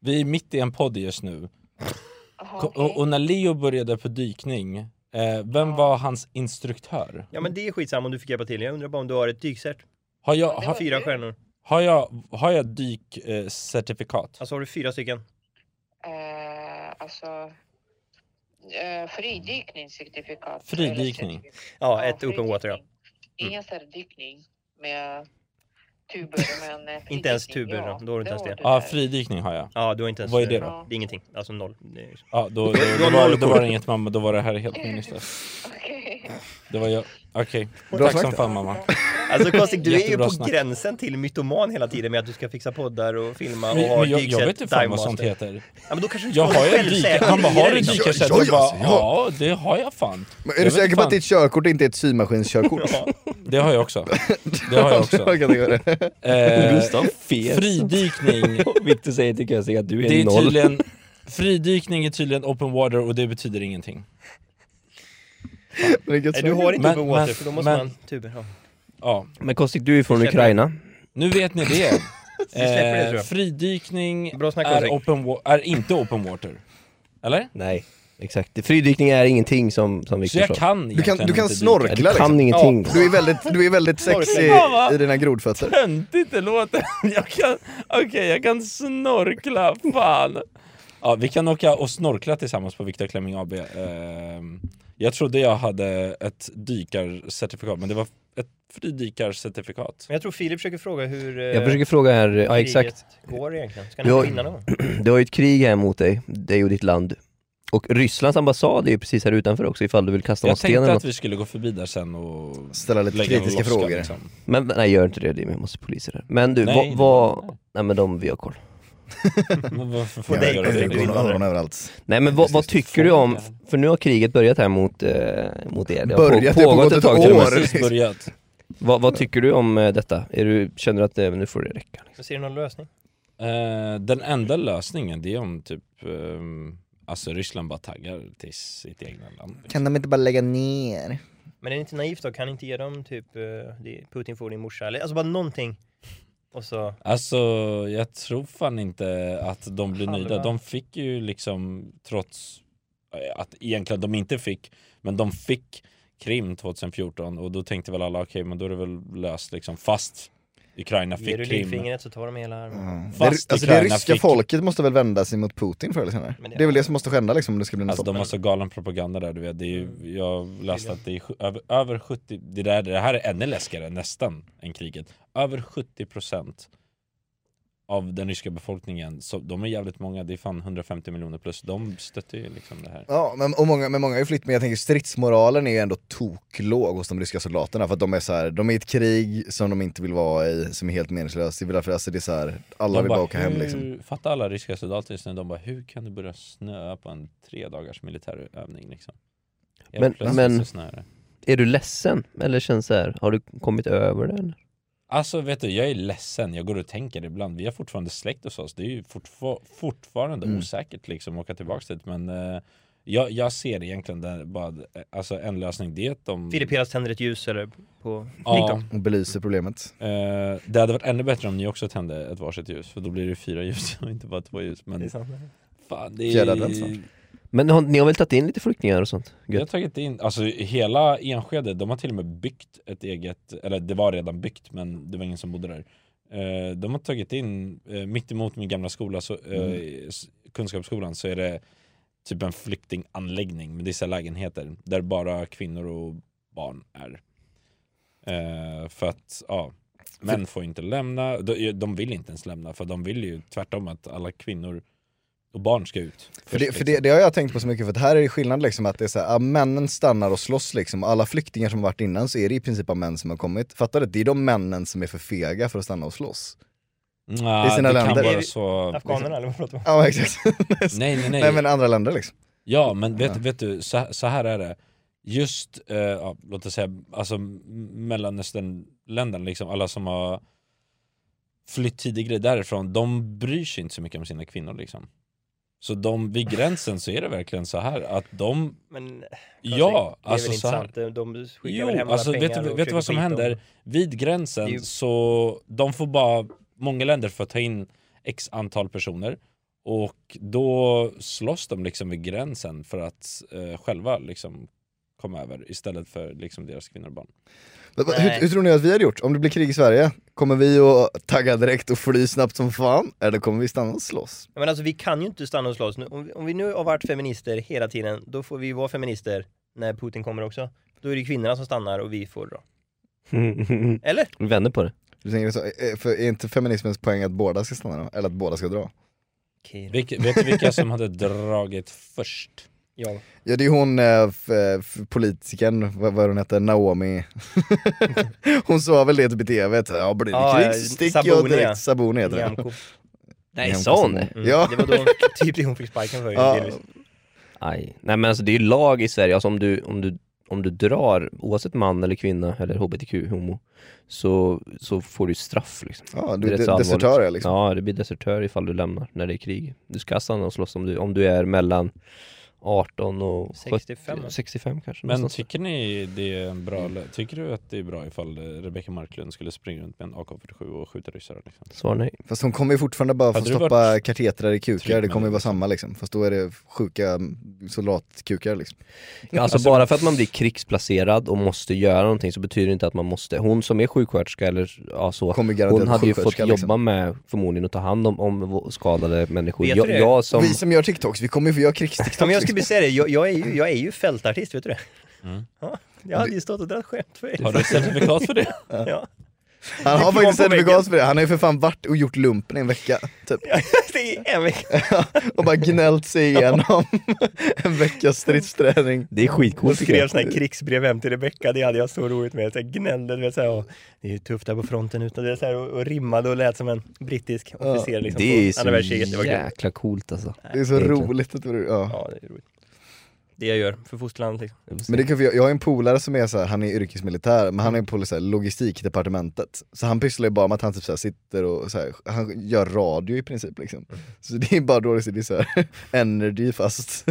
Speaker 2: Vi är mitt i en podd just nu. Ko- och, och när Leo började på dykning, eh, vem var hans instruktör?
Speaker 3: Ja men det är skitsamma om du fick hjälpa till. Jag undrar bara om du har ett dykcert?
Speaker 2: Har jag, har,
Speaker 3: Fyra stjärnor.
Speaker 2: har jag, har jag dykcertifikat?
Speaker 3: Alltså har du fyra stycken?
Speaker 7: Eh, alltså... Eh, fridykningscertifikat.
Speaker 2: Fridykning.
Speaker 7: Eller certifikat.
Speaker 3: Ja, ett open water ja. Mm.
Speaker 7: fridykning. Ingen särrdykning med tuber, men... eh, fridykning,
Speaker 3: Inte ens tuber,
Speaker 7: ja.
Speaker 3: då har du inte ens
Speaker 7: har
Speaker 3: det.
Speaker 2: Ja,
Speaker 8: eh,
Speaker 7: där.
Speaker 2: fridykning har jag.
Speaker 3: Ja, du har inte ens...
Speaker 2: Vad är det då?
Speaker 3: Ja, Det är ingenting. Alltså noll. Det är-
Speaker 2: Ja, då, då,
Speaker 3: Du har
Speaker 2: då,
Speaker 3: noll
Speaker 2: var, då var
Speaker 3: kort.
Speaker 2: det inget mamma, då var det här helt meningslöst.
Speaker 7: Okej.
Speaker 2: Det var jag. Okej,
Speaker 4: Bra
Speaker 2: tack som
Speaker 4: sagt.
Speaker 2: fan mamma.
Speaker 3: Alltså Kostik, du är ju
Speaker 2: Jättebra
Speaker 3: på
Speaker 2: snack.
Speaker 3: gränsen till mytoman hela tiden med att du ska fixa poddar och filma och
Speaker 2: Men,
Speaker 3: ha
Speaker 2: men jag, jag
Speaker 3: dykcert,
Speaker 2: vet inte fan vad
Speaker 3: divemaster.
Speaker 2: sånt heter.
Speaker 3: Ja men då kanske du
Speaker 2: Jag
Speaker 3: inte
Speaker 2: har
Speaker 3: får
Speaker 2: ju en
Speaker 3: självsäker
Speaker 2: dyk- han bara
Speaker 3: i det
Speaker 2: har du
Speaker 3: liksom.
Speaker 2: dykarsätt?
Speaker 4: Ja,
Speaker 2: Jag
Speaker 4: ja,
Speaker 2: bara
Speaker 4: alltså,
Speaker 2: ja det har jag fan
Speaker 4: Men
Speaker 2: Jag
Speaker 4: är du
Speaker 2: vet
Speaker 4: säker på
Speaker 2: fan.
Speaker 4: att ditt körkort inte är ett symaskinskökort?
Speaker 3: Ja.
Speaker 2: Det har jag också Det har jag också
Speaker 4: Jag kan tänka mig det.
Speaker 2: eh,
Speaker 5: Gustav Fet.
Speaker 2: Fridykning
Speaker 5: Viktor säger till Kassi att du är,
Speaker 2: Det är
Speaker 5: noll.
Speaker 2: tydligen Fridykning är tydligen open water och det betyder ingenting
Speaker 4: Men vilket
Speaker 3: Nej,
Speaker 4: svar.
Speaker 3: du har inte
Speaker 2: Men-
Speaker 3: open water
Speaker 2: men-
Speaker 3: för då måste
Speaker 2: men-
Speaker 3: man tuber. Ja.
Speaker 2: Ja,
Speaker 5: Men Kostik, du är från Ukraina.
Speaker 2: nu vet ni det Eh,
Speaker 3: släpper det, tror jag.
Speaker 2: Fridykning
Speaker 3: Bra snack,
Speaker 2: är,
Speaker 3: Patrik.
Speaker 2: open wa- är inte open water Eller?
Speaker 5: Nej, exakt. Fridykning är ingenting som, som
Speaker 2: Så
Speaker 5: Viktor sa.
Speaker 2: jag kan
Speaker 4: Du kan,
Speaker 2: egentligen
Speaker 4: du kan
Speaker 2: inte
Speaker 5: Ja,
Speaker 4: snorkla
Speaker 5: Du kan
Speaker 4: liksom.
Speaker 5: ingenting.
Speaker 4: Du är väldigt, du är väldigt sexig i dina grodfötter.
Speaker 2: Töntigt det låter! Jag kan, okej jag kan snorkla, fan! Ja, vi kan åka och snorkla tillsammans på Viktor Klemming AB Ehm, Jag trodde jag hade ett dykarcertifikat, men det var ett fridykarcertifikat
Speaker 3: Men jag tror Filip försöker fråga hur eh,
Speaker 5: Jag försöker fråga här, ja
Speaker 3: kriget
Speaker 5: exakt.
Speaker 3: går egentligen. Ska
Speaker 5: Du har-
Speaker 3: ni vinna någon gång?
Speaker 5: Du har ju ett krig här mot dig, dig och ditt land. Och Rysslands ambassad är ju precis här utanför också ifall du vill kasta någon
Speaker 2: Jag
Speaker 5: sten eller
Speaker 2: tänkte
Speaker 5: något.
Speaker 2: att vi skulle gå förbi där sen och
Speaker 4: Ställa lite
Speaker 2: lägga en
Speaker 4: kritiska
Speaker 2: loska,
Speaker 4: frågor.
Speaker 2: liksom.
Speaker 5: Men nej, gör inte det Jimmy, jag måste poliser här. Men du,
Speaker 2: Nej,
Speaker 5: vad...
Speaker 2: nej,
Speaker 5: vad- Nej men de, vi har koll.
Speaker 2: Men varför får
Speaker 4: Jag
Speaker 3: dig,
Speaker 2: jag göra
Speaker 3: Kostik,
Speaker 2: det?
Speaker 3: du vill
Speaker 4: ögon och
Speaker 3: vara där.
Speaker 4: öron överallt.
Speaker 5: Nej men vad, vad tycker du om,
Speaker 2: Fångar.
Speaker 5: för nu har kriget börjat här mot, eh, mot er. Det har
Speaker 4: Börjat, det har
Speaker 5: på, pågått
Speaker 4: pågått
Speaker 5: ett
Speaker 4: ett
Speaker 5: tag
Speaker 2: Jag
Speaker 5: till och
Speaker 2: har
Speaker 4: år.
Speaker 5: med.
Speaker 2: precis börjat
Speaker 5: Vad, vad tycker du om eh, detta? Är du, känner du att eh, nu får det räcka? Liksom?
Speaker 3: Ser du någon lösning?
Speaker 2: Eh, Den enda lösningen det är om typ ehm, Alltså Ryssland bara taggar till sitt egna land
Speaker 4: Kan de inte bara lägga ner?
Speaker 3: Men är det inte naivt då? Kan inte ge dem typ eh, det Putin får din morsa? Eller alltså bara någonting. Och så...
Speaker 2: Alltså jag tror fan inte att de blir
Speaker 3: Halva.
Speaker 2: nöjda. De fick ju liksom trots eh, att egentligen de inte fick, men de fick Krim 2014 och då tänkte väl alla okej men då är det väl löst liksom fast Ukraina
Speaker 3: Ger du
Speaker 2: fick Krim.
Speaker 3: lillfingret så tar de hela armen.
Speaker 4: Det,
Speaker 2: Mm. Fast
Speaker 4: alltså det
Speaker 2: Ukraina
Speaker 4: ryska
Speaker 2: fick-
Speaker 4: folket måste väl vända sig mot Putin förr eller senare?
Speaker 3: Men det-
Speaker 4: Det är väl det som måste skända liksom om det ska bli något
Speaker 2: Alltså
Speaker 4: stopp.
Speaker 2: de har så galen propaganda där du vet. Det är
Speaker 4: Mm.
Speaker 2: ju, jag läste att det är sju- över, över 70, det, där, det här är ännu läskigare nästan än kriget. Över 70% av den ryska befolkningen, så de är jävligt många, det är fan 150 miljoner plus, de stöttar ju liksom det här.
Speaker 4: Ja, men, och många, men många har ju flytt, men jag tänker stridsmoralen är ju ändå toklåg hos de ryska soldaterna för att de är så här, de är i ett krig som de inte vill vara i, som är helt meningslöst. Det är väl därför, alltså det är så här, alla vill bara åka hem
Speaker 2: hur-
Speaker 4: liksom.
Speaker 2: Fatta alla ryska soldater just nu, de bara hur kan det börja snöa på en tre dagars militärövning liksom? Helt
Speaker 5: Men-
Speaker 2: plötsligt
Speaker 5: men-
Speaker 2: så snöar det.
Speaker 5: Är du ledsen? Eller känns så här, har du kommit över det? Eller?
Speaker 2: Alltså vet du, jag är ledsen, jag går och tänker ibland, vi har
Speaker 4: Mm.
Speaker 2: fortfarande släkt hos oss, det är ju fortfar- fortfarande osäkert liksom att åka tillbaks dit men eh, Jag, jag ser egentligen där bara eh, alltså en lösning, det är att de...
Speaker 3: Filippinas tänder ett ljus eller på
Speaker 2: Ja,
Speaker 4: Och belyser problemet.
Speaker 2: eh, det hade varit ännu bättre om ni också tände ett varsitt ljus, för då blir det fyra ljus och inte bara två ljus. Men fan, det
Speaker 4: Fjärde
Speaker 2: är...
Speaker 4: advent snart.
Speaker 5: Men har- ni har väl tagit in lite flyktingar och sånt?
Speaker 2: Jag har
Speaker 5: Gött.
Speaker 2: tagit in, alltså hela Enskede, de har till och med byggt ett eget, eller det var redan byggt men det var ingen som bodde där. Eh, De har tagit in, eh, mitt emot min gamla skola, så, eh,
Speaker 4: Mm.
Speaker 2: s- Kunskapsskolan, så är det typ en flyktinganläggning med dessa lägenheter där bara kvinnor och barn är. Eh, För att, ja, män får inte lämna, de de vill inte ens lämna för de vill ju tvärtom att alla kvinnor och barn ska ut.
Speaker 4: För,
Speaker 2: först,
Speaker 4: det, för
Speaker 2: liksom.
Speaker 4: det, det har jag tänkt på så mycket, för att här är det skillnad liksom att det är så här, ah, männen stannar och slåss liksom, alla flyktingar som varit innan så är det i princip bara män som har kommit. Fattar du? Det är de männen som är för fega för att stanna och slåss.
Speaker 2: liksom. Nja,
Speaker 4: i sina
Speaker 2: det
Speaker 4: länder.
Speaker 2: kan vara så...
Speaker 3: Afghanerna eller vad pratar man om?
Speaker 4: Ja men exakt.
Speaker 2: Nej, nej, nej.
Speaker 4: Nej men andra länder liksom.
Speaker 2: Ja, men vet, vet du, så, så här är det. Just, eh, ja, låt oss säga, alltså m- Mellanösternländerna, liksom, alla som har flytt tidigare därifrån, de bryr sig inte så mycket om sina kvinnor. Liksom. Så de, vid gränsen så är det verkligen så här att de,
Speaker 3: Men
Speaker 2: ja,
Speaker 3: det är väl
Speaker 2: alltså
Speaker 3: inte
Speaker 2: så här.
Speaker 3: sant? De- De skickar
Speaker 2: Jo,
Speaker 3: väl hem alla
Speaker 2: alltså
Speaker 3: pengar
Speaker 2: vet du,
Speaker 3: och
Speaker 2: vet du vad som
Speaker 3: försöker skita
Speaker 2: händer?
Speaker 3: om-
Speaker 2: Vid gränsen
Speaker 3: Det är ju-
Speaker 2: så, de får bara, många länder får ta in x antal personer och då slåss de liksom vid gränsen för att eh, själva liksom komma över istället för liksom deras kvinnor och barn.
Speaker 4: Men vad-
Speaker 3: Nej.
Speaker 4: Hur, hur tror ni att vi hade gjort? Om det blir krig i Sverige, kommer vi att tagga direkt och fly snabbt som fan? Eller kommer vi stanna och slåss?
Speaker 3: Ja, Men alltså vi kan ju inte stanna och slåss nu. Om vi, om vi nu har varit feminister hela tiden, då får vi ju vara feminister när Putin kommer också. Då är det kvinnorna som stannar och vi får dra. Eller?
Speaker 5: Vi vänder på det.
Speaker 4: Du tänker så, eh, för är inte feminismens poäng att båda ska stanna då? Eller att båda ska dra?
Speaker 3: Okej då.
Speaker 2: Vilka- Vet du vilka som hade dragit först?
Speaker 3: Ja.
Speaker 4: Ja det är hon, eh, f- eh, f- politikern, vad vad hon heter, Naomi. hon sa väl det typ i tv, att, ja blir
Speaker 3: Ja,
Speaker 4: det krig
Speaker 3: eh,
Speaker 4: så sticker jag
Speaker 3: Sabuni, ja.
Speaker 4: direkt. Sabuni heter det.
Speaker 3: Nyamko.
Speaker 5: Nej,
Speaker 4: Nyamko
Speaker 5: sa hon
Speaker 4: Sabuni.
Speaker 5: det?
Speaker 3: Mm.
Speaker 4: Ja.
Speaker 3: Det var då hon, typ det hon fick sparken för.
Speaker 4: Ja.
Speaker 3: delvis.
Speaker 5: Aj. Nej men alltså det är ju lag i Sverige, alltså om du, om du, om du drar, oavsett man eller kvinna eller hbtq, homo, så, så får du straff liksom.
Speaker 4: Ja,
Speaker 5: Det är
Speaker 4: du
Speaker 5: rätt så
Speaker 4: är
Speaker 5: allvarligt.
Speaker 4: desertör ja, liksom.
Speaker 5: Ja, du blir desertör ifall du lämnar när det är krig. Du ska stanna och slåss om du, om du är mellan 18 och
Speaker 3: 65,
Speaker 5: 70,
Speaker 3: va?
Speaker 5: 65 kanske.
Speaker 2: Men
Speaker 5: någonstans.
Speaker 2: tycker ni det är en bra, lö- tycker du att det är bra ifall eh, Rebecca Marklund skulle springa runt med en AK47 och skjuta ryssar? Liksom?
Speaker 5: Svar nej.
Speaker 4: Fast hon kommer ju fortfarande bara få
Speaker 2: Hade du
Speaker 4: stoppa
Speaker 2: varit
Speaker 4: katetrar i kukar, det
Speaker 2: trygg
Speaker 4: kommer
Speaker 2: med
Speaker 4: ju
Speaker 2: det?
Speaker 4: vara samma liksom. Fast då är det sjuka mm, soldatkukar liksom.
Speaker 5: Ja, alltså bara för att man blir krigsplacerad och måste göra någonting så betyder det inte att man måste, hon som är sjuksköterska eller ja, så,
Speaker 4: Kommer garanterat
Speaker 5: hon hade ju fått
Speaker 4: sjuksköterska,
Speaker 5: jobba
Speaker 4: liksom.
Speaker 5: med förmodligen att ta hand om, om skadade människor.
Speaker 3: Vet du
Speaker 5: Jag,
Speaker 3: det?
Speaker 5: jag som...
Speaker 4: Vi som gör TikToks, vi kommer ju få göra krigs-TikToks.
Speaker 3: Ja, men jag
Speaker 4: liksom.
Speaker 3: skulle säga det, jag, jag, är ju, jag är ju fältartist, vet du det?
Speaker 2: Mm.
Speaker 3: Ja, jag hade ju stått och dragit skämt för
Speaker 2: Har
Speaker 3: er.
Speaker 2: du certifikat för det?
Speaker 3: Ja.
Speaker 4: Han har
Speaker 3: Diplom
Speaker 4: faktiskt
Speaker 3: på väggen.
Speaker 4: certifikat för det, han har ju för fan varit och gjort lumpen i en vecka, typ.
Speaker 3: Det är en vecka.
Speaker 4: Och bara gnällt sig igenom en veckas stridsträning.
Speaker 5: Det är
Speaker 3: Hon
Speaker 5: skitcoolt tycker
Speaker 3: skrev
Speaker 5: jag.
Speaker 3: sådana här krigsbrev hem till Rebecka, det hade jag så roligt med. Så jag gnällde, du vet, så här, och, det är ju tufft där på fronten utan det, så här, och, och rimmade och lät som en brittisk officer liksom,
Speaker 5: Det är
Speaker 3: på andra världskriget. Det
Speaker 5: så
Speaker 3: var kul.
Speaker 5: jäkla coolt alltså.
Speaker 4: Det är så
Speaker 5: Egentligen.
Speaker 4: roligt att du, ja.
Speaker 3: Ja, det är roligt. Det jag gör för fosterlandet liksom.
Speaker 4: Men det är kul, för jag, jag har en polare som är så här, han är yrkesmilitär, men han är på så här, logistikdepartementet. Så han pysslar ju bara med att han typ så här, sitter och så här, han gör radio i princip liksom. Så det är bara dåligt, det är så här, energy fast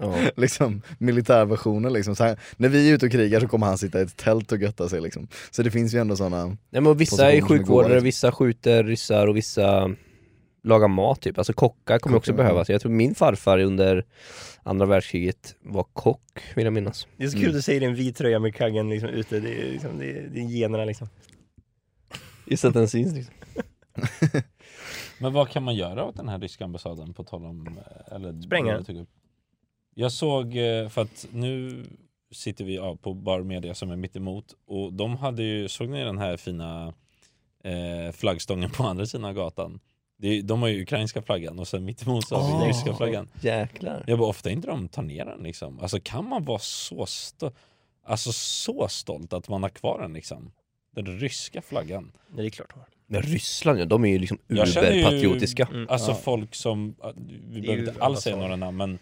Speaker 5: Ja.
Speaker 4: liksom, militärversionen liksom. Så han, när vi är ute och krigar så kommer han sitta i ett tält och götta sig liksom. Så det finns ju ändå sådana,
Speaker 5: Nej, men vissa är
Speaker 4: Positioner som är goda,
Speaker 5: sjukvårdare,
Speaker 4: liksom.
Speaker 5: vissa skjuter ryssar och vissa lagar mat typ. Alltså kockar kommer också
Speaker 4: Kockar, ja.
Speaker 5: behövas. Jag tror min farfar under andra världskriget var kock, vill jag minnas.
Speaker 3: Det är så kul att du säger en vit tröja med kaggen liksom, ute, det är, liksom, det är, det är generna liksom.
Speaker 5: Just att den syns liksom.
Speaker 2: Men vad kan man göra åt den här ryska ambassaden på tal om... eh, Eller,
Speaker 3: Spränga
Speaker 2: det
Speaker 3: den.
Speaker 2: du tog upp? Jag såg, eh, för att nu sitter vi ja, på Bar Media som är mitt emot och de hade ju, såg ni den här fina eh, flaggstången på andra sidan gatan? Det är- De har ju ukrainska flaggan och sen mitt emot så har vi
Speaker 5: Ah.
Speaker 2: ryska flaggan.
Speaker 5: Jäklar.
Speaker 2: Jag bara, ofta inte de tar ner den liksom. Alltså kan man vara så, sto- alltså, så stolt att man har kvar den liksom? Den ryska flaggan.
Speaker 3: Ja, det är klart.
Speaker 5: Men Ryssland ja, de är ju liksom
Speaker 2: Jag känner ju-
Speaker 5: uberpatriotiska.
Speaker 3: Mm.
Speaker 2: Alltså
Speaker 3: Ja.
Speaker 2: folk som, vi behöver
Speaker 3: ju
Speaker 2: inte alls säga
Speaker 3: ambassader.
Speaker 2: några namn men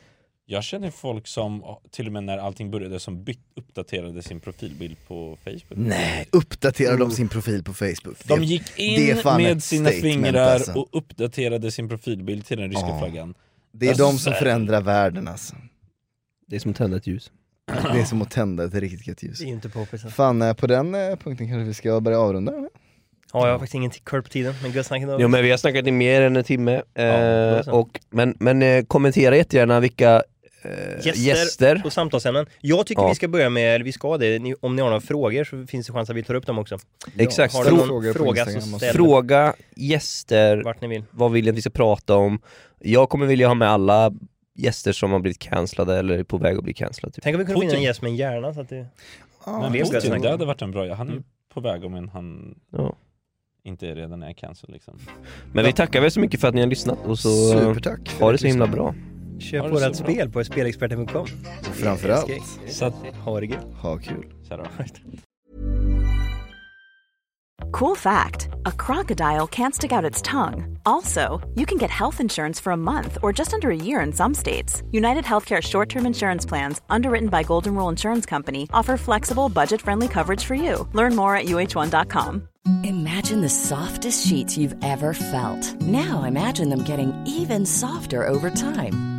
Speaker 2: jag känner folk som, till och med när allting började, som bytt, uppdaterade sin profilbild på Facebook.
Speaker 4: nej, uppdaterar de sin profil på Facebook?
Speaker 2: De
Speaker 4: Det-
Speaker 2: gick
Speaker 4: det är
Speaker 2: in
Speaker 4: fan
Speaker 2: med
Speaker 4: ett
Speaker 2: sina
Speaker 4: statement,
Speaker 2: fingrar
Speaker 4: alltså.
Speaker 2: och uppdaterade sin profilbild till den ryska
Speaker 4: Ja.
Speaker 2: flaggan.
Speaker 4: Det är
Speaker 2: Alltså,
Speaker 4: de som
Speaker 2: så här-
Speaker 4: förändrar världen alltså.
Speaker 5: Det är som att tända ett ljus.
Speaker 4: Det är som att tända ett riktigt gött ljus.
Speaker 3: Det är ju inte poppisen.
Speaker 5: alltså.
Speaker 4: Fan, eh, på den eh, punkten kanske vi ska börja avrunda eller?
Speaker 3: Ja, jag har faktiskt ingen curb på tiden, men Gustav
Speaker 5: Jo men vi har snackat i mer än en timme. Eh,
Speaker 3: då så.
Speaker 5: och, men men eh, kommentera jättegärna vilka eh,
Speaker 3: Gäster,
Speaker 5: gäster.
Speaker 3: och samtalsämnen. Jag tycker
Speaker 5: Ja.
Speaker 3: vi ska börja med, eller vi ska det, Ni- om ni har några frågor så finns det chans att vi tar upp dem också.
Speaker 5: Exakt.
Speaker 3: Har du någon
Speaker 4: Frågor på
Speaker 3: fråga
Speaker 4: Instagram
Speaker 3: så
Speaker 4: och-
Speaker 3: ställ
Speaker 5: Fråga gäster,
Speaker 3: vart ni vill.
Speaker 5: vad vill ni att vi ska prata om? Jag kommer vilja ha med alla gäster som har blivit cancellade eller är på väg att bli cancellade. Typ.
Speaker 3: Tänk om vi kunde vinna en
Speaker 2: Putin.
Speaker 3: gäst med en hjärna så att det...
Speaker 2: Men
Speaker 3: det är Mm.
Speaker 2: Putin,
Speaker 3: snackat.
Speaker 2: det hade varit en bra, han är ju på väg om en han
Speaker 5: Ja.
Speaker 2: inte är redan är cancer liksom.
Speaker 5: Men vi tackar väl så mycket för att ni har lyssnat och så
Speaker 4: Supertack! för
Speaker 5: ha det
Speaker 4: att
Speaker 5: så himla
Speaker 4: lyssna.
Speaker 5: bra.
Speaker 3: Köp
Speaker 2: Ha det så
Speaker 3: vårat
Speaker 2: bra.
Speaker 3: spel på spelexperten.com.
Speaker 4: Och framförallt,
Speaker 2: Så att,
Speaker 3: Ha det gött.
Speaker 4: ha kul!
Speaker 2: så här då.
Speaker 9: Cool fact a crocodile can't stick out its tongue. Also, you can get health insurance for a month or just under a year in some states. United Healthcare short term insurance plans, underwritten by Golden Rule Insurance Company, offer flexible, budget friendly coverage for you. Learn more at uh1.com.
Speaker 8: Imagine the softest sheets you've ever felt. Now imagine them getting even softer over time.